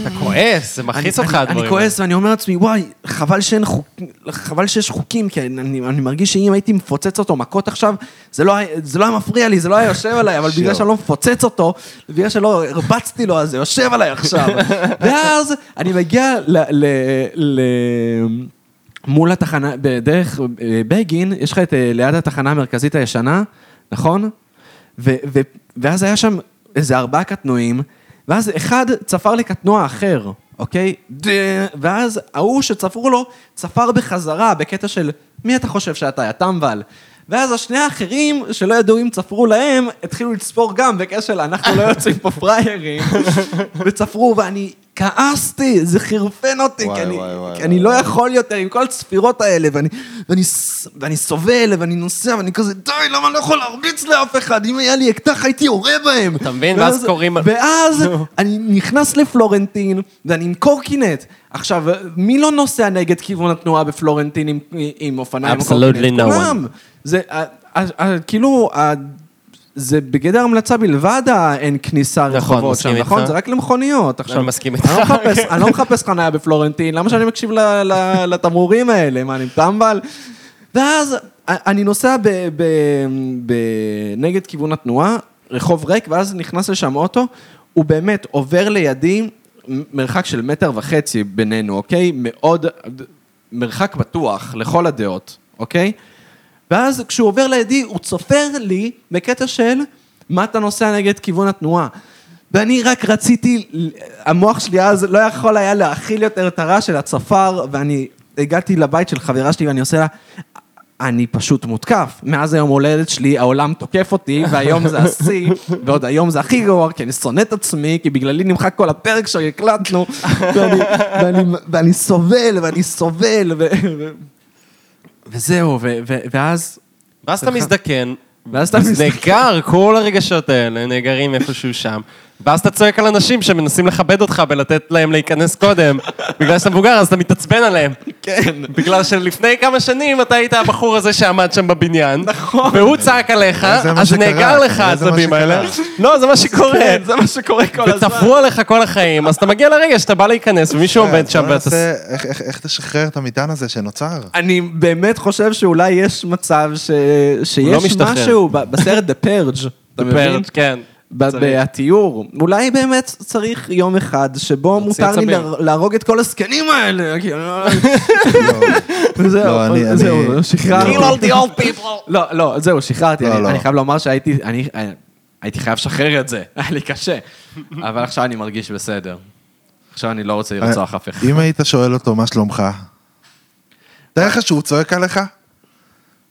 [SPEAKER 4] אתה
[SPEAKER 2] Mm.
[SPEAKER 4] כועס, זה מחיץ אותך הדברים.
[SPEAKER 1] אני כועס ואני אומר לעצמי, וואי, חבל, שאין חוק... חבל שיש חוקים, כי אני, אני מרגיש שאם הייתי מפוצץ אותו מכות עכשיו, זה לא, היה- זה לא היה מפריע לי, זה לא היה יושב עליי, אבל בגלל שאני לא מפוצץ אותו, בגלל שלא הרבצתי לו, אז זה יושב עליי עכשיו. ואז אני מגיע ל... ל, ל מול התחנה, בדרך אה, בגין, יש לך את אה, ליד התחנה המרכזית הישנה, נכון? ו- ו- ואז היה שם איזה ארבעה קטנועים, ואז אחד צפר לקטנוע אחר, אוקיי? ד- ואז ההוא שצפרו לו, צפר בחזרה בקטע של מי אתה חושב שאתה, יא טמבל? ואז השני האחרים, שלא ידעו אם צפרו להם, התחילו לצפור גם בקטע של אנחנו לא יוצאים פה פריירים, וצפרו, ואני כעסתי, זה חרפן אותי,
[SPEAKER 2] וואי,
[SPEAKER 1] כי אני,
[SPEAKER 2] וואי, וואי,
[SPEAKER 1] כי אני
[SPEAKER 2] וואי,
[SPEAKER 1] לא
[SPEAKER 2] וואי.
[SPEAKER 1] יכול יותר עם כל הצפירות האלה, ואני, ואני, ס- ואני סובל, ואני נוסע, ואני כזה, די, למה אני לא יכול להרביץ לאף אחד? אם היה לי אקדח, הייתי יורה בהם.
[SPEAKER 4] אתה מבין? ואז קוראים-
[SPEAKER 1] ואז אני נכנס לפלורנטין, ואני עם קורקינט. עכשיו, מי לא נוסע נגד כיוון התנועה בפלורנטין עם, עם אופניים? או
[SPEAKER 4] Absolutely
[SPEAKER 1] קורקינט?
[SPEAKER 4] no one.
[SPEAKER 1] כולם. זה, ה- ה- ה- כאילו, ה- זה בגדר המלצה בלבד, האין כניסה
[SPEAKER 4] נכון,
[SPEAKER 1] רחובות שם,
[SPEAKER 4] מסכים
[SPEAKER 1] נכון?
[SPEAKER 4] איתך.
[SPEAKER 1] זה רק למכוניות. עכשיו,
[SPEAKER 4] מסכים
[SPEAKER 1] אני לא
[SPEAKER 4] איתך.
[SPEAKER 1] מחפש- אני לא מחפש חניה בפלורנטין, למה שאני מקשיב ל- ל- לתמרורים האלה? מה, אני טמבל? ואז א- אני נוסע ב- ב- ב- נגד כיוון התנועה, רחוב ריק, ואז נכנס לשם אוטו, הוא באמת עובר לידי מ- מרחק של מטר וחצי בינינו, אוקיי? מאוד, מרחק בטוח לכל הדעות, אוקיי? ואז כשהוא עובר לידי, הוא צופר לי בקטע של מה אתה נוסע נגד כיוון התנועה. ואני רק רציתי, המוח שלי אז לא יכול היה להכיל יותר את הרעש של הצפר, ואני הגעתי לבית של חברה שלי ואני עושה לה, אני פשוט מותקף. מאז היום הולדת שלי, העולם תוקף אותי, והיום זה השיא, ועוד היום זה הכי גרוע, כי אני שונא את עצמי, כי בגללי נמחק כל הפרק שהקלטנו, ואני, ואני, ואני סובל, ואני סובל, ו... ו- וזהו, ו- ו- ואז
[SPEAKER 4] ואז אתה מזדקן,
[SPEAKER 1] ואז אתה
[SPEAKER 4] אז
[SPEAKER 1] מסתכל-
[SPEAKER 4] נאגר, כל הרגשות האלה נאגרים איפשהו שם. ואז אתה צועק על אנשים שמנסים לכבד אותך בלתת להם להיכנס קודם. בגלל שאתה מבוגר, אז אתה מתעצבן עליהם.
[SPEAKER 1] כן.
[SPEAKER 4] בגלל שלפני כמה שנים אתה היית הבחור הזה שעמד שם בבניין. נכון. והוא צעק עליך,
[SPEAKER 2] אה, זה מה
[SPEAKER 4] אז
[SPEAKER 2] שקרה, אה,
[SPEAKER 4] נאגר לך
[SPEAKER 2] זה מה
[SPEAKER 4] העצבים
[SPEAKER 2] שקרה.
[SPEAKER 4] האלה. לא, זה מה שקורה.
[SPEAKER 1] כן, זה מה שקורה כל הזמן.
[SPEAKER 4] ותפרו עליך כל החיים, אז אתה מגיע לרגע שאתה בא להיכנס ומישהו עומד שם
[SPEAKER 2] אה, בוא
[SPEAKER 4] ואתה...
[SPEAKER 2] נעשה- איך- איך- איך תשחרר את המטען הזה שנוצר?
[SPEAKER 1] אני באמת חושב שאולי יש מצב ש...
[SPEAKER 4] לא
[SPEAKER 1] שיש
[SPEAKER 4] משתחרר.
[SPEAKER 1] משהו ב- בסרט The Purge, אתה מבין?
[SPEAKER 4] פרץ, כן.
[SPEAKER 1] ב-
[SPEAKER 4] צריך.
[SPEAKER 1] בתיאור. אולי באמת צריך יום אחד שבו
[SPEAKER 4] להוציא
[SPEAKER 1] מותר לי
[SPEAKER 4] עצבים.
[SPEAKER 1] להר- להרוג את כל הזקנים האלה. כאילו,
[SPEAKER 2] לא, אני-
[SPEAKER 1] וזהו,
[SPEAKER 2] אני-
[SPEAKER 1] זהו, שחררתי.
[SPEAKER 2] Kill all
[SPEAKER 4] the old people.
[SPEAKER 1] לא, לא, זהו, שחררתי.
[SPEAKER 2] לא,
[SPEAKER 1] אני-
[SPEAKER 2] לא.
[SPEAKER 1] אני חייב לומר שהייתי אני- הייתי חייב לשחרר את זה, היה לי קשה. אבל עכשיו אני מרגיש בסדר. עכשיו אני לא רוצה לרצוח אף אחד.
[SPEAKER 2] אה, אם היית שואל אותו מה שלומך, תאר לך שהוא צועק עליך?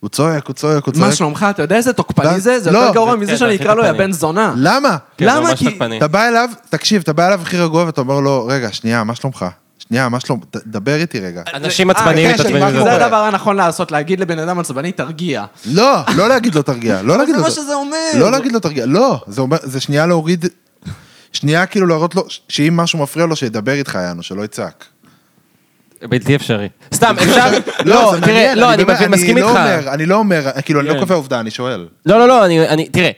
[SPEAKER 2] הוא צועק, הוא צועק, הוא צועק.
[SPEAKER 1] מה שלומך? אתה יודע איזה תוקפני
[SPEAKER 2] לא,
[SPEAKER 1] זה? זה
[SPEAKER 2] לא.
[SPEAKER 1] יותר גרוע
[SPEAKER 4] כן, זה
[SPEAKER 1] מזה
[SPEAKER 4] קטע,
[SPEAKER 1] שאני
[SPEAKER 4] הכי
[SPEAKER 1] אקרא לו יא
[SPEAKER 4] תוקפני.
[SPEAKER 1] בן זונה.
[SPEAKER 2] למה?
[SPEAKER 4] כן, זה
[SPEAKER 1] למה?
[SPEAKER 4] ממש
[SPEAKER 1] כי-
[SPEAKER 4] תוקפני.
[SPEAKER 2] אתה בא אליו, תקשיב, אתה בא אליו הכי רגוע ואתה אומר לו, רגע, שנייה, מה שלומך? שנייה, מה שלום? ת- דבר איתי רגע.
[SPEAKER 4] אנשים
[SPEAKER 1] אה,
[SPEAKER 4] עצבניים
[SPEAKER 1] כן,
[SPEAKER 4] מתעצבנים
[SPEAKER 1] שאני-
[SPEAKER 2] מזה.
[SPEAKER 1] זה הדבר הנכון לעשות, להגיד לבן אדם עצבני, תרגיע.
[SPEAKER 2] לא, לא להגיד לו תרגיע, לא
[SPEAKER 1] אבל
[SPEAKER 2] להגיד
[SPEAKER 1] זה
[SPEAKER 2] לו...
[SPEAKER 1] מה שזה אומר.
[SPEAKER 2] לא להגיד לו תרגיע, לא, זה אומר, זה שנייה להוריד, שנייה כאילו להראות לו, ש- שאם משהו מפריע לו, שידבר איתך, יענו, שלא יצעק.
[SPEAKER 4] בלתי אפשרי. סתם, אפשר... לא,
[SPEAKER 2] זה
[SPEAKER 4] תראה,
[SPEAKER 2] מעניין,
[SPEAKER 4] לא, אני
[SPEAKER 2] באמת-
[SPEAKER 4] מבין, מסכים
[SPEAKER 2] אני לא
[SPEAKER 4] איתך.
[SPEAKER 2] אומר, אני לא אומר, כאילו, אני לא
[SPEAKER 4] כן.
[SPEAKER 2] קובע עובדה, אני שואל.
[SPEAKER 4] לא, לא, לא, אני, אני, תראה,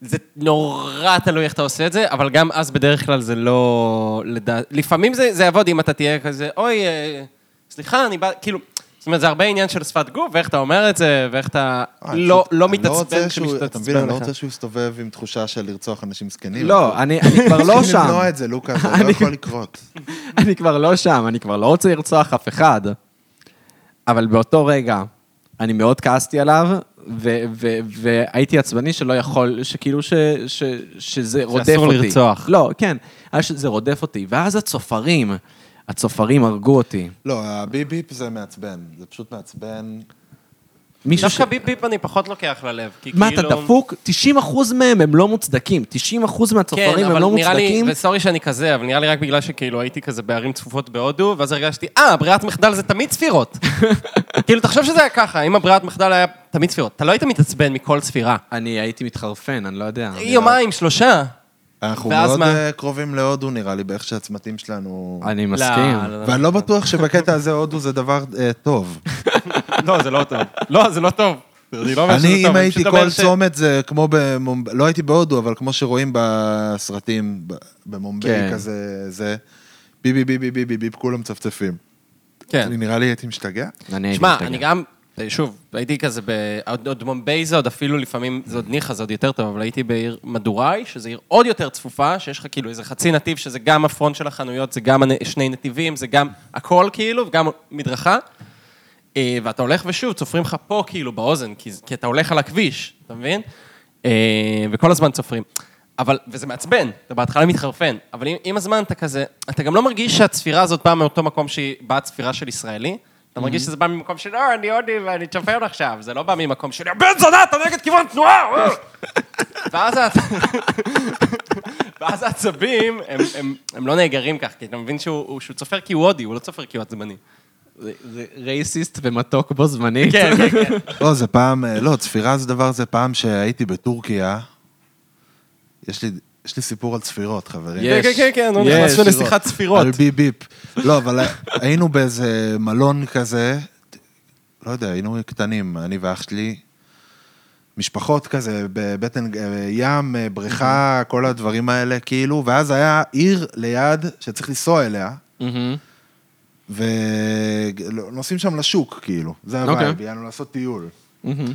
[SPEAKER 4] זה נורא תלוי איך אתה עושה את זה, אבל גם אז בדרך כלל זה לא... לדע... לפעמים זה, זה יעבוד אם אתה תהיה כזה, אוי, אה, סליחה, אני בא, כאילו... זאת אומרת, זה הרבה עניין של שפת גוף, ואיך אתה אומר את זה, ואיך אתה
[SPEAKER 2] אה, אני
[SPEAKER 4] לא,
[SPEAKER 2] פשוט-
[SPEAKER 4] לא
[SPEAKER 2] אני
[SPEAKER 4] מתעצבן
[SPEAKER 2] רוצה שהוא- אתה מבין,
[SPEAKER 4] כשמתעצבן
[SPEAKER 2] אני לא
[SPEAKER 4] לך.
[SPEAKER 2] רוצה שהוא יסתובב עם תחושה של לרצוח אנשים זקנים.
[SPEAKER 1] לא, אני אני כבר לא
[SPEAKER 2] צריכים
[SPEAKER 1] שם.
[SPEAKER 2] למנוע את זה, לוקה, זה לא יכול לקרות.
[SPEAKER 1] אני כבר לא שם, אני כבר לא רוצה לרצוח אף אחד. אבל באותו רגע, אני מאוד כעסתי עליו, ו- ו- והייתי עצבני שלא יכול, שכאילו ש- ש- שזה רודף אותי.
[SPEAKER 4] לרצוח.
[SPEAKER 1] לא, כן, היה שזה רודף אותי. ואז הצופרים, הצופרים הרגו אותי.
[SPEAKER 2] לא, הביפ ביפ זה מעצבן, זה פשוט מעצבן.
[SPEAKER 1] מישהו ש...
[SPEAKER 4] דווקא ביפ ביפ אני פחות לוקח ללב, כי
[SPEAKER 1] מה, אתה
[SPEAKER 4] כאילו...
[SPEAKER 1] דפוק? 90% מהם הם לא מוצדקים. 90%
[SPEAKER 4] כן,
[SPEAKER 1] מהצופרים הם
[SPEAKER 4] אבל
[SPEAKER 1] לא
[SPEAKER 4] נראה לי,
[SPEAKER 1] מוצדקים.
[SPEAKER 4] וסורי שאני כזה, אבל נראה לי רק בגלל שכאילו הייתי כזה בערים צפופות בהודו, ואז הרגשתי, אה, ברירת מחדל זה תמיד צפירות. כאילו, תחשוב שזה היה ככה, אם הברירת מחדל היה תמיד צפירות. אתה לא היית מתעצבן מכל צפירה.
[SPEAKER 1] אני הייתי מתחרפן, אני לא יודע.
[SPEAKER 4] יומיים, שלושה.
[SPEAKER 2] אנחנו
[SPEAKER 4] ואז
[SPEAKER 2] מאוד
[SPEAKER 4] מה?
[SPEAKER 2] אה, קרובים להודו, נראה לי, באיך שהצמתים שלנו...
[SPEAKER 1] אני מסכים.
[SPEAKER 4] לא,
[SPEAKER 2] ואני לא בטוח שבקטע הזה הודו זה דבר אה, טוב.
[SPEAKER 4] לא, זה לא טוב. לא, זה לא טוב. אני לא אומר שזה
[SPEAKER 2] אני,
[SPEAKER 4] טוב.
[SPEAKER 2] אם
[SPEAKER 4] אני
[SPEAKER 2] הייתי
[SPEAKER 4] פשוט אומר
[SPEAKER 2] כל
[SPEAKER 4] ש-
[SPEAKER 2] צומת, זה כמו במומב... לא הייתי בהודו, אבל כמו שרואים בסרטים, ב- במומביי
[SPEAKER 1] כן.
[SPEAKER 2] כזה, זה... ביבי, ביבי, ביבי, ביבי, כולם מצפצפים.
[SPEAKER 4] כן.
[SPEAKER 2] אני נראה לי הייתי משתגע.
[SPEAKER 1] אני הייתי
[SPEAKER 4] שמע,
[SPEAKER 1] מתנגד.
[SPEAKER 4] אני גם, אה, שוב, הייתי כזה ב... עוד עוד מומביי זה עוד אפילו לפעמים, זה עוד ניחא, זה עוד יותר טוב, אבל הייתי בעיר מדוראי, שזה עיר עוד יותר צפופה, שיש לך כאילו איזה חצי נתיב, שזה גם הפרונט של החנויות, זה גם הנ- שני נתיבים, זה גם הכל כאילו, וגם מדרכה. אה, ואתה הולך ושוב, צופרים לך פה כאילו באוזן, כי, זה- כי אתה הולך על הכביש, אתה מבין? אה, וכל הזמן צופרים. אבל, וזה מעצבן, אתה בהתחלה מתחרפן, אבל עם, עם הזמן אתה כזה, אתה גם לא מרגיש שהצפירה הזאת באה מאותו מקום שהיא באה צפירה של ישראלי, אתה מרגיש שזה בא ממקום של, אה, אני הודי ואני צופר עכשיו, זה לא בא ממקום של, "יא בן זונה, אתה נגד כיוון תנועה! אה!" ואז אתה... ואז העצבים, הם, הם, הם לא נאגרים כך, כי אתה מבין שהוא, שהוא צופר כי הוא הודי, הוא לא צופר כי הוא עצבני.
[SPEAKER 1] זה- זה רייסיסט ומתוק בו זמנית.
[SPEAKER 4] כן, כן, כן.
[SPEAKER 2] לא, זה פעם, אה, לא, צפירה זה דבר, זה פעם שהייתי בטורקיה. יש לי, יש לי סיפור על צפירות, חברים.
[SPEAKER 1] יש.
[SPEAKER 4] כן, כן, כן, נו,
[SPEAKER 1] יש,
[SPEAKER 4] נכנסנו
[SPEAKER 2] צפירות.
[SPEAKER 4] לשיחת צפירות.
[SPEAKER 2] על ביפ ביפ. לא, אבל היינו באיזה מלון כזה, לא יודע, היינו קטנים, אני ואח שלי. משפחות כזה, בבטן אה, ים, אה, בריכה, כל הדברים האלה, כאילו, ואז היה עיר ליד שצריך לנסוע אליה.
[SPEAKER 4] כן.
[SPEAKER 1] מהמם.
[SPEAKER 2] ונוסעים שם לשוק, כאילו. זה
[SPEAKER 1] אוקיי.
[SPEAKER 2] הווייב, יענו לעשות טיול.
[SPEAKER 1] מהמם.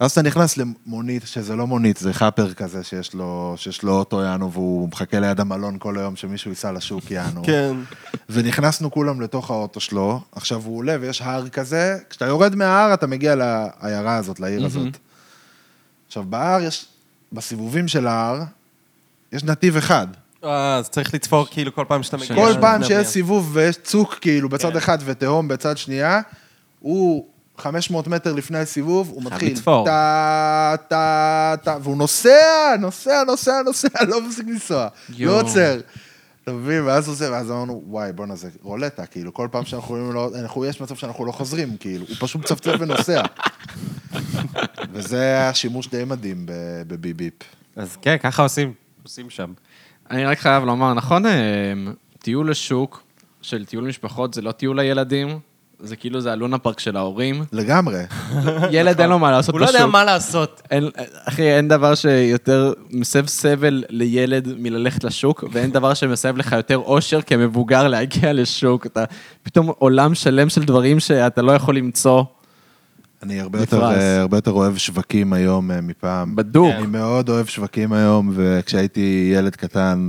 [SPEAKER 2] אז אתה נכנס למונית, שזה לא מונית, זה חאפר כזה שיש לו, שיש לו אוטו, יענו, והוא מחכה ליד המלון כל היום שמישהו ייסע לשוק, יענו.
[SPEAKER 4] כן.
[SPEAKER 2] ונכנסנו כולם לתוך האוטו שלו, עכשיו הוא עולה ויש הר כזה, כשאתה יורד מההר אתה מגיע לעיירה הזאת, לעיר הזאת. עכשיו, בהר יש, בסיבובים של ההר, יש נתיב אחד.
[SPEAKER 4] אה, אז צריך לצפור כאילו כל פעם שאתה מגיע.
[SPEAKER 2] כל פעם
[SPEAKER 4] לדבר.
[SPEAKER 2] שיש סיבוב ויש צוק כאילו בצד אחד ותהום בצד שנייה, הוא 500 מטר לפני הסיבוב, הוא מתחיל
[SPEAKER 4] לצפור.
[SPEAKER 2] טה, טה, טה, והוא נוסע, נוסע, נוסע, נוסע, לא מפסיק לנסוע,
[SPEAKER 1] יואו.
[SPEAKER 2] לא עוצר. אתה מבין? ואז הוא זה, ואז אמרנו, וואי, בואנה, זה רולטה, כאילו, כל פעם שאנחנו יכולים לא... אנחנו, יש מצב שאנחנו לא חוזרים, כאילו, הוא פשוט מצפצף ונוסע. וזה היה שימוש די מדהים ב- בביביפ.
[SPEAKER 4] אז כן, ככה עושים. עושים שם.
[SPEAKER 1] אני רק חייב לומר, נכון, אה, טיול לשוק של טיול משפחות זה לא טיול לילדים, זה כאילו זה הלונה פארק של ההורים.
[SPEAKER 2] לגמרי.
[SPEAKER 1] ילד אין לו מה לעשות
[SPEAKER 4] הוא לא
[SPEAKER 1] פשוט.
[SPEAKER 4] יודע מה לעשות.
[SPEAKER 1] אין, אחי, אין דבר שיותר מסב סבל לילד מללכת לשוק, ואין דבר שמסב לך יותר אושר כמבוגר להגיע לשוק. אתה פתאום עולם שלם של דברים שאתה לא יכול למצוא.
[SPEAKER 2] אני הרבה יותר,
[SPEAKER 1] נפרס.
[SPEAKER 2] אה, הרבה יותר אוהב שווקים היום אה, מפעם.
[SPEAKER 1] בדוק.
[SPEAKER 2] אני מאוד אוהב שווקים היום, וכשהייתי ילד קטן,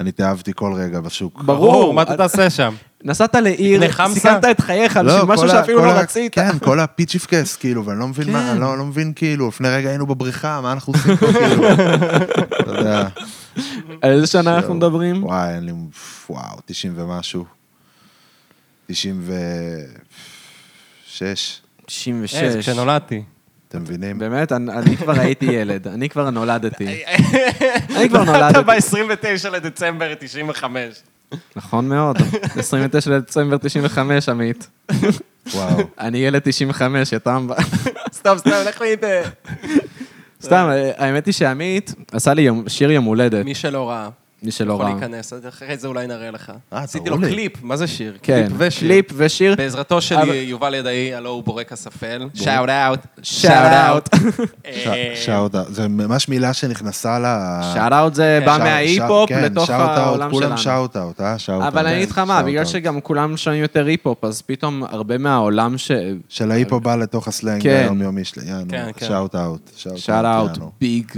[SPEAKER 2] אני התאהבתי כל רגע בשוק.
[SPEAKER 1] ברור.
[SPEAKER 4] מה אתה תעשה שם?
[SPEAKER 1] נסעת לעיר,
[SPEAKER 4] קנה חמסה?
[SPEAKER 1] סיכנת את חייך
[SPEAKER 2] לא,
[SPEAKER 1] בשביל משהו
[SPEAKER 2] כל ה-
[SPEAKER 1] שאפילו
[SPEAKER 2] כל
[SPEAKER 1] לא
[SPEAKER 2] ה-
[SPEAKER 1] רצית. כן.
[SPEAKER 2] כן, כל הפיצ'יפקס, כאילו, ואני לא מבין מה, אני לא לא מבין, כאילו, לפני רגע היינו בבריכה, מה אנחנו עושים פה, כאילו? אתה יודע. כן.
[SPEAKER 1] על איזה שנה אנחנו
[SPEAKER 2] זהו.
[SPEAKER 1] מדברים?
[SPEAKER 2] וואי, אין לי... וואו, 90 ומשהו. 96.
[SPEAKER 1] 96.
[SPEAKER 2] כן,
[SPEAKER 4] אה, כשנולדתי.
[SPEAKER 2] אתם מבינים?
[SPEAKER 1] באמת, אני אני כבר הייתי ילד, אני כבר נולדתי. אני כבר נולדתי.
[SPEAKER 4] אתה ב-29 לדצמבר 95.
[SPEAKER 1] נכון מאוד. 29 לדצמבר 95, עמית.
[SPEAKER 2] וואו.
[SPEAKER 1] אני ילד 95, יא טמבה.
[SPEAKER 4] סתם, סתם, הולך לי... אה,
[SPEAKER 1] סתם, האמת היא שעמית עשה לי יום- שיר יום הולדת,
[SPEAKER 4] מי שלא ראה,
[SPEAKER 1] מי שלא
[SPEAKER 4] יכול
[SPEAKER 1] ראה.
[SPEAKER 4] להיכנס, אז אחרי זה אולי נראה לך.
[SPEAKER 2] אה,
[SPEAKER 4] עשיתי לו
[SPEAKER 2] תראו לי.
[SPEAKER 4] קליפ, מה זה שיר?
[SPEAKER 1] כן,
[SPEAKER 4] קליפ ושיר.
[SPEAKER 1] קליפ ושיר.
[SPEAKER 4] בעזרתו של
[SPEAKER 1] אבל-
[SPEAKER 4] יובל ידעי, הלו הוא בורקס אפל. שאוט אאוט.
[SPEAKER 1] שאט אאוט. אה.
[SPEAKER 2] שאוט אאוט. זה ממש מילה שנכנסה ל...
[SPEAKER 1] שאט אאוט זה בא
[SPEAKER 2] שאוט-
[SPEAKER 1] מההיפ-הופ
[SPEAKER 2] שאט- כן,
[SPEAKER 1] לתוך
[SPEAKER 2] שאוט-אאוט,
[SPEAKER 1] העולם
[SPEAKER 2] כולם
[SPEAKER 1] שלנו.
[SPEAKER 2] שאוט אאוט, אה? שאוט אאוט.
[SPEAKER 1] אבל אני אגיד לך מה, בגלל
[SPEAKER 2] שאוט-אאוט.
[SPEAKER 1] שגם כולם שומעים יותר היפ-הופ, אז פתאום הרבה מהעולם ש...
[SPEAKER 2] של ההיפו בא לתוך הסלנג
[SPEAKER 1] כן.
[SPEAKER 2] היומיומי שלי,
[SPEAKER 4] כן, כן.
[SPEAKER 2] שאוט אאוט.
[SPEAKER 1] שאט אאוט, ביג.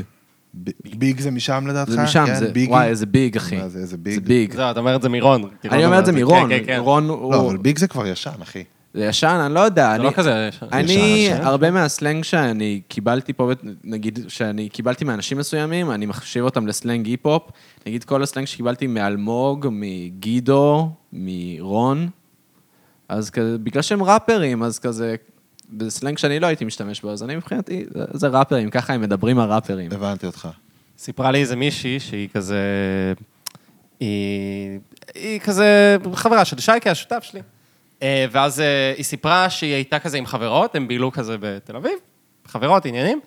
[SPEAKER 2] ביג זה משם לדעתך?
[SPEAKER 1] זה משם,
[SPEAKER 2] כן,
[SPEAKER 1] זה...
[SPEAKER 2] ביגי?
[SPEAKER 1] וואי, איזה ביג, אחי.
[SPEAKER 2] מה זה, איזה ביג?
[SPEAKER 1] זה ביג.
[SPEAKER 4] זהו, אתה אומר לא, את זה מרון. כי רון
[SPEAKER 1] אני אומר את זה
[SPEAKER 4] כן,
[SPEAKER 1] מרון.
[SPEAKER 4] כן, כן.
[SPEAKER 1] רון הוא...
[SPEAKER 2] לא, אבל ביג זה כבר ישן, אחי.
[SPEAKER 1] זה ישן, אני לא יודע.
[SPEAKER 4] זה
[SPEAKER 1] אני-
[SPEAKER 4] לא כזה...
[SPEAKER 1] אני,
[SPEAKER 2] ישן, ישן.
[SPEAKER 1] הרבה מהסלנג שאני קיבלתי פה, נגיד, שאני קיבלתי מאנשים מסוימים, אני מחשיב אותם לסלנג היפ-הופ. נגיד כל הסלנג שקיבלתי מאלמוג, מגידו, מרון. אז כזה, בגלל שהם ראפרים, אז כזה, זה סלנג שאני לא הייתי משתמש בו, אז אני מבחינתי, זה- זה ראפרים, ככה הם מדברים הראפרים.
[SPEAKER 2] הבנתי אותך.
[SPEAKER 4] סיפרה לי איזה מישהי שהיא כזה... היא, היא כזה חברה של שייקה, השותף שלי. אה, ואז אה, היא סיפרה שהיא הייתה כזה עם חברות, הם בילו כזה בתל אביב, חברות, עניינים,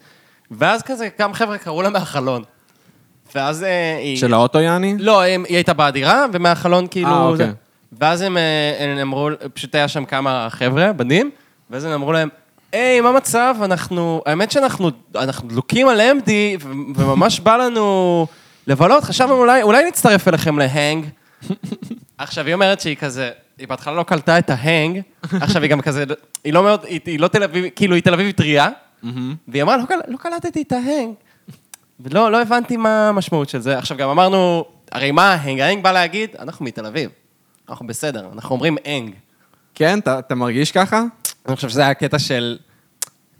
[SPEAKER 4] ואז כזה גם חבר'ה קראו לה מהחלון. ואז אה, היא...
[SPEAKER 1] של האוטו, יעני?
[SPEAKER 4] לא, הם, היא הייתה בדירה, ומהחלון כאילו...
[SPEAKER 1] אה, אוקיי.
[SPEAKER 4] זה. ואז הם, אה, הם אמרו, פשוט היה שם כמה חבר'ה, בנים, ואז הם אמרו להם, היי, מה המצב? אנחנו, האמת שאנחנו אנחנו דלוקים על MD, ו- וממש בא לנו לבלות, חשבנו אולי, אולי נצטרף אליכם להנג. עכשיו, היא אומרת שהיא כזה, היא בהתחלה לא קלטה את ההנג, עכשיו היא גם כזה, היא לא מאוד, היא, היא לא תל אביב, כאילו, היא תל אביב טריה, והיא אמרה, לא, קל- לא קלטתי את ההנג. ולא, לא הבנתי מה המשמעות של זה. עכשיו, גם אמרנו, הרי מה ההנג? ההנג בא להגיד, אנחנו מתל אביב, אנחנו בסדר, אנחנו אומרים הנג.
[SPEAKER 1] כן, אתה אתה מרגיש ככה?
[SPEAKER 4] אני חושב שזה היה קטע של...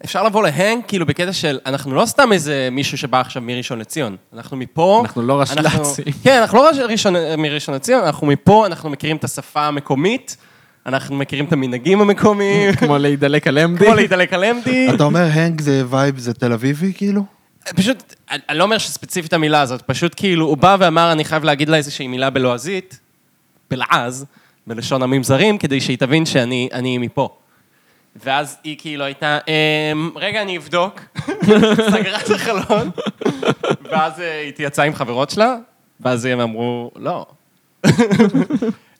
[SPEAKER 4] אפשר לבוא להנג, כאילו, בקטע של, אנחנו לא סתם איזה מישהו שבא עכשיו מראשון לציון. אנחנו מפה...
[SPEAKER 1] אנחנו לא רשל"צים.
[SPEAKER 4] אנחנו- כן, אנחנו לא רש- ראשון, מראשון לציון, אנחנו מפה, אנחנו מכירים את השפה המקומית, אנחנו מכירים את המנהגים המקומיים,
[SPEAKER 1] כמו להידלק על MD?
[SPEAKER 4] כמו להתעלק על אמדי.
[SPEAKER 2] אתה אומר הנג זה וייב, זה תל אביבי, כאילו?
[SPEAKER 4] פשוט, אני אני לא אומר שספציפית המילה הזאת, פשוט כאילו, הוא בא ואמר, אני חייב להגיד לה איזושהי מילה בלועזית, בלעז, בלשון עמים זרים, כדי שהיא תבין שאני אני מפה. ואז היא כאילו הייתה, אמ, רגע, אני אבדוק. סגרה את החלון, ואז אה, היא התייצאה עם חברות שלה, ואז הם אמרו, לא.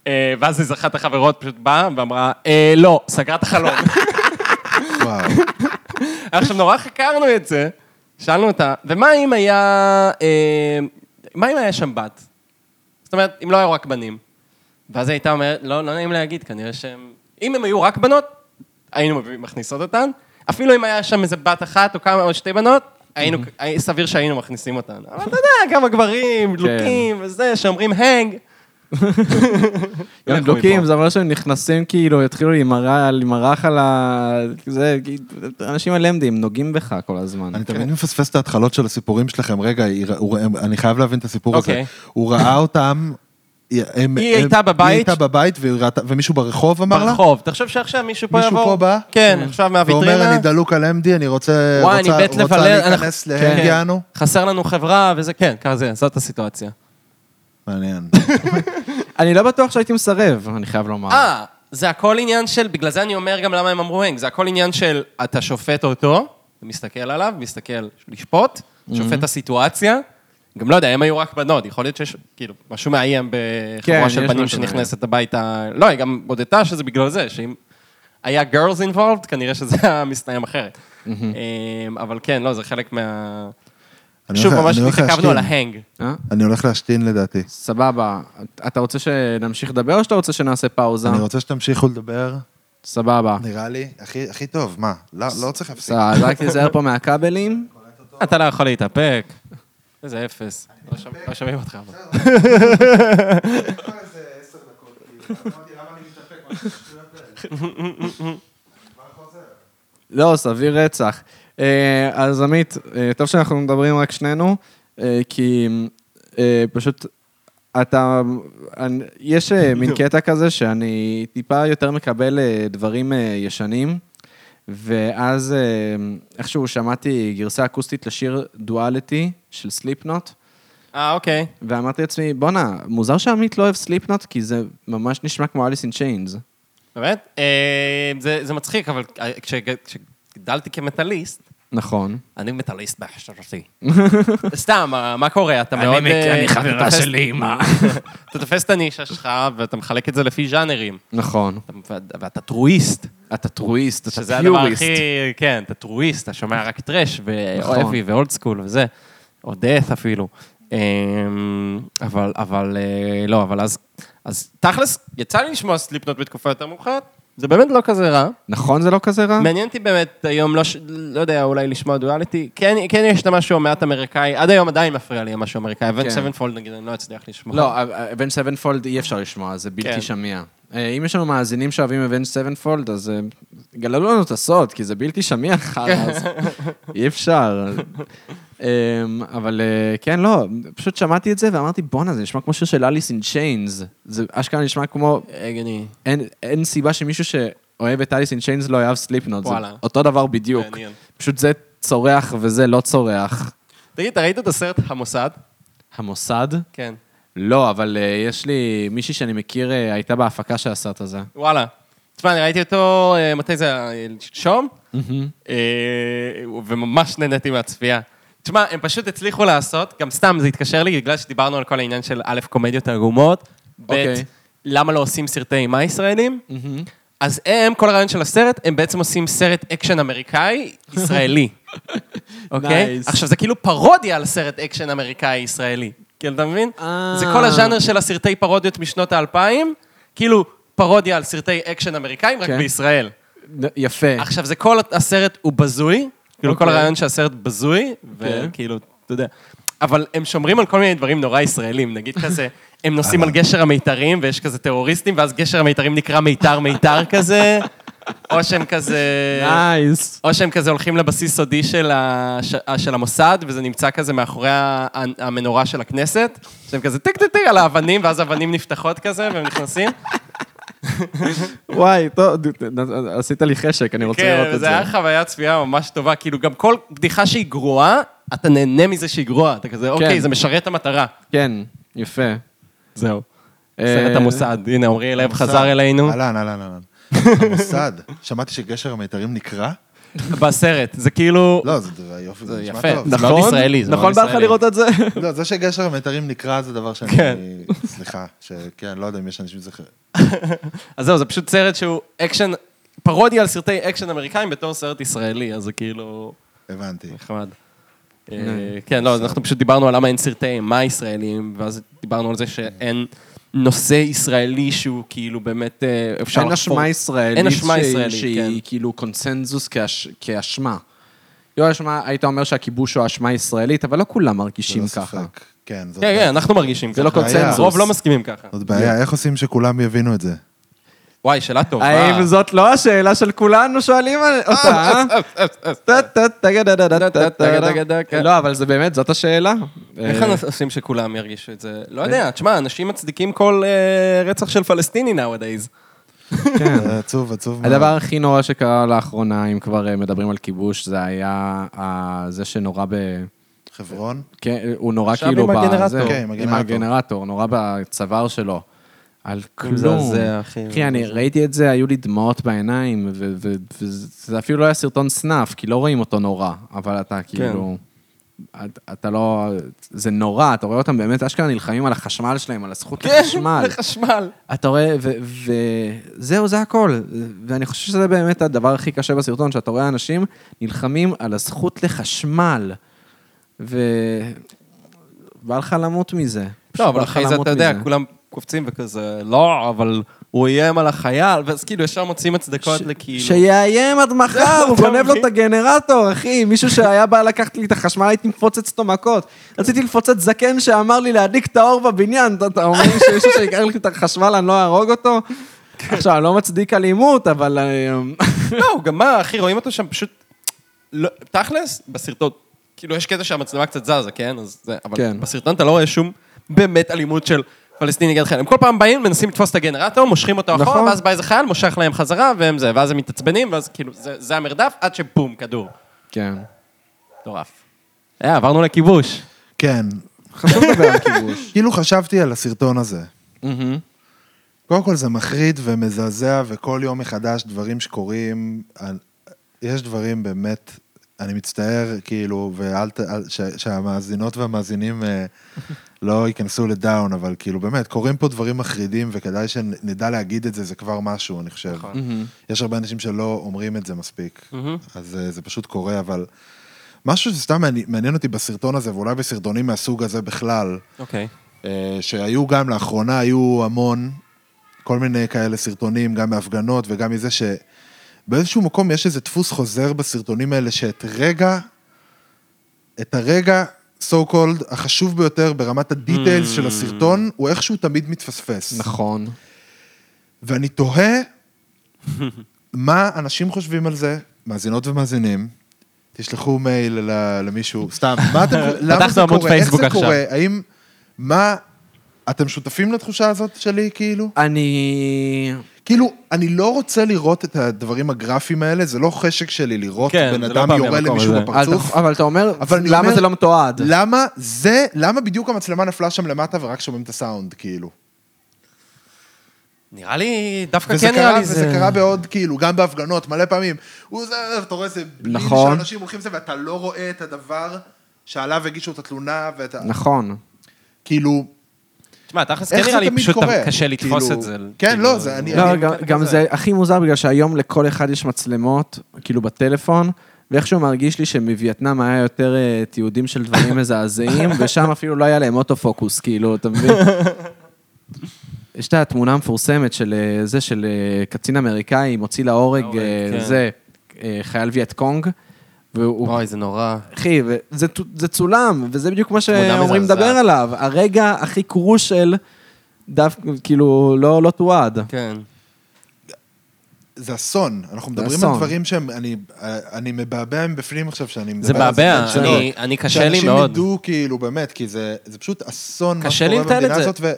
[SPEAKER 4] אה, ואז איזו אחת החברות פשוט באה ואמרה, "אה, לא, סגרה את החלון.
[SPEAKER 2] וואו.
[SPEAKER 1] כן.
[SPEAKER 4] עכשיו, נורא חקרנו את זה, שאלנו אותה, ומה אם היה... אה, מה אם היה שם בת? זאת אומרת, אם לא היו רק בנים. ואז היא הייתה אומרת, לא, לא נעים להגיד, כנראה שהם... אם הם היו רק בנות, היינו מביא- מכניסות אותן. אפילו אם היה שם איזה בת אחת או כמה או שתי בנות, היינו, הי- סביר שהיינו מכניסים אותן. אבל אתה יודע, כמה גברים, דלוקים וזה, שאומרים הנג.
[SPEAKER 1] הם
[SPEAKER 4] לכו
[SPEAKER 1] דלוקים,
[SPEAKER 4] מפה.
[SPEAKER 1] זה אומר שהם נכנסים כאילו, יתחילו להימרח להימרח על ה... זה, כאילו, אנשים על MD, הם נוגעים בך כל הזמן.
[SPEAKER 2] אני תמיד מפספס את ההתחלות של הסיפורים שלכם. רגע, היא ר- הוא ר- אני חייב להבין את הסיפור הזה.
[SPEAKER 4] אוקיי.
[SPEAKER 2] הוא ראה אותם... היא הם-
[SPEAKER 4] היא
[SPEAKER 2] הם-
[SPEAKER 4] הייתה בבית.
[SPEAKER 2] היא הייתה בבית, והיא ראתה- ומישהו ברחוב אמר לה?
[SPEAKER 4] ברחוב. תחשוב שעכשיו מישהו פה יבוא.
[SPEAKER 2] מישהו פה בא?
[SPEAKER 4] כן, עכשיו מהוויטרינה.
[SPEAKER 2] ואומר, אני דלוק על MD, אני רוצה
[SPEAKER 4] וואי,
[SPEAKER 2] רוצה-
[SPEAKER 4] אני מת
[SPEAKER 2] רוצה
[SPEAKER 4] לבלל,
[SPEAKER 2] להיכנס
[SPEAKER 4] אנחנו- כן.
[SPEAKER 2] להנג יענו?
[SPEAKER 4] חסר לנו חברה וזה, כן, כזה, זאת הסיטואציה.
[SPEAKER 2] מעניין.
[SPEAKER 1] אני לא בטוח שהייתי מסרב, אני חייב לומר.
[SPEAKER 4] אה, זה הכל עניין של, בגלל זה אני אומר גם למה הם אמרו הנג, זה הכל עניין של אתה שופט אותו, אתה מסתכל עליו, מסתכל לשפוט,
[SPEAKER 2] Mhm.
[SPEAKER 4] שופט את הסיטואציה. גם לא יודע, הם היו רק בנות, יכול להיות שיש כאילו משהו מאיים
[SPEAKER 1] כן,
[SPEAKER 4] בחבורה
[SPEAKER 1] יש
[SPEAKER 4] של בנים
[SPEAKER 1] משהו מאיים.
[SPEAKER 4] שנכנסת הביתה. לא, היא גם הודתה שזה בגלל זה, שאם היה girls involved, כנראה שזה היה מסתיים אחרת.
[SPEAKER 2] Mhm.
[SPEAKER 4] אמ, אבל כן, לא, זה חלק מה...
[SPEAKER 2] אני
[SPEAKER 4] שוב,
[SPEAKER 2] הולך-
[SPEAKER 4] ממש
[SPEAKER 2] אני הולך
[SPEAKER 4] התעכבנו על
[SPEAKER 2] להשתין.
[SPEAKER 4] ההנג.
[SPEAKER 1] אה?
[SPEAKER 2] אני הולך להשתין לדעתי.
[SPEAKER 1] סבבה. אתה רוצה שנמשיך לדבר או שאתה רוצה שנעשה פאוזה?
[SPEAKER 2] אני רוצה שתמשיכו לדבר,
[SPEAKER 1] סבבה.
[SPEAKER 2] נראה לי, הכי הכי טוב, מה? לא לא צריך להפסיק.
[SPEAKER 1] סבבה, אז רק תיזהר פה מהכבלים.
[SPEAKER 4] אתה לא יכול להתאפק. איזה אפס. לא שומע- לא שומעים אותך. אבל.
[SPEAKER 1] לא, סביר רצח. אה, אז עמית, אה, טוב שאנחנו מדברים רק שנינו, אה, כי אה, פשוט אתה... אני- יש אה, מין קטע כזה שאני טיפה יותר מקבל אה, דברים אה, ישנים, ואז אה, איכשהו שמעתי גרסה אקוסטית לשיר דואליטי של סליפנוט,
[SPEAKER 4] אה, אוקיי.
[SPEAKER 1] ואמרתי לעצמי, בואנה, מוזר שעמית לא אוהב סליפנוט, כי זה ממש נשמע כמו אליס אין צ'יינס.
[SPEAKER 4] באמת? אה, זה זה מצחיק, אבל אה, כש- כשגדלתי כמטאליסט,
[SPEAKER 1] נכון.
[SPEAKER 4] אני מטאליסט בהכשרתי. סתם, מה- מה קורה? אתה מאוד... אה, אתה תופס-
[SPEAKER 1] אמא.
[SPEAKER 4] אתה תופס את הנישה שלך, ואתה מחלק את זה לפי ז'אנרים.
[SPEAKER 1] נכון.
[SPEAKER 4] אתה- ואתה טרואיסט.
[SPEAKER 1] אתה טרואיסט, אתה
[SPEAKER 4] שזה הדבר
[SPEAKER 1] פיוריסט.
[SPEAKER 4] הכי... כן, אתה טרואיסט, אתה שומע רק טראש,
[SPEAKER 1] נכון.
[SPEAKER 4] ואוהבי, ואולד סקול, וזה. או דאט אפילו. אמ, אבל, אבל, אה, לא, אבל אז, אז תכלס, יצא לי לשמוע סליפנוט בתקופה יותר מאוחרת, זה באמת לא כזה רע.
[SPEAKER 1] נכון זה לא כזה רע?
[SPEAKER 4] מעניין אותי באמת היום, לא, ש- לא יודע, אולי לשמוע דואליטי. כן, כן יש את המשהו המעט אמריקאי, עד היום עדיין מפריע לי המשהו אמריקאי,
[SPEAKER 1] כן.
[SPEAKER 4] אבל סבנפולד נגיד, אני לא אצליח לשמוע.
[SPEAKER 1] לא, אבן סבנפולד אי אפשר לשמוע, זה בלתי
[SPEAKER 4] כן.
[SPEAKER 1] שמיע. אה, אם יש לנו מאזינים שאוהבים אבן סבנפולד, אז אה, גללו לנו את הסוד, כי זה בלתי שמיע חרא, אז
[SPEAKER 4] כן.
[SPEAKER 1] אי אפשר. אה, אבל אה, כן, לא, פשוט שמעתי את זה ואמרתי, בואנה, זה נשמע כמו שיר של אליס אין צ'יינס. זה אשכרה נשמע כמו,
[SPEAKER 4] הגיוני.
[SPEAKER 1] אין- אין סיבה שמישהו שאוהב את אליס אין צ'יינס לא יאהב סליפנוט. זה
[SPEAKER 4] וואלה.
[SPEAKER 1] אותו דבר בדיוק.
[SPEAKER 4] מעניין.
[SPEAKER 1] פשוט זה צורח וזה לא צורח.
[SPEAKER 4] תגיד, אתה ראית את הסרט המוסד?
[SPEAKER 1] המוסד?
[SPEAKER 4] כן.
[SPEAKER 1] לא, אבל אה, יש לי מישהי שאני מכיר, אה, הייתה בהפקה של הסרט הזה.
[SPEAKER 4] וואלה. תשמע, אני ראיתי אותו, אה, מתי זה היה? שלשום? אה, וממש נהניתי מהצפייה. תשמע, הם פשוט הצליחו לעשות, גם סתם זה התקשר לי, בגלל שדיברנו על כל העניין של א', קומדיות עגומות, ב',
[SPEAKER 1] אוקיי.
[SPEAKER 4] למה לא עושים סרטי אימה ישראלים? אז הם, כל הרעיון של הסרט, הם בעצם עושים סרט אקשן אמריקאי, ישראלי. אוקיי?
[SPEAKER 1] Nice.
[SPEAKER 4] עכשיו, זה כאילו פרודיה על סרט אקשן אמריקאי ישראלי. כאילו, אתה מבין?
[SPEAKER 1] אה.
[SPEAKER 4] זה כל הז'אנר של הסרטי פרודיות משנות האלפיים, כאילו פרודיה על סרטי אקשן אמריקאים, רק
[SPEAKER 1] כן.
[SPEAKER 4] בישראל.
[SPEAKER 1] ד- יפה.
[SPEAKER 4] עכשיו, זה כל הסרט הוא בזוי, כאילו כל
[SPEAKER 1] אוקיי.
[SPEAKER 4] הרעיון שהסרט בזוי,
[SPEAKER 1] כן.
[SPEAKER 4] וכאילו, אתה יודע. אבל הם שומרים על כל מיני דברים נורא ישראלים, נגיד כזה, הם נוסעים על גשר המיתרים, ויש כזה טרוריסטים, ואז גשר המיתרים נקרא מיתר מיתר כזה, או שהם כזה...
[SPEAKER 1] אה, נייס.
[SPEAKER 4] או שהם כזה הולכים לבסיס סודי של, ה... ש... אה, של המוסד, וזה נמצא כזה מאחורי ה- המנורה של הכנסת, שהם כזה טיק טיק טיק על האבנים, ואז האבנים נפתחות כזה, והם נכנסים.
[SPEAKER 1] וואי, טוב, ד- ד- ד- עשית לי חשק, אני רוצה
[SPEAKER 4] כן,
[SPEAKER 1] לראות את
[SPEAKER 4] וזה
[SPEAKER 1] זה.
[SPEAKER 4] היה חוויה צפייה ממש טובה. כאילו, גם כל בדיחה שהיא גרועה, אתה נהנה מזה שהיא גרועה. אתה כזה, אוקיי, זה משרת את המטרה.
[SPEAKER 1] כן, יפה.
[SPEAKER 4] זהו.
[SPEAKER 1] אה,
[SPEAKER 4] סרט המוסד, הנה, עמרי לב חזר אלינו.
[SPEAKER 2] אהלן, אהלן, אהלן. המוסד, שמעתי שגשר המיתרים נקרא?
[SPEAKER 4] בסרט, זה כאילו...
[SPEAKER 2] לא, זה דבר יופי, זה נשמע
[SPEAKER 4] יפה.
[SPEAKER 2] טוב.
[SPEAKER 4] זה מאוד ישראלי, זה מאוד
[SPEAKER 1] נכון, בא לך
[SPEAKER 4] ישראלי.
[SPEAKER 1] לראות את זה?
[SPEAKER 2] לא, זה שגשר המיתרים נקרא זה דבר שאני...
[SPEAKER 4] כן.
[SPEAKER 2] סליחה, שכן, לא יודע אם יש אנשים שזוכרים.
[SPEAKER 4] אז זהו, זה פשוט סרט שהוא אקשן, פרודיה על סרטי אקשן אמריקאים בתור סרט ישראלי, אז זה כאילו...
[SPEAKER 2] הבנתי.
[SPEAKER 4] נחמד. אה, כן, לא, אז אנחנו פשוט דיברנו על למה אין סרטי אימה ישראלים, ואז דיברנו על זה שאין נושא ישראלי שהוא כאילו באמת אה, אפשר
[SPEAKER 1] אין אשמה ישראלית
[SPEAKER 4] אין אשמה
[SPEAKER 1] שהיא-
[SPEAKER 4] ישראלית, כן.
[SPEAKER 1] שהיא כאילו קונצנזוס כאש- כאשמה. לא אשמה, היית אומר שהכיבוש הוא אשמה ישראלית, אבל לא כולם מרגישים
[SPEAKER 2] ללא
[SPEAKER 1] ככה.
[SPEAKER 2] ספק. כן, זאת
[SPEAKER 4] כן, כן, אנחנו מרגישים ככה.
[SPEAKER 1] זה לא
[SPEAKER 2] קונצנזוס.
[SPEAKER 4] הרוב לא מסכימים ככה.
[SPEAKER 2] זאת בעיה, איך עושים שכולם יבינו את זה?
[SPEAKER 4] וואי, שאלה טובה.
[SPEAKER 1] האם זאת לא השאלה של כולנו שואלים על- אותה, אה? טה, טה, טה, טה, טה, טה, טה, טה, טה, טה. לא, אבל זה באמת, זאת השאלה.
[SPEAKER 4] איך
[SPEAKER 1] אה,
[SPEAKER 4] אנחנו עושים שכולם ירגישו את זה? לא יודע, תשמע, אנשים מצדיקים כל אה, רצח של פלסטיני nowadays.
[SPEAKER 2] זה עצוב, עצוב מאוד.
[SPEAKER 1] הדבר הכי נורא שקרה לאחרונה, אם כבר אה, מדברים על כיבוש, זה היה ה- זה שנורא ב...
[SPEAKER 2] חברון?
[SPEAKER 1] כן, הוא נורא
[SPEAKER 4] עכשיו
[SPEAKER 1] כאילו...
[SPEAKER 4] עם
[SPEAKER 1] ב-
[SPEAKER 4] הגנרטור.
[SPEAKER 1] זה-
[SPEAKER 2] כן, עם
[SPEAKER 1] עם
[SPEAKER 2] הגנרטור.
[SPEAKER 1] הגנרטור, נורא בצוואר שלו. על כלום.
[SPEAKER 4] מזעזע, אחי.
[SPEAKER 1] אחי, אני ראיתי את זה, היו לי דמעות בעיניים,
[SPEAKER 4] כן.
[SPEAKER 1] ו- ו- וזה זה אפילו לא היה סרטון סנאף, כי לא רואים אותו נורא, אבל אתה כאילו... אתה- אתה לא... זה נורא, אתה רואה אותם באמת אשכרה נלחמים על החשמל שלהם, על הזכות לחשמל.
[SPEAKER 4] כן, לחשמל.
[SPEAKER 1] אתה רואה, וזהו, זה הכל. ואני חושב שזה באמת הדבר הכי קשה בסרטון, שאתה רואה אנשים נלחמים על הזכות לחשמל. ובא לך למות מזה. פשוט
[SPEAKER 4] לא,
[SPEAKER 1] בא
[SPEAKER 4] אבל
[SPEAKER 1] לך
[SPEAKER 4] אחרי זה
[SPEAKER 1] למות
[SPEAKER 4] אתה יודע,
[SPEAKER 1] מזה.
[SPEAKER 4] כולם קופצים וכזה, לא, אבל הוא איים על החייל, ואז כאילו ישר מוצאים הצדקות
[SPEAKER 1] ש-
[SPEAKER 4] לכאילו...
[SPEAKER 1] שיאיים עד מחר, הוא
[SPEAKER 4] אתה
[SPEAKER 1] גונב לו
[SPEAKER 4] מבין?
[SPEAKER 1] את הגנרטור, אחי. מישהו שהיה בא לקחת לי את החשמל, הייתי מפוצץ אותו מכות. רציתי לפוצץ זקן שאמר לי להדליק את האור בבניין. אתה- אתה אומר לי שמישהו שיקח לי את החשמל, אני לא אהרוג אותו? עכשיו, אני לא מצדיק אלימות, אבל... אה,
[SPEAKER 4] לא, הוא גם מה, אחי, רואים אותו שם פשוט... לא, תכלס, בסרטון, כאילו, יש קטע שהמצלמה קצת זזה, כן? אז זה, אבל
[SPEAKER 1] כן.
[SPEAKER 4] כן. בסרטון אתה לא רואה שום באמת אלימות של פלסטיני נגד חייל. הם כל פעם באים, מנסים לתפוס את הגנרטור, מושכים אותו אחורה,
[SPEAKER 1] נכון.
[SPEAKER 4] ואז בא איזה חייל, מושך להם חזרה, והם זה, ואז הם מתעצבנים, ואז כאילו, זה, זה המרדף, עד שבום, כדור.
[SPEAKER 1] כן.
[SPEAKER 4] מטורף. אה, עברנו לכיבוש.
[SPEAKER 2] כן.
[SPEAKER 1] חשוב לדבר על כיבוש.
[SPEAKER 2] כאילו חשבתי על הסרטון הזה. קודם כל זה מחריד ומזעזע, וכל יום מחדש דברים שקורים, על- יש דברים באמת, אני מצטער, כאילו, ואל ת... אל- ש- שהמאזינות והמאזינים אה, לא ייכנסו לדאון, אבל כאילו, באמת, קורים פה דברים מחרידים, וכדאי שנדע להגיד את זה, זה כבר משהו, אני חושב.
[SPEAKER 1] נכון.
[SPEAKER 2] יש הרבה אנשים שלא אומרים את זה מספיק, אז אה, זה פשוט קורה, אבל... משהו שסתם מעניין- מעניין אותי בסרטון הזה, ואולי בסרטונים מהסוג הזה בכלל,
[SPEAKER 4] אוקיי.
[SPEAKER 2] אה, שהיו גם לאחרונה, היו המון, כל מיני כאלה סרטונים, גם מהפגנות וגם מזה שבאיזשהו מקום יש איזה דפוס חוזר בסרטונים האלה, שאת רגע, את הרגע, so called, החשוב ביותר ברמת הדיטיילס של הסרטון, הוא איכשהו תמיד מתפספס.
[SPEAKER 1] נכון.
[SPEAKER 2] ואני תוהה מה אנשים חושבים על זה, מאזינות ומאזינים. תשלחו מייל ל- למישהו, סתם, מה אתם, למה
[SPEAKER 4] פתחנו
[SPEAKER 2] זה
[SPEAKER 4] עמוד
[SPEAKER 2] קורה, איך
[SPEAKER 4] פייסבוק
[SPEAKER 2] זה
[SPEAKER 4] עכשיו.
[SPEAKER 2] קורה, האם, מה, אתם שותפים לתחושה הזאת שלי, כאילו?
[SPEAKER 1] אני...
[SPEAKER 2] כאילו, אני לא רוצה לראות את הדברים הגרפיים האלה, זה לא חשק שלי לראות
[SPEAKER 4] כן,
[SPEAKER 2] בן
[SPEAKER 4] זה לא
[SPEAKER 2] אדם
[SPEAKER 4] בא
[SPEAKER 2] יורה
[SPEAKER 4] מהמקום
[SPEAKER 2] למישהו
[SPEAKER 4] הזה.
[SPEAKER 2] בפרצוף.
[SPEAKER 1] אבל אתה אומר,
[SPEAKER 2] אבל אני
[SPEAKER 1] למה
[SPEAKER 2] אומר-
[SPEAKER 1] זה לא מתועד?
[SPEAKER 2] למה זה, למה בדיוק המצלמה נפלה שם למטה ורק שומעים את הסאונד, כאילו?
[SPEAKER 4] נראה לי, דווקא
[SPEAKER 2] וזה
[SPEAKER 4] כן נראה
[SPEAKER 2] קרה,
[SPEAKER 4] לי
[SPEAKER 2] וזה
[SPEAKER 4] זה...
[SPEAKER 2] קרה בעוד, כאילו, גם בהפגנות, מלא פעמים. הוא זה, אתה רואה איזה בליל
[SPEAKER 1] נכון.
[SPEAKER 2] שאנשים הולכים לזה, ואתה לא רואה את הדבר שעליו הגישו את התלונה, ואתה,
[SPEAKER 1] נכון.
[SPEAKER 2] כאילו,
[SPEAKER 4] תשמע, תכלס כן
[SPEAKER 2] איך זה
[SPEAKER 4] נראה לי
[SPEAKER 2] תמיד
[SPEAKER 4] פשוט
[SPEAKER 2] קורה?
[SPEAKER 4] קשה לתפוס
[SPEAKER 2] כאילו,
[SPEAKER 4] את זה.
[SPEAKER 2] כן,
[SPEAKER 4] כאילו,
[SPEAKER 2] לא, זה, אני...
[SPEAKER 1] לא,
[SPEAKER 2] אני-
[SPEAKER 1] גם- גם זה הכי מוזר בגלל שהיום לכל אחד יש מצלמות, כאילו בטלפון, ואיכשהו מרגיש לי שמווייטנאם היה יותר אה, תיעודים של דברים מזעזעים, ושם אפילו לא היה להם אוטו-פוקוס, כאילו, אתה מבין? יש את התמונה המפורסמת של אה, זה, של אה, קצין אמריקאי מוציא להורג,
[SPEAKER 4] להורג,
[SPEAKER 1] אה,
[SPEAKER 4] כן.
[SPEAKER 1] זה, אה, חייל וייט קונג, והוא
[SPEAKER 3] אוקיי.
[SPEAKER 4] אוי, זה נורא.
[SPEAKER 1] אחי, וזה, צו- זה צולם, וזה בדיוק מה שאומרים
[SPEAKER 4] מזעזעת.
[SPEAKER 1] לדבר עליו. הרגע הכי קרושל, דווקא, כאילו, לא, לא תועד.
[SPEAKER 4] כן.
[SPEAKER 2] זה אסון. אנחנו מדברים על
[SPEAKER 1] אסון.
[SPEAKER 2] דברים שהם, אני- אני מבעבע מבפנים עכשיו שאני מדבר
[SPEAKER 4] זה
[SPEAKER 2] על
[SPEAKER 4] בעבע,
[SPEAKER 2] זה.
[SPEAKER 4] אני- אני קשה לי
[SPEAKER 2] שאנשים
[SPEAKER 4] מאוד.
[SPEAKER 2] ידעו, כאילו, באמת, כי זה זה פשוט אסון מה
[SPEAKER 4] קשה לי
[SPEAKER 2] שקורה
[SPEAKER 4] לתעד את
[SPEAKER 2] במדינה
[SPEAKER 4] זה.
[SPEAKER 2] הזאת, ו...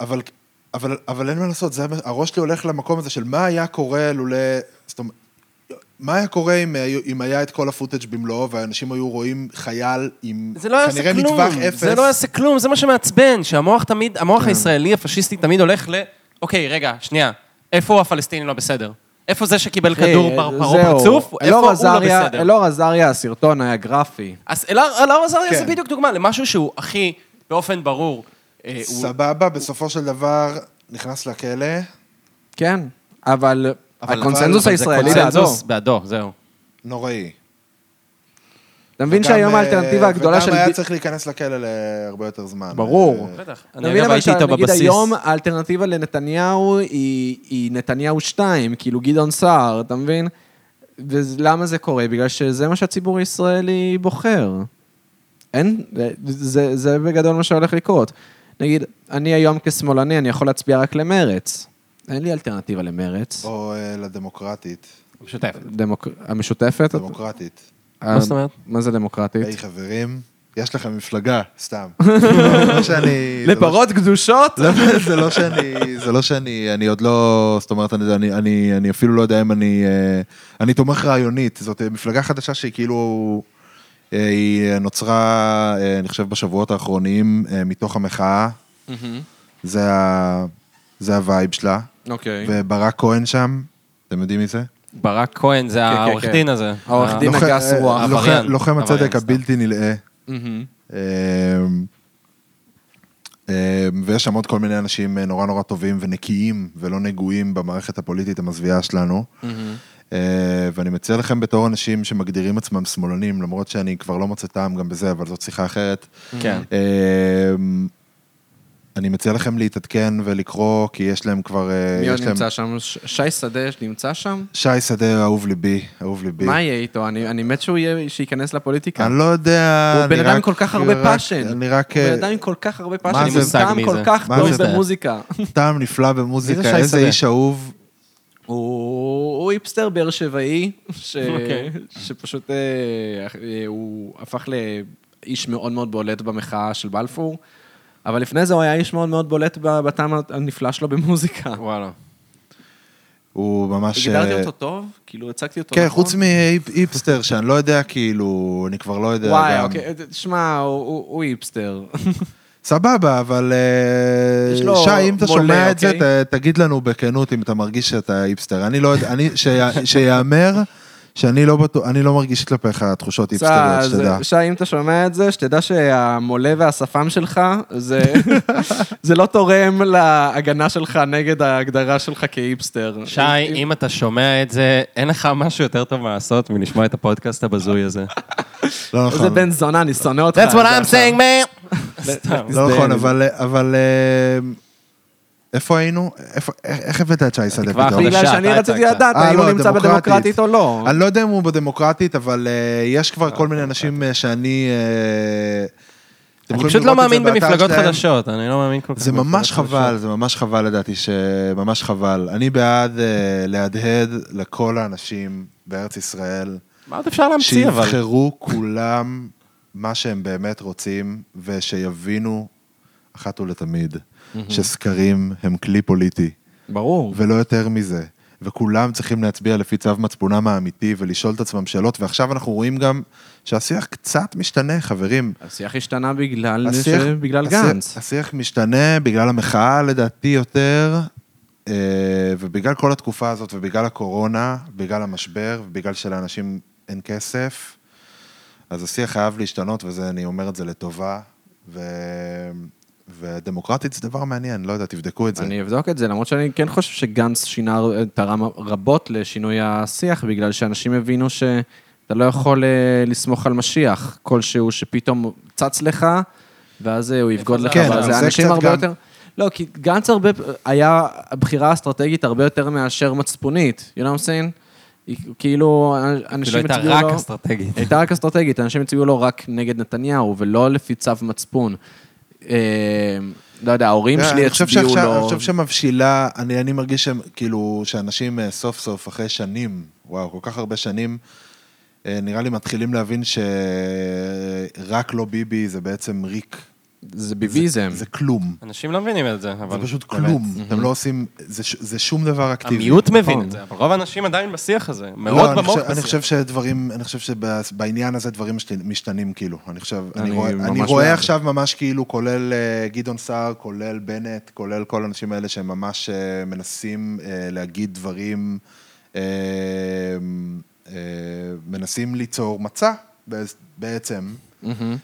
[SPEAKER 2] אבל, אבל, אבל אין מה לעשות, זה, הראש שלי הולך למקום הזה של מה היה קורה לולא... זאת אומרת, מה היה קורה אם, היו- אם היה את כל הפוטאג' במלואו, והאנשים היו רואים חייל עם
[SPEAKER 4] זה לא יעשה
[SPEAKER 2] כנראה
[SPEAKER 4] כלום.
[SPEAKER 2] מטווח אפס?
[SPEAKER 4] זה לא יעשה כלום, זה מה שמעצבן, שהמוח תמיד,
[SPEAKER 1] כן.
[SPEAKER 4] המוח הישראלי הפשיסטי תמיד הולך ל... אוקיי, רגע, שנייה, איפה הפלסטיני לא בסדר? איפה זה שקיבל
[SPEAKER 1] אחי,
[SPEAKER 4] כדור פר- פרעה
[SPEAKER 1] אה, זהו.
[SPEAKER 4] פרצוף? איפה
[SPEAKER 1] אלאור
[SPEAKER 4] הוא לא
[SPEAKER 1] עזריה-
[SPEAKER 4] בסדר?
[SPEAKER 1] אלאור עזריה, הסרטון היה גרפי.
[SPEAKER 4] אז אלאור אלאור עזריה זה
[SPEAKER 2] כן.
[SPEAKER 4] בדיוק דוגמה למשהו שהוא הכי, באופן ברור, אה, הוא-
[SPEAKER 2] סבבה, בסופו של דבר נכנס לכלא.
[SPEAKER 1] כן, אבל
[SPEAKER 2] אבל-
[SPEAKER 1] הקונסנזוס
[SPEAKER 2] אבל זה
[SPEAKER 1] הישראלי בעדו.
[SPEAKER 4] קונצנזוס בעדו, זהו.
[SPEAKER 2] נוראי.
[SPEAKER 1] אתה מבין
[SPEAKER 2] וגם,
[SPEAKER 1] שהיום
[SPEAKER 2] אה,
[SPEAKER 1] האלטרנטיבה הגדולה של...
[SPEAKER 2] וגם היה
[SPEAKER 1] בי-
[SPEAKER 2] צריך להיכנס לכלא להרבה יותר זמן.
[SPEAKER 1] ברור.
[SPEAKER 2] אה,
[SPEAKER 4] בטח.
[SPEAKER 1] אתה
[SPEAKER 4] אני
[SPEAKER 1] מבין
[SPEAKER 4] אגב
[SPEAKER 1] אבל
[SPEAKER 4] הייתי איתו
[SPEAKER 1] שנגיד
[SPEAKER 4] בבסיס.
[SPEAKER 1] היום האלטרנטיבה לנתניהו היא, היא נתניהו 2, כאילו גדעון סער, אתה מבין? ולמה זה קורה? בגלל שזה מה שהציבור הישראלי בוחר. אין, זה, זה בגדול מה שהולך לקרות. נגיד, אני היום כשמאלני, אני יכול להצביע רק למרץ. אין לי אלטרנטיבה למרץ.
[SPEAKER 2] או אה, לדמוקרטית.
[SPEAKER 4] משותפת.
[SPEAKER 1] דמוק... המשותפת?
[SPEAKER 2] דמוקרטית.
[SPEAKER 1] אה,
[SPEAKER 4] מה זאת אומרת?
[SPEAKER 1] מה זה דמוקרטית?
[SPEAKER 2] היי חברים, יש לכם מפלגה, סתם. זה לא שאני... זה לא-
[SPEAKER 1] לפרות קדושות?
[SPEAKER 2] לא, זה לא שאני, זה לא שאני, אני עוד לא, זאת אומרת, אני, אני, אני, אני אפילו לא יודע אם אני, אה, אני תומך רעיונית, זאת אה, מפלגה חדשה שהיא כאילו, אה, היא נוצרה, אה, אני חושב, בשבועות האחרונים, אה, מתוך המחאה, זה, ה, זה הווייב שלה,
[SPEAKER 1] אוקיי.
[SPEAKER 2] וברק כהן שם, אתם יודעים מי זה?
[SPEAKER 3] ברק כהן, זה
[SPEAKER 1] כן,
[SPEAKER 3] העורך
[SPEAKER 1] כן.
[SPEAKER 3] דין הזה.
[SPEAKER 1] העורך
[SPEAKER 3] ה-
[SPEAKER 1] דין.
[SPEAKER 2] לוחם-
[SPEAKER 1] הגס
[SPEAKER 2] אה,
[SPEAKER 1] רוח.
[SPEAKER 2] לוחם-
[SPEAKER 3] עבריין.
[SPEAKER 2] לוחם
[SPEAKER 3] עבריין,
[SPEAKER 2] הצדק
[SPEAKER 3] סתם.
[SPEAKER 2] הבלתי נלאה.
[SPEAKER 1] מהמם.
[SPEAKER 2] אמ, אמ, ויש שם עוד כל מיני אנשים אה, נורא נורא טובים ונקיים ולא נגועים במערכת הפוליטית המזוויעה שלנו. אה, ואני מציע לכם בתור אנשים שמגדירים עצמם שמאלנים, למרות שאני כבר לא מוצא טעם גם בזה, אבל זאת שיחה אחרת.
[SPEAKER 3] כן.
[SPEAKER 2] אמ, אני מציע לכם להתעדכן ולקרוא, כי יש להם כבר... אה,
[SPEAKER 1] מי עוד
[SPEAKER 2] יש להם-
[SPEAKER 1] נמצא שם? ש- שי שדה נמצא שם?
[SPEAKER 2] שי שדה, אהוב ליבי, אהוב ליבי.
[SPEAKER 1] מה יהיה איתו? אני אני מת שהוא יהיה- שייכנס לפוליטיקה.
[SPEAKER 2] אני לא יודע...
[SPEAKER 1] הוא בן
[SPEAKER 2] אני
[SPEAKER 1] אדם עם
[SPEAKER 2] רק-
[SPEAKER 1] כל כך הרבה
[SPEAKER 2] רק-
[SPEAKER 1] פאשן.
[SPEAKER 2] אני רק...
[SPEAKER 1] הוא
[SPEAKER 2] אה,
[SPEAKER 1] בן אדם עם כל כך הרבה
[SPEAKER 2] זה?
[SPEAKER 1] פאשן, עם
[SPEAKER 2] מושג
[SPEAKER 1] טעם
[SPEAKER 3] מי
[SPEAKER 1] כל
[SPEAKER 3] זה.
[SPEAKER 1] כך
[SPEAKER 2] מה
[SPEAKER 1] טוב
[SPEAKER 2] זה?
[SPEAKER 1] במוזיקה.
[SPEAKER 2] אה, טעם נפלא
[SPEAKER 3] מי זה
[SPEAKER 2] במוזיקה,
[SPEAKER 3] שי
[SPEAKER 2] איזה
[SPEAKER 3] שדה?
[SPEAKER 2] איש אהוב.
[SPEAKER 1] הוא הוא היפסטר באר שבעי, ש- שפשוט אה, אה, הוא הפך לאיש מאוד מאוד בולט במחאה של בלפור, אבל לפני זה הוא היה איש מאוד מאוד בולט ב- בטעם הנפלא שלו במוזיקה.
[SPEAKER 3] וואלה.
[SPEAKER 2] הוא ממש...
[SPEAKER 1] גידרתי
[SPEAKER 2] אה,
[SPEAKER 1] אותו טוב? כאילו, הצגתי אותו
[SPEAKER 2] כן,
[SPEAKER 1] נכון?
[SPEAKER 2] חוץ מהיפסטר, שאני לא יודע, כאילו, אני כבר לא יודע.
[SPEAKER 1] וואי,
[SPEAKER 2] גם.
[SPEAKER 1] אוקיי, שמע, הוא- הוא הוא היפסטר.
[SPEAKER 2] סבבה, אבל אה,
[SPEAKER 1] יש לו
[SPEAKER 2] שי, אם אתה
[SPEAKER 1] מולה,
[SPEAKER 2] שומע את זה,
[SPEAKER 1] אוקיי?
[SPEAKER 2] ת- תגיד לנו בכנות אם אתה מרגיש שאתה היפסטר. אני לא יודע, אני- שיה- שיאמר שאני לא בטוח, אני לא מרגיש כלפיך תחושות היפסטריות,
[SPEAKER 1] אז,
[SPEAKER 2] שתדע.
[SPEAKER 1] שי, אם אתה שומע את זה, שתדע שהמולה והשפם שלך, זה, זה לא תורם להגנה שלך נגד ההגדרה שלך כהיפסטר.
[SPEAKER 3] שי, אם אתה שומע את זה, אין לך משהו יותר טוב מה לעשות מלשמוע את הפודקאסט הבזוי הזה.
[SPEAKER 2] לא
[SPEAKER 1] איזה
[SPEAKER 2] נכון.
[SPEAKER 1] בן זונה, אני שונא אותך.
[SPEAKER 3] That's what
[SPEAKER 1] זה
[SPEAKER 3] I'm
[SPEAKER 1] עכשיו.
[SPEAKER 3] saying, man!
[SPEAKER 2] לא נכון,
[SPEAKER 1] זה-
[SPEAKER 2] אבל... אבל אה, איפה היינו? איפה- איך- איך הבאת את שי שדה
[SPEAKER 3] כבר
[SPEAKER 2] פתאום?
[SPEAKER 3] חדשה,
[SPEAKER 1] בגלל שאני
[SPEAKER 3] אתה
[SPEAKER 1] רציתי
[SPEAKER 3] הצגת.
[SPEAKER 1] לדעת
[SPEAKER 2] אה,
[SPEAKER 1] האם
[SPEAKER 2] לא,
[SPEAKER 1] הוא נמצא
[SPEAKER 2] דמוקרטית.
[SPEAKER 1] בדמוקרטית או לא.
[SPEAKER 2] אני לא יודע אם הוא בדמוקרטית, אבל אה, יש כבר כל מיני אנשים אה, שאני... אה, אתם
[SPEAKER 3] אני
[SPEAKER 2] יכולים
[SPEAKER 3] פשוט לא
[SPEAKER 2] לראות את זה
[SPEAKER 3] מאמין
[SPEAKER 2] באתר
[SPEAKER 3] במפלגות
[SPEAKER 2] שלהם.
[SPEAKER 3] חדשות, אני לא מאמין כל כך.
[SPEAKER 2] זה
[SPEAKER 3] במפלגות
[SPEAKER 2] ממש
[SPEAKER 3] חדשות.
[SPEAKER 2] חבל, זה ממש חבל לדעתי, שממש חבל. אני בעד אה, להדהד לכל האנשים בארץ ישראל,
[SPEAKER 3] מה עוד אפשר להמציא, אבל?
[SPEAKER 2] שיבחרו כולם מה שהם באמת רוצים, ושיבינו אחת ולתמיד, שסקרים הם כלי פוליטי.
[SPEAKER 1] ברור.
[SPEAKER 2] ולא יותר מזה. וכולם צריכים להצביע לפי צו מצפונם האמיתי ולשאול את עצמם שאלות, ועכשיו אנחנו רואים גם שהשיח קצת משתנה, חברים.
[SPEAKER 1] השיח השתנה בגלל
[SPEAKER 2] השיח-
[SPEAKER 1] ש- בגלל
[SPEAKER 2] השיח-
[SPEAKER 1] גנץ.
[SPEAKER 2] השיח משתנה בגלל המחאה לדעתי יותר, אה, ובגלל כל התקופה הזאת, ובגלל הקורונה, בגלל המשבר, ובגלל שלאנשים אין כסף, אז השיח חייב להשתנות, וזה, אני אומר את זה לטובה, ו... ודמוקרטית זה דבר מעניין, לא יודע, תבדקו את זה.
[SPEAKER 1] אני אבדוק את זה, למרות שאני כן חושב שגנץ שינה, תרם רבות לשינוי השיח, בגלל שאנשים הבינו שאתה לא יכול אה, לסמוך על משיח כלשהו שפתאום צץ לך, ואז אה, הוא יבגוד לך,
[SPEAKER 2] כן,
[SPEAKER 1] אבל זה
[SPEAKER 2] אבל זה
[SPEAKER 1] אנשים
[SPEAKER 2] קצת
[SPEAKER 1] הרבה
[SPEAKER 2] גם-
[SPEAKER 1] יותר... לא, כי גנץ הרבה, היה בחירה אסטרטגית הרבה יותר מאשר מצפונית, you know what I'm saying? היא- כאילו, אנ-
[SPEAKER 3] כאילו
[SPEAKER 1] אנשים
[SPEAKER 3] הייתה
[SPEAKER 1] הצביעו לו...
[SPEAKER 2] לא-
[SPEAKER 3] רק
[SPEAKER 2] אה,
[SPEAKER 3] אסטרטגית.
[SPEAKER 1] הייתה רק אסטרטגית, אנשים הצביעו לו רק נגד נתניהו, ולא לפי צו מצפון. אה, לא יודע, ההורים
[SPEAKER 2] תראה,
[SPEAKER 1] שלי
[SPEAKER 2] אה, אני חושב
[SPEAKER 1] הצביעו
[SPEAKER 2] שעכשיו-
[SPEAKER 1] לו...
[SPEAKER 2] אני חושב שמבשילה, אני, אני מרגיש שהם, כאילו, שאנשים אה, סוף סוף, אחרי שנים, וואו, כל כך הרבה שנים, אה, נראה לי מתחילים להבין שרק לא ביבי זה בעצם ריק.
[SPEAKER 1] זה ביביזם.
[SPEAKER 2] זה כלום.
[SPEAKER 3] אנשים לא מבינים את זה, אבל...
[SPEAKER 2] זה פשוט כלום. אתם לא עושים, זה ש- זה שום דבר אקטיבי.
[SPEAKER 3] המיעוט מבין
[SPEAKER 1] נכון.
[SPEAKER 3] את זה, אבל רוב האנשים עדיין בשיח הזה. מאוד
[SPEAKER 2] לא, אני
[SPEAKER 3] במוח
[SPEAKER 2] חושב- אני
[SPEAKER 3] בשיח.
[SPEAKER 2] חושב שדברים, אני חושב שבעניין הזה דברים משת- משתנים כאילו. אני חושב, אני
[SPEAKER 1] אני
[SPEAKER 2] רואה- אני
[SPEAKER 1] ממש
[SPEAKER 2] רואה
[SPEAKER 1] בעד.
[SPEAKER 2] עכשיו ממש כאילו, כולל אה, גדעון סער, כולל בנט, כולל כל האנשים האלה שהם ממש אה, מנסים אה, להגיד דברים, אה, אה, מנסים ליצור מצע בעצ- בעצם,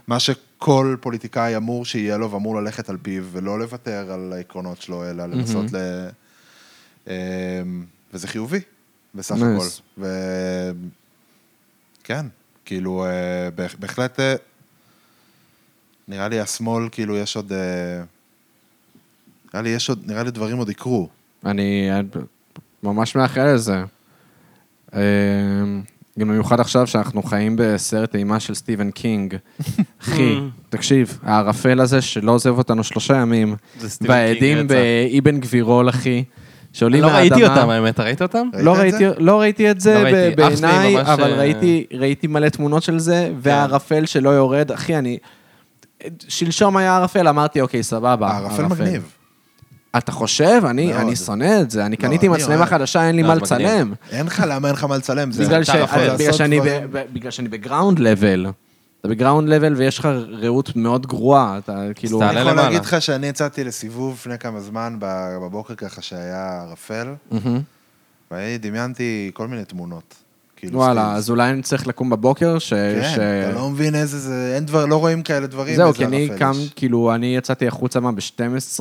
[SPEAKER 2] מה שכל פוליטיקאי אמור שיהיה לו ואמור ללכת על פיו, ולא לוותר על העקרונות שלו, אלא לנסות ל... אה, וזה חיובי, בסך
[SPEAKER 1] Nice.
[SPEAKER 2] הכל. ו- כן, כאילו, אה, בהח- בהחלט, אה, נראה לי השמאל, כאילו, יש עוד... אה, נראה לי יש עוד, נראה לי דברים עוד יקרו.
[SPEAKER 1] אני אה, ממש מאחל לזה. אה, גם במיוחד עכשיו שאנחנו חיים בסרט אימה של סטיבן קינג. אחי, תקשיב, הערפל הזה שלא עוזב אותנו שלושה ימים,
[SPEAKER 3] זה סטיבן קינג
[SPEAKER 1] והעדים
[SPEAKER 3] רצח.
[SPEAKER 1] באבן גבירול, אחי, שעולים
[SPEAKER 3] לא
[SPEAKER 1] מהאדמה.
[SPEAKER 3] ראיתי אותם, האמת, ראית אותם?
[SPEAKER 2] ראית
[SPEAKER 1] לא
[SPEAKER 2] את
[SPEAKER 1] ראיתי,
[SPEAKER 2] זה?
[SPEAKER 1] לא ראיתי את זה
[SPEAKER 3] לא ראיתי.
[SPEAKER 1] ב-
[SPEAKER 3] אח שלי
[SPEAKER 1] בעיניי,
[SPEAKER 3] ממש,
[SPEAKER 1] אבל
[SPEAKER 3] אה, כן.
[SPEAKER 1] ראיתי, ראיתי מלא תמונות של זה, והערפל שלא יורד, אחי, אני... שלשום היה ערפל, אמרתי, אוקיי, סבבה.
[SPEAKER 2] הערפל אה, מגניב.
[SPEAKER 1] אתה חושב? אני,
[SPEAKER 2] מאוד. לא,
[SPEAKER 1] אני שונא את זה, אני קניתי
[SPEAKER 2] אני
[SPEAKER 1] מצלמה
[SPEAKER 2] אוהב.
[SPEAKER 1] חדשה, אין לי
[SPEAKER 3] לא,
[SPEAKER 1] מה
[SPEAKER 3] זה מגניב.
[SPEAKER 1] לצלם.
[SPEAKER 2] אין לך, למה אין לך מה לצלם? זה-
[SPEAKER 1] בגלל
[SPEAKER 2] אתה
[SPEAKER 1] ש-
[SPEAKER 2] יכול
[SPEAKER 1] אני- בגלל
[SPEAKER 2] לעשות
[SPEAKER 1] שאני ב-
[SPEAKER 2] דברים-
[SPEAKER 1] ב- בגלל שאני בגראונד לבל. אתה בגראונד לבל ויש לך ראות מאוד גרועה, אתה כאילו...
[SPEAKER 3] תעלה
[SPEAKER 2] אני יכול
[SPEAKER 3] למעלה.
[SPEAKER 2] להגיד לך
[SPEAKER 1] נכון.
[SPEAKER 2] שאני יצאתי לסיבוב לפני כמה זמן, ב- בבוקר ככה שהיה ערפל,
[SPEAKER 1] מהמם.
[SPEAKER 2] ואני דמיינתי כל מיני תמונות. כאילו,
[SPEAKER 1] וואלה,
[SPEAKER 2] סטילס.
[SPEAKER 1] אז אולי אני צריך לקום בבוקר, ש... ש-
[SPEAKER 2] כן, אתה לא מבין איזה זה, אין דבר, לא רואים כאלה דברים.
[SPEAKER 1] זהו,
[SPEAKER 2] איזה
[SPEAKER 1] כי אני
[SPEAKER 2] ערפל
[SPEAKER 1] קם,
[SPEAKER 2] יש.
[SPEAKER 1] כאילו, אני יצאתי החוצה מה ב-12,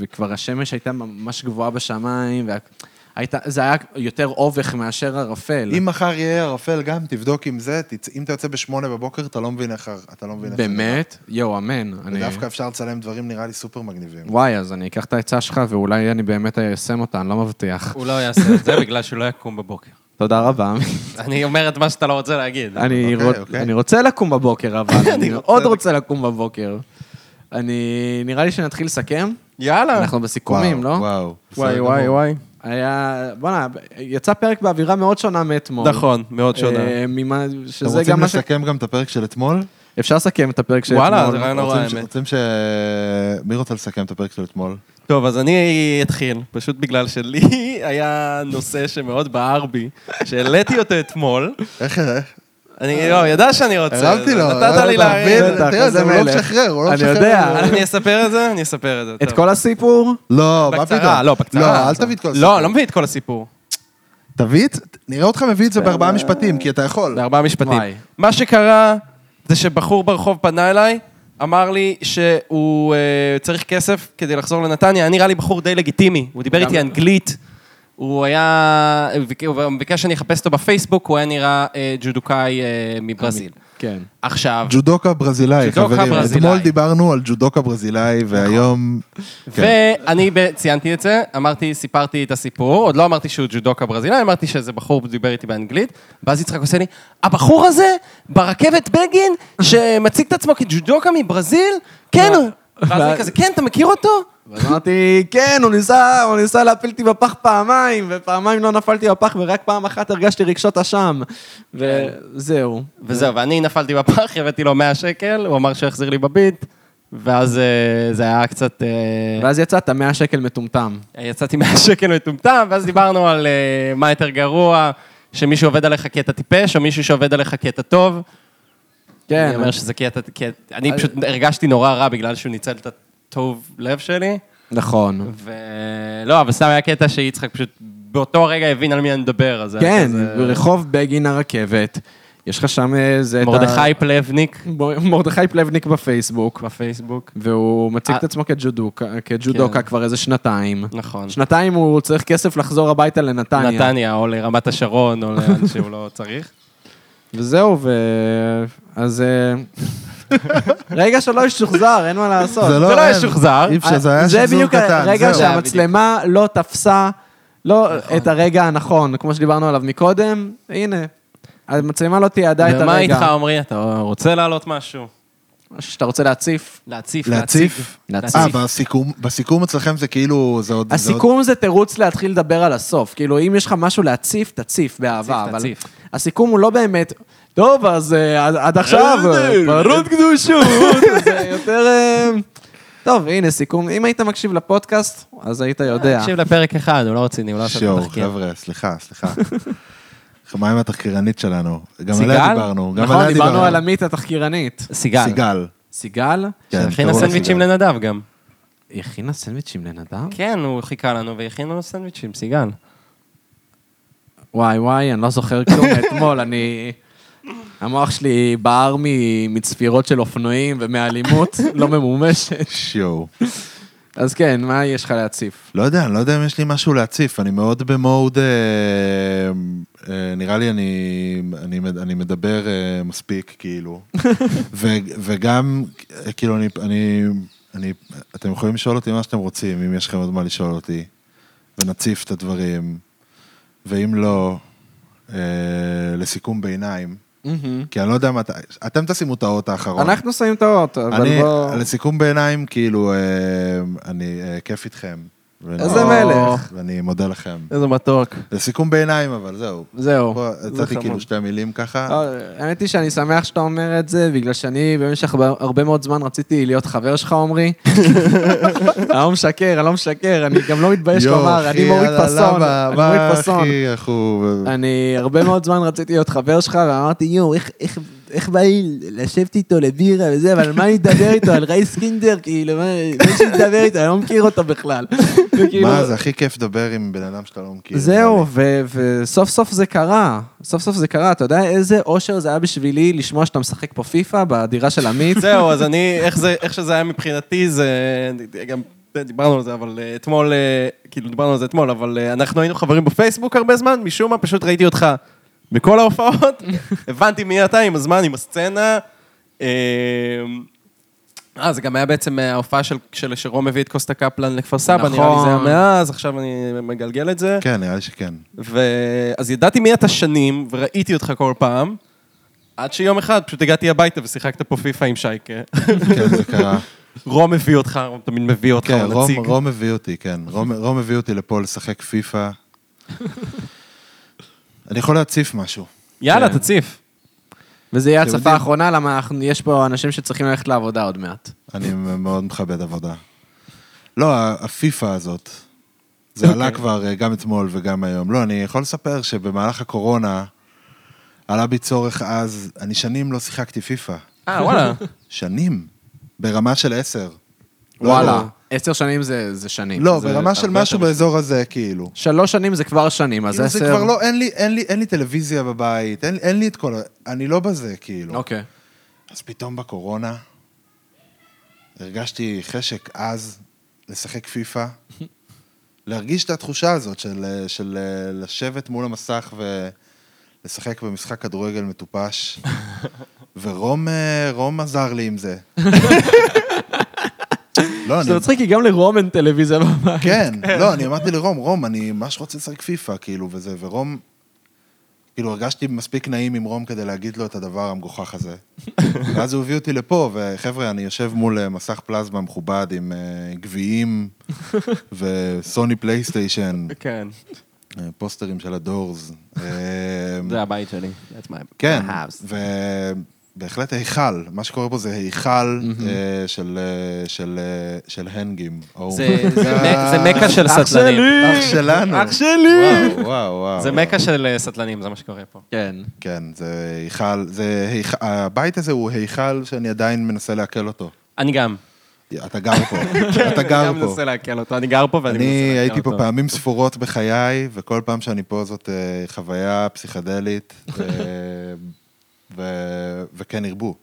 [SPEAKER 1] וכבר השמש הייתה ממש גבוהה בשמיים, וזה היה יותר אובך מאשר ערפל.
[SPEAKER 2] אם מחר יהיה ערפל גם, תבדוק עם זה, תצ... אם אתה יוצא בשמונה בבוקר, אתה לא מבין איך... ה- אתה לא מבין איך... זה נראה.
[SPEAKER 1] באמת? יואו, אמן. אני-
[SPEAKER 2] ודווקא אפשר לצלם דברים נראה לי סופר מגניבים.
[SPEAKER 1] וואי, אז אני אקח את העצה שלך ואולי אני באמת איישם אותה, אני לא מבטיח.
[SPEAKER 4] הוא לא יעשה את זה בגלל שהוא לא יקום בבוקר.
[SPEAKER 1] תודה רבה.
[SPEAKER 4] אני אומר את מה שאתה לא רוצה להגיד.
[SPEAKER 1] אני
[SPEAKER 2] אוקיי,
[SPEAKER 1] רוצ-
[SPEAKER 2] אוקיי.
[SPEAKER 1] אני רוצה לקום בבוקר, אבל אני מאוד רוצה לקום בבוקר. אני... נראה לי שנתחיל לסכם.
[SPEAKER 4] יאללה.
[SPEAKER 1] אנחנו בסיכומים, לא?
[SPEAKER 2] וואו.
[SPEAKER 4] וואי,
[SPEAKER 2] בסדר
[SPEAKER 4] וואי,
[SPEAKER 2] גמור.
[SPEAKER 4] וואי.
[SPEAKER 1] היה, בואנה, יצא פרק באווירה מאוד שונה מאתמול.
[SPEAKER 4] נכון, מאוד שונה.
[SPEAKER 1] אה, ממה,
[SPEAKER 2] אתם
[SPEAKER 1] שזה
[SPEAKER 2] רוצים
[SPEAKER 1] גם מה ש...
[SPEAKER 2] לסכם גם את הפרק של אתמול?
[SPEAKER 1] אפשר לסכם את הפרק של אתמול.
[SPEAKER 4] וואלה, זה רעיון נורא
[SPEAKER 2] רוצים ש-
[SPEAKER 4] לא האמת.
[SPEAKER 2] רוצים ש... מי רוצה לסכם את הפרק של אתמול?
[SPEAKER 4] טוב, אז אני אתחיל, פשוט בגלל שלי היה נושא שמאוד בער בי, שהעליתי אותו אתמול.
[SPEAKER 2] איך... איך-
[SPEAKER 4] אני לא, ידע שאני רוצה.
[SPEAKER 2] הרמתי לו.
[SPEAKER 4] נתת לי
[SPEAKER 1] בטח,
[SPEAKER 4] להרים.
[SPEAKER 2] להבין. תראה,
[SPEAKER 1] איזה
[SPEAKER 2] זה הוא לא
[SPEAKER 1] מלך.
[SPEAKER 2] משחרר, הוא לא
[SPEAKER 1] אני
[SPEAKER 2] משחרר.
[SPEAKER 1] יודע.
[SPEAKER 4] אני אספר את זה? אני אספר את זה.
[SPEAKER 1] את
[SPEAKER 4] טוב.
[SPEAKER 1] כל הסיפור?
[SPEAKER 2] לא, מה פתאום?
[SPEAKER 4] בקצרה, לא, בקצרה.
[SPEAKER 2] לא, אל תביא את כל הסיפור.
[SPEAKER 4] לא, לא מביא את כל הסיפור.
[SPEAKER 2] תביא את... נראה אותך מביא את זה בארבעה משפטים, כי אתה יכול.
[SPEAKER 4] בארבעה משפטים.
[SPEAKER 1] וואי.
[SPEAKER 4] מה שקרה זה שבחור ברחוב פנה אליי, אמר לי שהוא אה, צריך כסף כדי לחזור לנתניה, היה נראה לי בחור די לגיטימי, הוא דיבר איתי אנגלית, הוא היה, הוא ביקש שאני אחפש אותו בפייסבוק, הוא היה נראה אה, ג'ודוקאי אה, מברזיל.
[SPEAKER 1] כן.
[SPEAKER 4] עכשיו,
[SPEAKER 2] ג'ודוקה ברזילאי,
[SPEAKER 4] ג'ודוקה
[SPEAKER 2] חברים.
[SPEAKER 4] ברזילאי. נכון.
[SPEAKER 2] אתמול דיברנו על ג'ודוקה ברזילאי, והיום... כן.
[SPEAKER 4] ואני ב- ציינתי את זה, אמרתי, סיפרתי את הסיפור, עוד לא אמרתי שהוא ג'ודוקה ברזילאי, אמרתי שזה בחור דיבר איתי באנגלית, ואז יצחק עושה לי, הבחור הזה ברכבת בגין, שמציג את עצמו כג'ודוקה מברזיל, כן הוא. ואז אני כזה, כן, אתה מכיר אותו?
[SPEAKER 1] ואז אמרתי, כן, הוא ניסה, הוא ניסה להפיל אותי בפח פעמיים, ופעמיים לא נפלתי בפח, ורק פעם אחת הרגשתי רגשות אשם. וזהו.
[SPEAKER 4] וזהו, ואני נפלתי בפח, הבאתי לו 100 שקל, הוא אמר שהוא יחזיר לי בביט, ואז אה, זה היה קצת... אה,
[SPEAKER 1] ואז יצאת 100 שקל מטומטם.
[SPEAKER 4] יצאתי מהשקל מטומטם, ואז דיברנו על אה, מה יותר גרוע, שמישהו עובד עליך כי אתה טיפש, או מישהו שעובד עליך כי אתה טוב.
[SPEAKER 1] כן.
[SPEAKER 4] אני אומר שזה כי אתה... כי... אני פשוט הרגשתי נורא רע בגלל שהוא ניצל את הטוב לב שלי,
[SPEAKER 1] נכון.
[SPEAKER 4] ולא, אבל סתם היה קטע שיצחק פשוט באותו רגע הבין על מי אני מדבר, אז... היה
[SPEAKER 1] כן,
[SPEAKER 4] כזה-
[SPEAKER 1] ברחוב בגין הרכבת. יש לך שם איזה... את ה-
[SPEAKER 4] מרדכי פלבניק
[SPEAKER 1] ב- מרדכי פלבניק בפייסבוק,
[SPEAKER 4] בפייסבוק.
[SPEAKER 1] והוא מציג
[SPEAKER 4] אה.
[SPEAKER 1] את עצמו כג'ודוקה, כג'ודוקה
[SPEAKER 4] כן.
[SPEAKER 1] כבר איזה שנתיים.
[SPEAKER 4] נכון.
[SPEAKER 1] שנתיים הוא צריך כסף לחזור הביתה לנתניה.
[SPEAKER 4] נתניה, או לרמת השרון, או לאן שהוא לא צריך.
[SPEAKER 1] וזהו, ו... אז... אה, רגע שלא ישוחזר, אין מה לעשות. אה,
[SPEAKER 4] זה לא
[SPEAKER 2] הם.
[SPEAKER 4] ישוחזר.
[SPEAKER 2] אי אפשר, זה היה שחזור
[SPEAKER 1] בדיוק
[SPEAKER 2] קטן.
[SPEAKER 1] הרגע
[SPEAKER 2] זהו.
[SPEAKER 1] שהמצלמה לא תפסה, לא
[SPEAKER 4] נכון.
[SPEAKER 1] את הרגע הנכון, כמו שדיברנו עליו מקודם, הנה. המצלמה לא תיעדה את הרגע.
[SPEAKER 4] ומה איתך, עמרי? אתה רוצה לעלות משהו?
[SPEAKER 1] שאתה רוצה להציף.
[SPEAKER 4] להציף,
[SPEAKER 2] להציף?
[SPEAKER 1] להציף.
[SPEAKER 2] אה, בסיכום- בסיכום אצלכם זה כאילו, זה עוד... זה עוד-
[SPEAKER 1] הסיכום זה תירוץ להתחיל לדבר על הסוף. כאילו, אם יש לך משהו להציף, תציף באהבה.
[SPEAKER 4] תציף,
[SPEAKER 1] אבל
[SPEAKER 4] תציף.
[SPEAKER 1] הסיכום הוא לא באמת, טוב, אז אה, עד- עד עכשיו, אה, פרות קדושות. זה יותר... אה, טוב, הנה סיכום. אם היית מקשיב לפודקאסט, אז היית יודע.
[SPEAKER 4] אה, תקשיב לפרק אחד, הוא לא רציני, הוא לא עשה את
[SPEAKER 2] שואו,
[SPEAKER 4] התחקיר.
[SPEAKER 2] חבר'ה, סליחה, סליחה. מה עם התחקירנית שלנו? גם
[SPEAKER 4] סיגל?
[SPEAKER 2] עליה דיברנו. גם
[SPEAKER 1] נכון,
[SPEAKER 2] עליה
[SPEAKER 1] דיברנו על עמית התחקירנית.
[SPEAKER 4] סיגל.
[SPEAKER 2] סיגל.
[SPEAKER 1] סיגל,
[SPEAKER 2] כן,
[SPEAKER 4] שהכינה
[SPEAKER 2] קראו לה
[SPEAKER 4] סנדוויצ'ים
[SPEAKER 2] סיגל.
[SPEAKER 4] לנדב גם.
[SPEAKER 1] היא הכינה סנדוויצ'ים לנדב?
[SPEAKER 4] כן, הוא חיכה לנו והכינו לו סנדוויצ'ים, סיגל.
[SPEAKER 1] וואי וואי, אני לא זוכר כלום מאתמול, אני... המוח שלי בער מ- מצפירות של אופנועים ומאלימות לא ממומשת.
[SPEAKER 2] שואו.
[SPEAKER 1] אז כן, מה יש לך להציף?
[SPEAKER 2] לא יודע, אני לא יודע אם יש לי משהו להציף, אני מאוד במוד, אה, אה, נראה לי אני, אני, מד- אני מדבר אה, מספיק, כאילו. ו, וגם, אה, כאילו, אני, אני, אני, אתם יכולים לשאול אותי מה שאתם רוצים, אם יש לכם עוד מה לשאול אותי, ונציף את הדברים, ואם לא, אה, לסיכום ביניים, כי אני לא יודע מה, אתה- אתם תשימו את האות האחרון.
[SPEAKER 1] Mm-hmm. אנחנו שמים את האות, אבל
[SPEAKER 2] נכון. אני,
[SPEAKER 1] בוא...
[SPEAKER 2] לסיכום בעיניים, כאילו, אה, אני, אה, כיף איתכם. ואני-
[SPEAKER 1] איזה
[SPEAKER 2] או,
[SPEAKER 1] מלך.
[SPEAKER 2] ואני מודה לכם.
[SPEAKER 4] איזה מתוק.
[SPEAKER 2] לסיכום בעיניים, אבל זהו.
[SPEAKER 1] זהו.
[SPEAKER 2] פה יצאתי
[SPEAKER 4] חמוד.
[SPEAKER 2] כאילו שתי מילים ככה.
[SPEAKER 1] אה, האמת היא שאני שמח שאתה אומר את זה, בגלל שאני במשך הרבה- הרבה מאוד זמן רציתי להיות חבר שלך, עמרי. אני לא משקר, אני לא משקר, אני גם לא מתבייש
[SPEAKER 2] יואו,
[SPEAKER 1] לומר,
[SPEAKER 2] אחי,
[SPEAKER 1] אני מוריד
[SPEAKER 2] יאללה,
[SPEAKER 1] פסון,
[SPEAKER 2] למה?
[SPEAKER 1] אני
[SPEAKER 2] מה,
[SPEAKER 1] מוריד פסון.
[SPEAKER 2] אחי, אנחנו...
[SPEAKER 1] אני הרבה מאוד זמן רציתי להיות חבר שלך, ואמרתי, יואו, איך, איך,
[SPEAKER 5] איך בא לי לשבת איתו לבירה וזה, אבל על מה אני אדבר איתו? על רייס קינדר? כאילו, מה מה יש לי לדבר איתו? אני לא מכיר אותו בכלל. וכאילו,
[SPEAKER 2] מה, זה הכי כיף לדבר עם בן אדם שאתה לא מכיר.
[SPEAKER 1] כאילו- זהו, ו- וסוף סוף זה קרה. סוף סוף זה קרה. אתה יודע איזה אושר זה היה בשבילי לשמוע שאתה משחק פה פיפא בדירה של עמית?
[SPEAKER 4] זהו, אז אני, איך זה- איך שזה היה מבחינתי, זה... גם דיברנו על זה, אבל אה, אתמול, אה, כאילו דיברנו על זה אתמול, אבל אה, אנחנו היינו חברים בפייסבוק הרבה זמן, משום מה פשוט ראיתי אותך בכל ההופעות, הבנתי מי אתה עם הזמן, עם הסצנה. אה, אה, זה גם היה בעצם ההופעה של, של שרום הביא את קוסטה קפלן לכפר סבא, נראה לי זה היה
[SPEAKER 1] נכון.
[SPEAKER 4] מאז, עכשיו אני מגלגל את זה.
[SPEAKER 2] כן, נראה לי שכן.
[SPEAKER 4] ו- אז ידעתי מי אתה שנים, וראיתי אותך כל פעם, עד שיום אחד פשוט הגעתי הביתה ושיחקת פה פיפא עם שייקה.
[SPEAKER 2] כן, זה קרה.
[SPEAKER 4] רום הביא אותך, רום תמיד מביא אותך,
[SPEAKER 2] כן,
[SPEAKER 4] הוא
[SPEAKER 2] רום-
[SPEAKER 4] נציג.
[SPEAKER 2] רום הביא אותי, כן. רום- רום הביא אותי לפה לשחק פיפא. אני יכול להציף משהו.
[SPEAKER 4] יאללה,
[SPEAKER 1] כן.
[SPEAKER 4] תציף.
[SPEAKER 1] וזה יהיה הצפה
[SPEAKER 2] יודעים-
[SPEAKER 1] האחרונה, למה אנחנו- יש פה אנשים שצריכים ללכת לעבודה עוד מעט.
[SPEAKER 2] אני מאוד מכבד עבודה. לא, ה- הפיפא הזאת, זה
[SPEAKER 1] אוקיי.
[SPEAKER 2] עלה כבר אה, גם אתמול וגם היום. לא, אני יכול לספר שבמהלך הקורונה עלה בי צורך אז, אני שנים לא שיחקתי פיפא.
[SPEAKER 4] אה, וואלה.
[SPEAKER 2] שנים. ברמה של עשר. לא,
[SPEAKER 1] וואלה, עשר שנים זה זה שנים.
[SPEAKER 2] לא,
[SPEAKER 1] זה
[SPEAKER 2] ברמה של
[SPEAKER 1] הרבה
[SPEAKER 2] משהו
[SPEAKER 1] יותר.
[SPEAKER 2] באזור הזה, כאילו.
[SPEAKER 1] שלוש שנים זה כבר שנים, אז
[SPEAKER 2] כאילו
[SPEAKER 1] עשר...
[SPEAKER 2] זה כבר לא, אין לי, אין לי, אין לי טלוויזיה בבית, אין, אין לי את כל ה... אני לא בזה, כאילו.
[SPEAKER 1] אוקיי.
[SPEAKER 2] אז פתאום בקורונה הרגשתי חשק עז לשחק פיפא, להרגיש את התחושה הזאת של, של לשבת מול המסך ולשחק במשחק כדורגל מטופש. ורום אה, רום עזר לי עם זה. לא, אני...
[SPEAKER 1] זה מצחיק, כי גם לרום אין טלוויזיה בבית.
[SPEAKER 2] כן, לא, אני אמרתי לרום, רום, אני ממש רוצה לשחק פיפא, כאילו, וזה, ורום... כאילו, הרגשתי מספיק נעים עם רום כדי להגיד לו את הדבר המגוחך הזה. ואז הוא הביא אותי לפה, וחבר'ה, אני יושב מול אה, מסך פלזמה מכובד עם אה, גביעים וסוני פלייסטיישן,
[SPEAKER 4] כן.
[SPEAKER 2] אה, פוסטרים של הדורס. אה,
[SPEAKER 4] זה הבית שלי. That's my...
[SPEAKER 2] כן,
[SPEAKER 5] House.
[SPEAKER 2] ובהחלט היכל, מה שקורה פה זה היכל אה, של, אה, של, אה, של הנגים. או-
[SPEAKER 4] זה- זה מק- זה מכה של סטלנים.
[SPEAKER 2] אח שלנו.
[SPEAKER 1] אח שלי!
[SPEAKER 2] וואו, וואו, וואו.
[SPEAKER 4] זה מכה של אה, סטלנים, זה מה שקורה פה.
[SPEAKER 1] כן.
[SPEAKER 2] כן, זה היכל, זה היכל, הבית הזה הוא היכל שאני עדיין מנסה לעכל אותו.
[SPEAKER 4] אני גם.
[SPEAKER 2] אתה גר פה, אתה גר
[SPEAKER 4] כן, אני גם
[SPEAKER 2] פה.
[SPEAKER 4] מנסה לעכל אותו, אני גר פה ואני
[SPEAKER 2] אני
[SPEAKER 4] מנסה לעכל
[SPEAKER 2] הייתי פה
[SPEAKER 4] אותו.
[SPEAKER 2] פעמים ספורות בחיי, וכל פעם שאני פה זאת אה, חוויה פסיכדלית, אה, ו- וכן ירבו.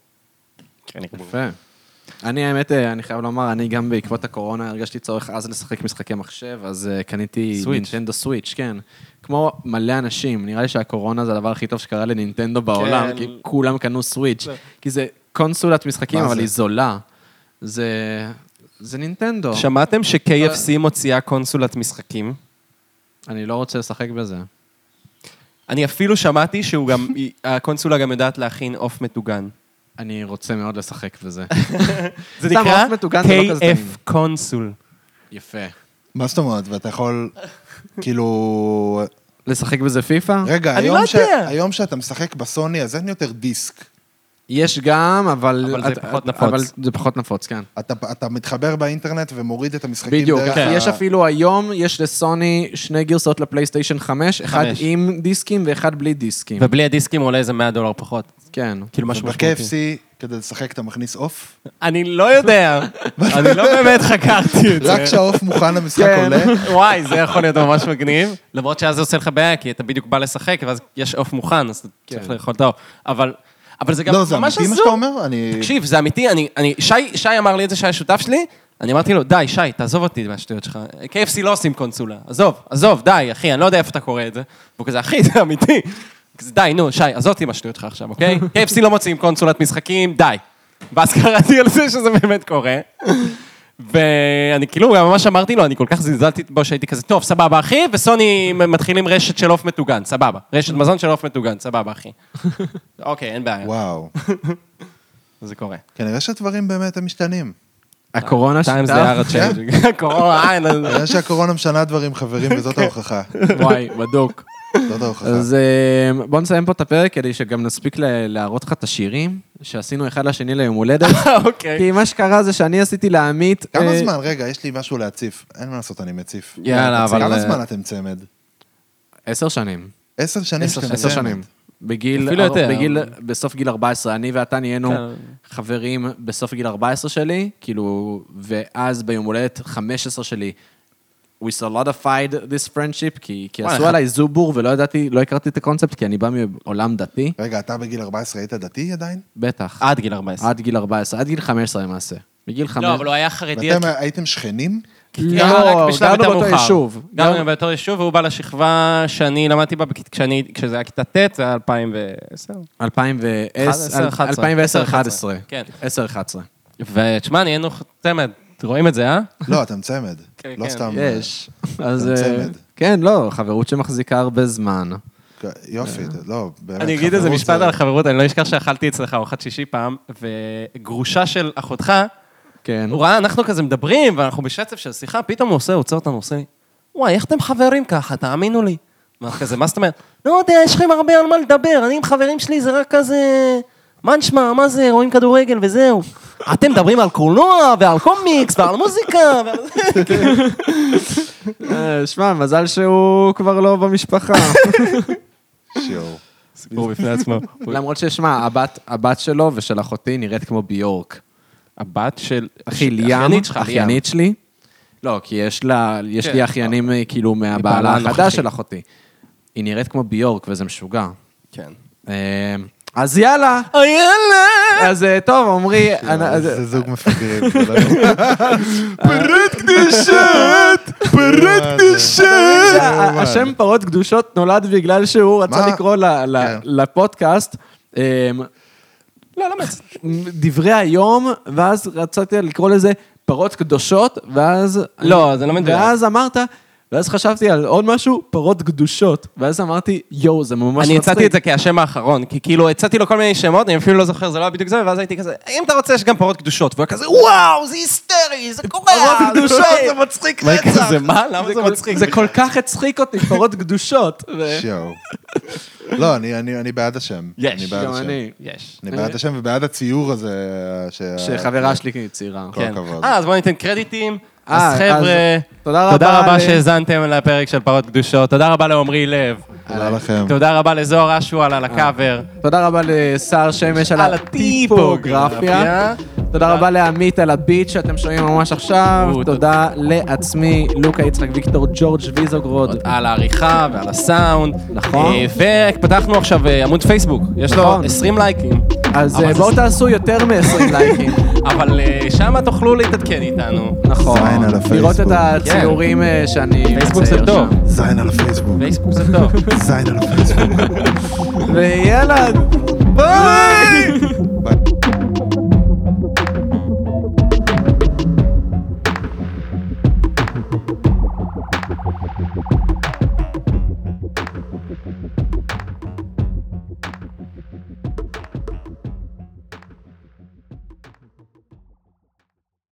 [SPEAKER 4] כן, אני כמובן.
[SPEAKER 1] יפה. אני, האמת, אה, אני חייב לומר, אני גם בעקבות הקורונה הרגשתי צורך אז לשחק משחקי מחשב, אז אה, קניתי
[SPEAKER 4] סוויץ'.
[SPEAKER 1] נינטנדו סוויץ', כן. כמו מלא אנשים, נראה לי שהקורונה זה הדבר הכי טוב שקרה לנינטנדו בעולם, כי כולם קנו סוויץ', כי זה קונסולת משחקים,
[SPEAKER 2] מה
[SPEAKER 1] אבל
[SPEAKER 2] זה?
[SPEAKER 1] היא זולה. זה... זה נינטנדו.
[SPEAKER 4] שמעתם ש-KFC מוציאה קונסולת משחקים?
[SPEAKER 1] אני לא רוצה לשחק בזה.
[SPEAKER 4] אני אפילו שמעתי שהוא גם, היא- הקונסולה גם יודעת להכין עוף מטוגן.
[SPEAKER 1] אני רוצה מאוד לשחק בזה.
[SPEAKER 4] זה
[SPEAKER 1] סתם,
[SPEAKER 4] נקרא
[SPEAKER 1] עוף מטוגן זה לא כזה טעים.
[SPEAKER 4] KF קונסול.
[SPEAKER 1] יפה.
[SPEAKER 2] מה זאת אומרת? ואתה יכול, כאילו...
[SPEAKER 1] לשחק בזה פיפא?
[SPEAKER 2] רגע,
[SPEAKER 4] אני
[SPEAKER 2] היום
[SPEAKER 4] לא
[SPEAKER 2] ש-
[SPEAKER 4] יודע.
[SPEAKER 2] היום שאתה משחק בסוני, אז אין יותר דיסק.
[SPEAKER 1] יש גם, אבל...
[SPEAKER 4] אבל זה
[SPEAKER 1] את-
[SPEAKER 4] פחות
[SPEAKER 1] את-
[SPEAKER 4] נפוץ.
[SPEAKER 1] אבל זה פחות נפוץ, כן.
[SPEAKER 2] אתה, אתה מתחבר באינטרנט ומוריד את המשחקים
[SPEAKER 1] בדיוק,
[SPEAKER 2] דרך...
[SPEAKER 1] כן.
[SPEAKER 2] ה-
[SPEAKER 1] יש אפילו היום, יש לסוני שני גרסאות לפלייסטיישן 5, אחד
[SPEAKER 4] חמש.
[SPEAKER 1] עם דיסקים ואחד בלי דיסקים.
[SPEAKER 4] ובלי הדיסקים הוא עולה איזה 100 דולר פחות.
[SPEAKER 1] כן.
[SPEAKER 4] כאילו משהו משמעותי.
[SPEAKER 2] ב-KFC, כדי לשחק אתה מכניס עוף?
[SPEAKER 4] אני לא יודע, אני לא באמת חקרתי את
[SPEAKER 2] רק
[SPEAKER 4] זה.
[SPEAKER 2] כשהעוף מוכן למשחק
[SPEAKER 4] כן.
[SPEAKER 2] עולה?
[SPEAKER 4] וואי, זה יכול להיות ממש מגניב. למרות שאז זה עושה לך בעיה, כי אתה בדיוק בא לשחק, ואז יש עוף מוכן, אז אתה צריך לאכול את העוף. אבל אבל זה גם
[SPEAKER 2] לא, זה
[SPEAKER 4] ממש
[SPEAKER 2] אמיתי מה
[SPEAKER 4] הזוי.
[SPEAKER 2] שאתה אומר? אני...
[SPEAKER 4] תקשיב, זה אמיתי, אני, אני, שי, שי אמר לי את זה, שי השותף שלי, אני אמרתי לו, די, שי, תעזוב אותי מהשטויות שלך. KFC לא עושים קונסולה, עזוב, עזוב, די, אחי, אני לא יודע איפה אתה קורא את זה. והוא כזה, אחי, זה אמיתי. כזה, די, נו, שי, עזוב אותי מהשטויות שלך עכשיו, אוקיי? KFC לא מוציאים קונסולת משחקים, די. ואז קראתי על זה שזה באמת קורה. ואני כאילו גם ממש אמרתי לו, אני כל כך זלזלתי בו שהייתי כזה, טוב, סבבה אחי, וסוני מתחילים רשת של עוף מטוגן, סבבה. רשת מזון של עוף מטוגן, סבבה אחי. אוקיי, אין בעיה,
[SPEAKER 2] וואו.
[SPEAKER 4] זה קורה.
[SPEAKER 2] כנראה שהדברים באמת הם משתנים.
[SPEAKER 1] הקורונה
[SPEAKER 4] טיים זה
[SPEAKER 1] שיטה,
[SPEAKER 4] הארד
[SPEAKER 1] כן.
[SPEAKER 4] צ'יינג'ינג. קורונה, אה, אין, אז-
[SPEAKER 2] כנראה שהקורונה משנה דברים, חברים,
[SPEAKER 4] כן.
[SPEAKER 2] וזאת ההוכחה.
[SPEAKER 1] וואי, בדוק.
[SPEAKER 2] זאת ההוכחה.
[SPEAKER 1] אז אה, בוא נסיים פה את הפרק כדי שגם נספיק ל- להראות לך את השירים שעשינו אחד לשני ליום הולדת.
[SPEAKER 4] אוקיי.
[SPEAKER 1] כי מה שקרה זה שאני עשיתי לעמית...
[SPEAKER 2] כמה
[SPEAKER 1] אה,
[SPEAKER 2] זמן? רגע, יש לי משהו להציף. אין מה לעשות, אני מציף.
[SPEAKER 4] אה,
[SPEAKER 1] יאללה, אבל-
[SPEAKER 2] כמה זמן אתם צמד?
[SPEAKER 1] עשר שנים.
[SPEAKER 2] עשר שנים שאתם
[SPEAKER 1] עשר
[SPEAKER 2] צמד.
[SPEAKER 1] שנים. בגיל,
[SPEAKER 4] אפילו
[SPEAKER 1] אר-
[SPEAKER 4] יותר.
[SPEAKER 1] בגיל, בסוף גיל 14, אני ואתה נהיינו
[SPEAKER 4] כן.
[SPEAKER 1] חברים בסוף גיל 14 שלי, כאילו, ואז ביום הולדת 15 שלי, we solidified this friendship, כי, כי
[SPEAKER 4] וואי,
[SPEAKER 1] עשו
[SPEAKER 4] אחד-
[SPEAKER 1] עליי זובור ולא ידעתי, לא הכרתי את הקונספט, כי אני בא מעולם דתי,
[SPEAKER 2] רגע, אתה בגיל 14 היית דתי עדיין?
[SPEAKER 1] בטח,
[SPEAKER 4] עד גיל 14.
[SPEAKER 1] עד גיל 14, עד גיל 15 למעשה. בגיל 15...
[SPEAKER 4] לא, אבל הוא היה חרדי.
[SPEAKER 2] ואתם הייתם שכנים?
[SPEAKER 1] לא, גרנו באותו יישוב. גר-
[SPEAKER 4] גרנו באותו יישוב, והוא בא לשכבה שאני למדתי בה, בכ- כשאני- כשזה היה כיתה ט', זה היה 2010. 11,
[SPEAKER 1] 2010,
[SPEAKER 4] 11.
[SPEAKER 1] 2010-2011.
[SPEAKER 4] כן.
[SPEAKER 1] 10-11.
[SPEAKER 4] ותשמע, נהיינו צמד. רואים את זה, אה?
[SPEAKER 2] לא, אתם צמד.
[SPEAKER 4] כן,
[SPEAKER 2] לא
[SPEAKER 4] כן.
[SPEAKER 2] סתם...
[SPEAKER 1] יש. אז... אה,
[SPEAKER 2] צמד.
[SPEAKER 1] כן, לא, חברות שמחזיקה הרבה זמן.
[SPEAKER 2] יופי, לא, באמת.
[SPEAKER 4] אה. אני אגיד איזה
[SPEAKER 2] חברות
[SPEAKER 4] משפט
[SPEAKER 2] זה-
[SPEAKER 4] על החברות, אני לא אשכח שאכלתי אצלך ארוחת שישי פעם, וגרושה של אחותך,
[SPEAKER 1] כן.
[SPEAKER 4] הוא ראה, אנחנו כזה מדברים, ואנחנו בשצף של שיחה, פתאום הוא עושה, הוא עוצר אותנו, הוא עושה לי, וואי, איך אתם חברים ככה, תאמינו לי. מה כזה, מה זאת אומרת? לא יודע, יש לכם הרבה על מה לדבר, אני עם חברים שלי זה רק כזה... מה נשמע, מה זה, רואים כדורגל וזהו. אתם מדברים על קולנוע ועל קומיקס ועל מוזיקה ועל זה.
[SPEAKER 1] אה, שמע, מזל שהוא כבר לא במשפחה.
[SPEAKER 2] שיעור.
[SPEAKER 4] סיפור בפני עצמו.
[SPEAKER 1] למרות ששמע, הבת- הבת שלו ושל אחותי נראית כמו ביורק.
[SPEAKER 4] הבת של...
[SPEAKER 1] אחי ליאם,
[SPEAKER 4] אחיינית שלך, ליאם.
[SPEAKER 1] אחיינית שלי. לא, כי יש לה, יש
[SPEAKER 4] כן.
[SPEAKER 1] לי אחיינים אה, כאילו מהבעלה
[SPEAKER 4] מבעלה
[SPEAKER 1] החדש
[SPEAKER 4] הנוכחי.
[SPEAKER 1] של אחותי. היא נראית כמו ביורק וזה משוגע.
[SPEAKER 4] כן.
[SPEAKER 1] אה, אז יאללה,
[SPEAKER 4] אוי, אה, יאללה!
[SPEAKER 1] אז אה, טוב, עמרי, אנ- אז-
[SPEAKER 2] לא, זה זוג מפגרים. זה לא- אה,
[SPEAKER 1] שה- השם פרות קדושות נולד בגלל שהוא רצה
[SPEAKER 2] מה?
[SPEAKER 1] לקרוא ל- ל-
[SPEAKER 2] כן.
[SPEAKER 1] לפודקאסט. אמ,
[SPEAKER 4] לא, לא מצ...
[SPEAKER 1] דברי היום, ואז רציתי לקרוא לזה פרות קדושות, ואז...
[SPEAKER 4] לא, זה לא מדויק.
[SPEAKER 1] ואז אמרת, ואז חשבתי על עוד משהו, פרות קדושות, ואז אמרתי, יואו, זה ממש מצחיק.
[SPEAKER 4] אני הצעתי את זה כהשם האחרון, כי כאילו הצעתי לו כל מיני שמות, אני אפילו לא זוכר, זה לא היה בדיוק זה, ואז הייתי כזה, אם אתה רוצה, יש גם פרות קדושות. והוא היה כזה, וואו, זה היסטרי, זה קורה.
[SPEAKER 1] פרות קדושות, זה
[SPEAKER 4] מצחיק רצח. זה מה? למה זה
[SPEAKER 1] כל-
[SPEAKER 4] מצחיק?
[SPEAKER 1] זה כל כך הצחיק אותי, פרות קדושות. ו-
[SPEAKER 2] שיעור. לא, אני- אני אני בעד השם.
[SPEAKER 4] יש,
[SPEAKER 2] אני בעד
[SPEAKER 1] גם
[SPEAKER 2] השם.
[SPEAKER 1] אני.
[SPEAKER 4] יש.
[SPEAKER 2] אני בעד השם ובעד הציור הזה. אה, שה-
[SPEAKER 1] שחברה שלי צעירה.
[SPEAKER 2] כל
[SPEAKER 4] כן.
[SPEAKER 2] הכבוד.
[SPEAKER 4] אה, אז בואו ניתן קרדיטים.
[SPEAKER 1] אה,
[SPEAKER 4] אז חבר'ה,
[SPEAKER 1] אז תודה רבה אה,
[SPEAKER 4] תודה רבה
[SPEAKER 1] ל-
[SPEAKER 4] שהאזנתם לפרק של פרות קדושות, תודה רבה לעמרי לב,
[SPEAKER 2] תודה לכם.
[SPEAKER 4] תודה רבה לזוהר אשואל על הקאבר.
[SPEAKER 1] תודה רבה לשר שמש על
[SPEAKER 4] על
[SPEAKER 1] הטיפוגרפיה.
[SPEAKER 4] הטיפוגרפיה.
[SPEAKER 1] תודה רבה לעמית על הביט שאתם שומעים ממש עכשיו.
[SPEAKER 4] או,
[SPEAKER 1] תודה לעצמי, לוקה יצחק ויקטור, ג'ורג' ויזוגרוד.
[SPEAKER 4] על העריכה ועל הסאונד.
[SPEAKER 1] אה. נכון.
[SPEAKER 4] אה, ופתחנו עכשיו אה, עמוד פייסבוק, יש לו
[SPEAKER 1] נכון.
[SPEAKER 4] 20 לייקים.
[SPEAKER 1] אז
[SPEAKER 4] אבל
[SPEAKER 1] אה,
[SPEAKER 4] זה-
[SPEAKER 1] בואו תעשו יותר מ-20 לייקים.
[SPEAKER 4] אבל אה, שם תוכלו להתעדכן איתנו.
[SPEAKER 1] נכון.
[SPEAKER 2] זין על
[SPEAKER 1] לראות את
[SPEAKER 2] הפייסבוק.
[SPEAKER 1] הציורים אה, שאני מצייר שם.
[SPEAKER 4] כן. פייסבוק זה טוב.
[SPEAKER 2] זין על הפייסבוק.
[SPEAKER 4] פייסבוק זה טוב.
[SPEAKER 2] זין על הפייסבוק.
[SPEAKER 1] ויאללה, ביי!
[SPEAKER 2] ביי.